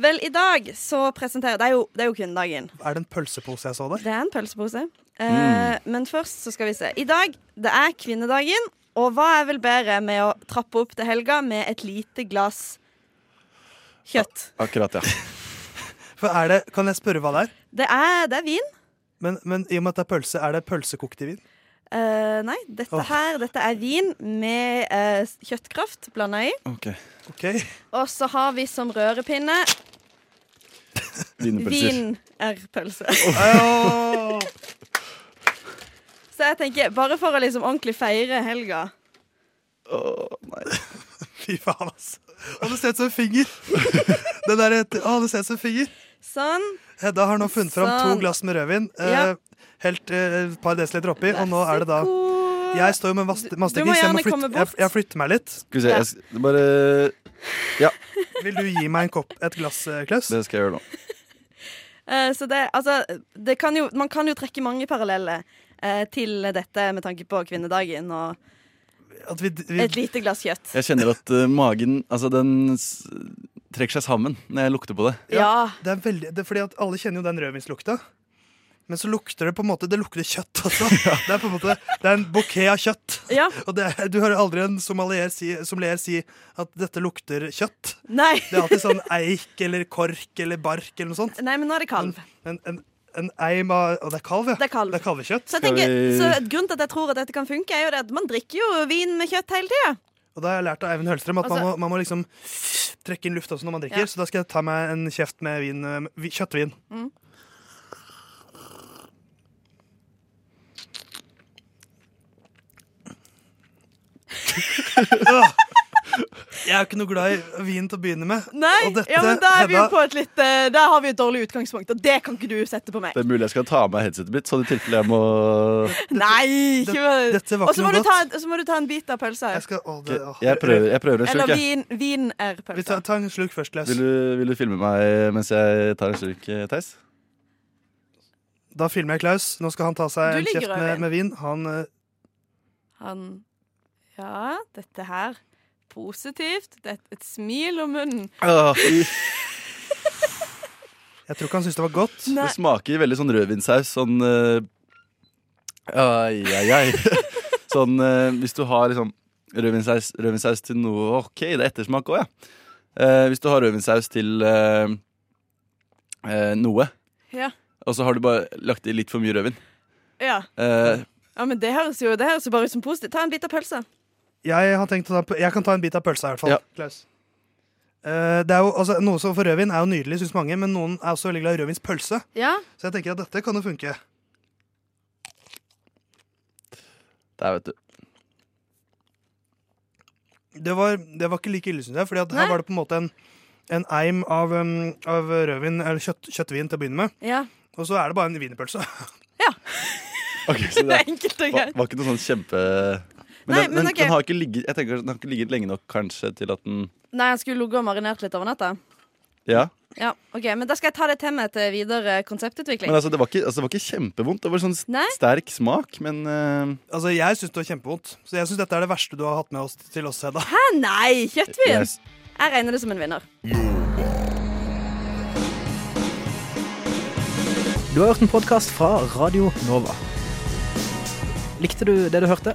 Speaker 3: Vel, i dag så presenterer Det er jo, det er jo kvinnedagen.
Speaker 26: Er det en pølsepose jeg så der?
Speaker 3: Det er en pølsepose. Eh, Men først så skal vi se. I dag, det er kvinnedagen, og hva er vel bedre med å trappe opp til helga med et lite glass kjøtt?
Speaker 18: Akkurat, ja.
Speaker 26: For er det, Kan jeg spørre hva det er?
Speaker 3: Det er, det er vin.
Speaker 26: Men, men i og med at det er pølse, er det pølsekokt i vin?
Speaker 3: Eh, nei, dette
Speaker 26: Åh.
Speaker 3: her dette er vin med eh, kjøttkraft blanda i.
Speaker 18: Ok.
Speaker 3: Og så har vi som rørepinne Vin-r-pølse.
Speaker 18: Åh.
Speaker 3: Så jeg tenker, bare for å liksom ordentlig feire helga
Speaker 26: Fy faen, altså. Å, det ser ut som en finger! Den der, å, det ser ut som en finger.
Speaker 3: Sånn.
Speaker 26: Hedda har nå funnet fram to
Speaker 3: Sånn.
Speaker 26: glass med rødvin. eh,
Speaker 3: Ja.
Speaker 26: Helt eh, et par desiliter oppi, og nå er det da Jeg står jo med vaste-
Speaker 3: Du må
Speaker 26: mastegris, så jeg, må
Speaker 3: gjerne komme
Speaker 26: flytte- jeg,
Speaker 3: bort.
Speaker 26: jeg flytter meg litt.
Speaker 18: Skal vi se, jeg skal bare Ja,
Speaker 26: Vil du gi meg en kopp, et glass, eh, Klaus?
Speaker 18: det skal jeg gjøre nå.
Speaker 3: Eh, Så det, altså, det kan jo, man kan jo trekke mange paralleller eh, til dette med tanke på kvinnedagen og et lite glass kjøtt.
Speaker 18: Jeg kjenner at eh, magen Altså, den s trekker seg sammen når jeg lukter på det.
Speaker 26: Det er veldig, det er fordi at alle kjenner jo den rødvinslukta. Men så lukter det på en måte Det lukter kjøtt også. Det er på en måte Det er en bukett av kjøtt. Og det, er- du hører aldri en sommelier si, sommelier si at 'dette lukter kjøtt'.
Speaker 3: Nei.
Speaker 26: Det er alltid sånn eik eller kork eller bark eller noe sånt.
Speaker 3: Nei, men nå er det kalv.
Speaker 26: En, en, en eim av Og det er kalv, ja. Det er, kalvekjøtt.
Speaker 3: Så, jeg tenker, så Grunnen til at jeg tror at dette kan funke, er jo det at man drikker jo vin med kjøtt hele tida.
Speaker 26: Og da har jeg lært av Eivind Hølstrøm at man,
Speaker 3: Altså-
Speaker 26: må, man må liksom trekke inn luft også når man drikker.
Speaker 3: Ja.
Speaker 26: Så da skal jeg ta meg en kjeft med vin, eh, vi- kjøttvin.
Speaker 3: Mm.
Speaker 26: Åh. Jeg er jo ikke noe glad i vin til å begynne med.
Speaker 3: Nei,
Speaker 26: Og dette,
Speaker 3: ja, men da er vi jo
Speaker 26: Hedda-
Speaker 3: på et litt eh, Der har vi et dårlig utgangspunkt, og det kan ikke du sette på meg.
Speaker 18: Det er mulig jeg skal ta av meg headsetet mitt, sånn i tilfelle jeg må
Speaker 3: Nei! ikke bare-
Speaker 18: dette var
Speaker 3: Og så
Speaker 18: ikke
Speaker 3: må
Speaker 18: noe
Speaker 3: du ta en- så må du ta en bit av pølsa.
Speaker 18: Jeg prøver, jeg prøver en slurk,
Speaker 3: Eller
Speaker 18: jeg.
Speaker 3: vin, vin er pølsa.
Speaker 26: Ta en slurk først, Klaus.
Speaker 18: Vil du, vil du filme meg mens jeg tar en slurk, eh, Theis?
Speaker 26: Da filmer jeg Klaus. Nå skal han ta seg
Speaker 3: Du
Speaker 26: en
Speaker 3: ligger
Speaker 26: kjeft
Speaker 3: over
Speaker 26: med,
Speaker 3: vin.
Speaker 26: med vin. Han, eh,
Speaker 3: Han Ja, dette her. Positivt. Det er et- et smil om munnen.
Speaker 26: jeg tror ikke han syntes det var godt.
Speaker 3: Nei.
Speaker 18: Det smaker veldig sånn rødvinsaus. Sånn eh, Ai, ai, ai. Sånn eh, hvis du har liksom rødvinsaus, rødvinsaus til noe OK, det er ettersmak òg, ja. Eh, hvis du har rødvinsaus til eh, eh, noe,
Speaker 3: Ja.
Speaker 18: og så har du bare lagt i litt for mye rødvin
Speaker 3: ja.
Speaker 18: Eh,
Speaker 3: ja men det høres jo det høres jo bare ut som positivt. Ta en bit av pølsa.
Speaker 26: Jeg, har tenkt å ta, jeg kan ta en bit av pølsa, i hvert fall.
Speaker 18: Ja.
Speaker 26: Klaus. Eh, det er jo, altså, noe som for rødvin er jo nydelig, syns mange, men noen er også veldig glad i rødvinspølse.
Speaker 3: Ja.
Speaker 26: Så jeg tenker at dette kan jo funke.
Speaker 18: Der, vet du.
Speaker 26: Det var, det var ikke like ille, syns jeg, Fordi at her
Speaker 3: Nei.
Speaker 26: var det på en måte en, en eim av, um, av rødvin, eller kjøtt, kjøttvin til å begynne med.
Speaker 3: Ja.
Speaker 26: Og så er det bare en wienerpølse.
Speaker 18: Ok, så
Speaker 3: Det er enkelt og
Speaker 18: var,
Speaker 3: greit.
Speaker 18: var ikke noe sånn kjempe Men,
Speaker 3: Nei,
Speaker 18: den,
Speaker 3: men
Speaker 18: den,
Speaker 3: ok.
Speaker 18: den har ikke ligget Jeg tenker at den har ikke ligget lenge nok kanskje til at den
Speaker 3: Nei, jeg skulle ligget og marinert litt over natta.
Speaker 18: Ja.
Speaker 3: Ja, ok, Men da skal jeg ta det til meg til videre konseptutvikling.
Speaker 18: Men altså, det var ikke, altså, det var ikke kjempevondt. Det var sånn s-
Speaker 3: Nei.
Speaker 18: sterk smak, men eh,
Speaker 26: Altså, Jeg syns det var kjempevondt, så jeg syns dette er det verste du har hatt med oss til oss, Hedda.
Speaker 3: Hæ, nei! Kjøttvin!
Speaker 26: Yes.
Speaker 3: Jeg regner det som en vinner.
Speaker 25: Du har hørt en podkast fra Radio Nova. Likte du det du hørte?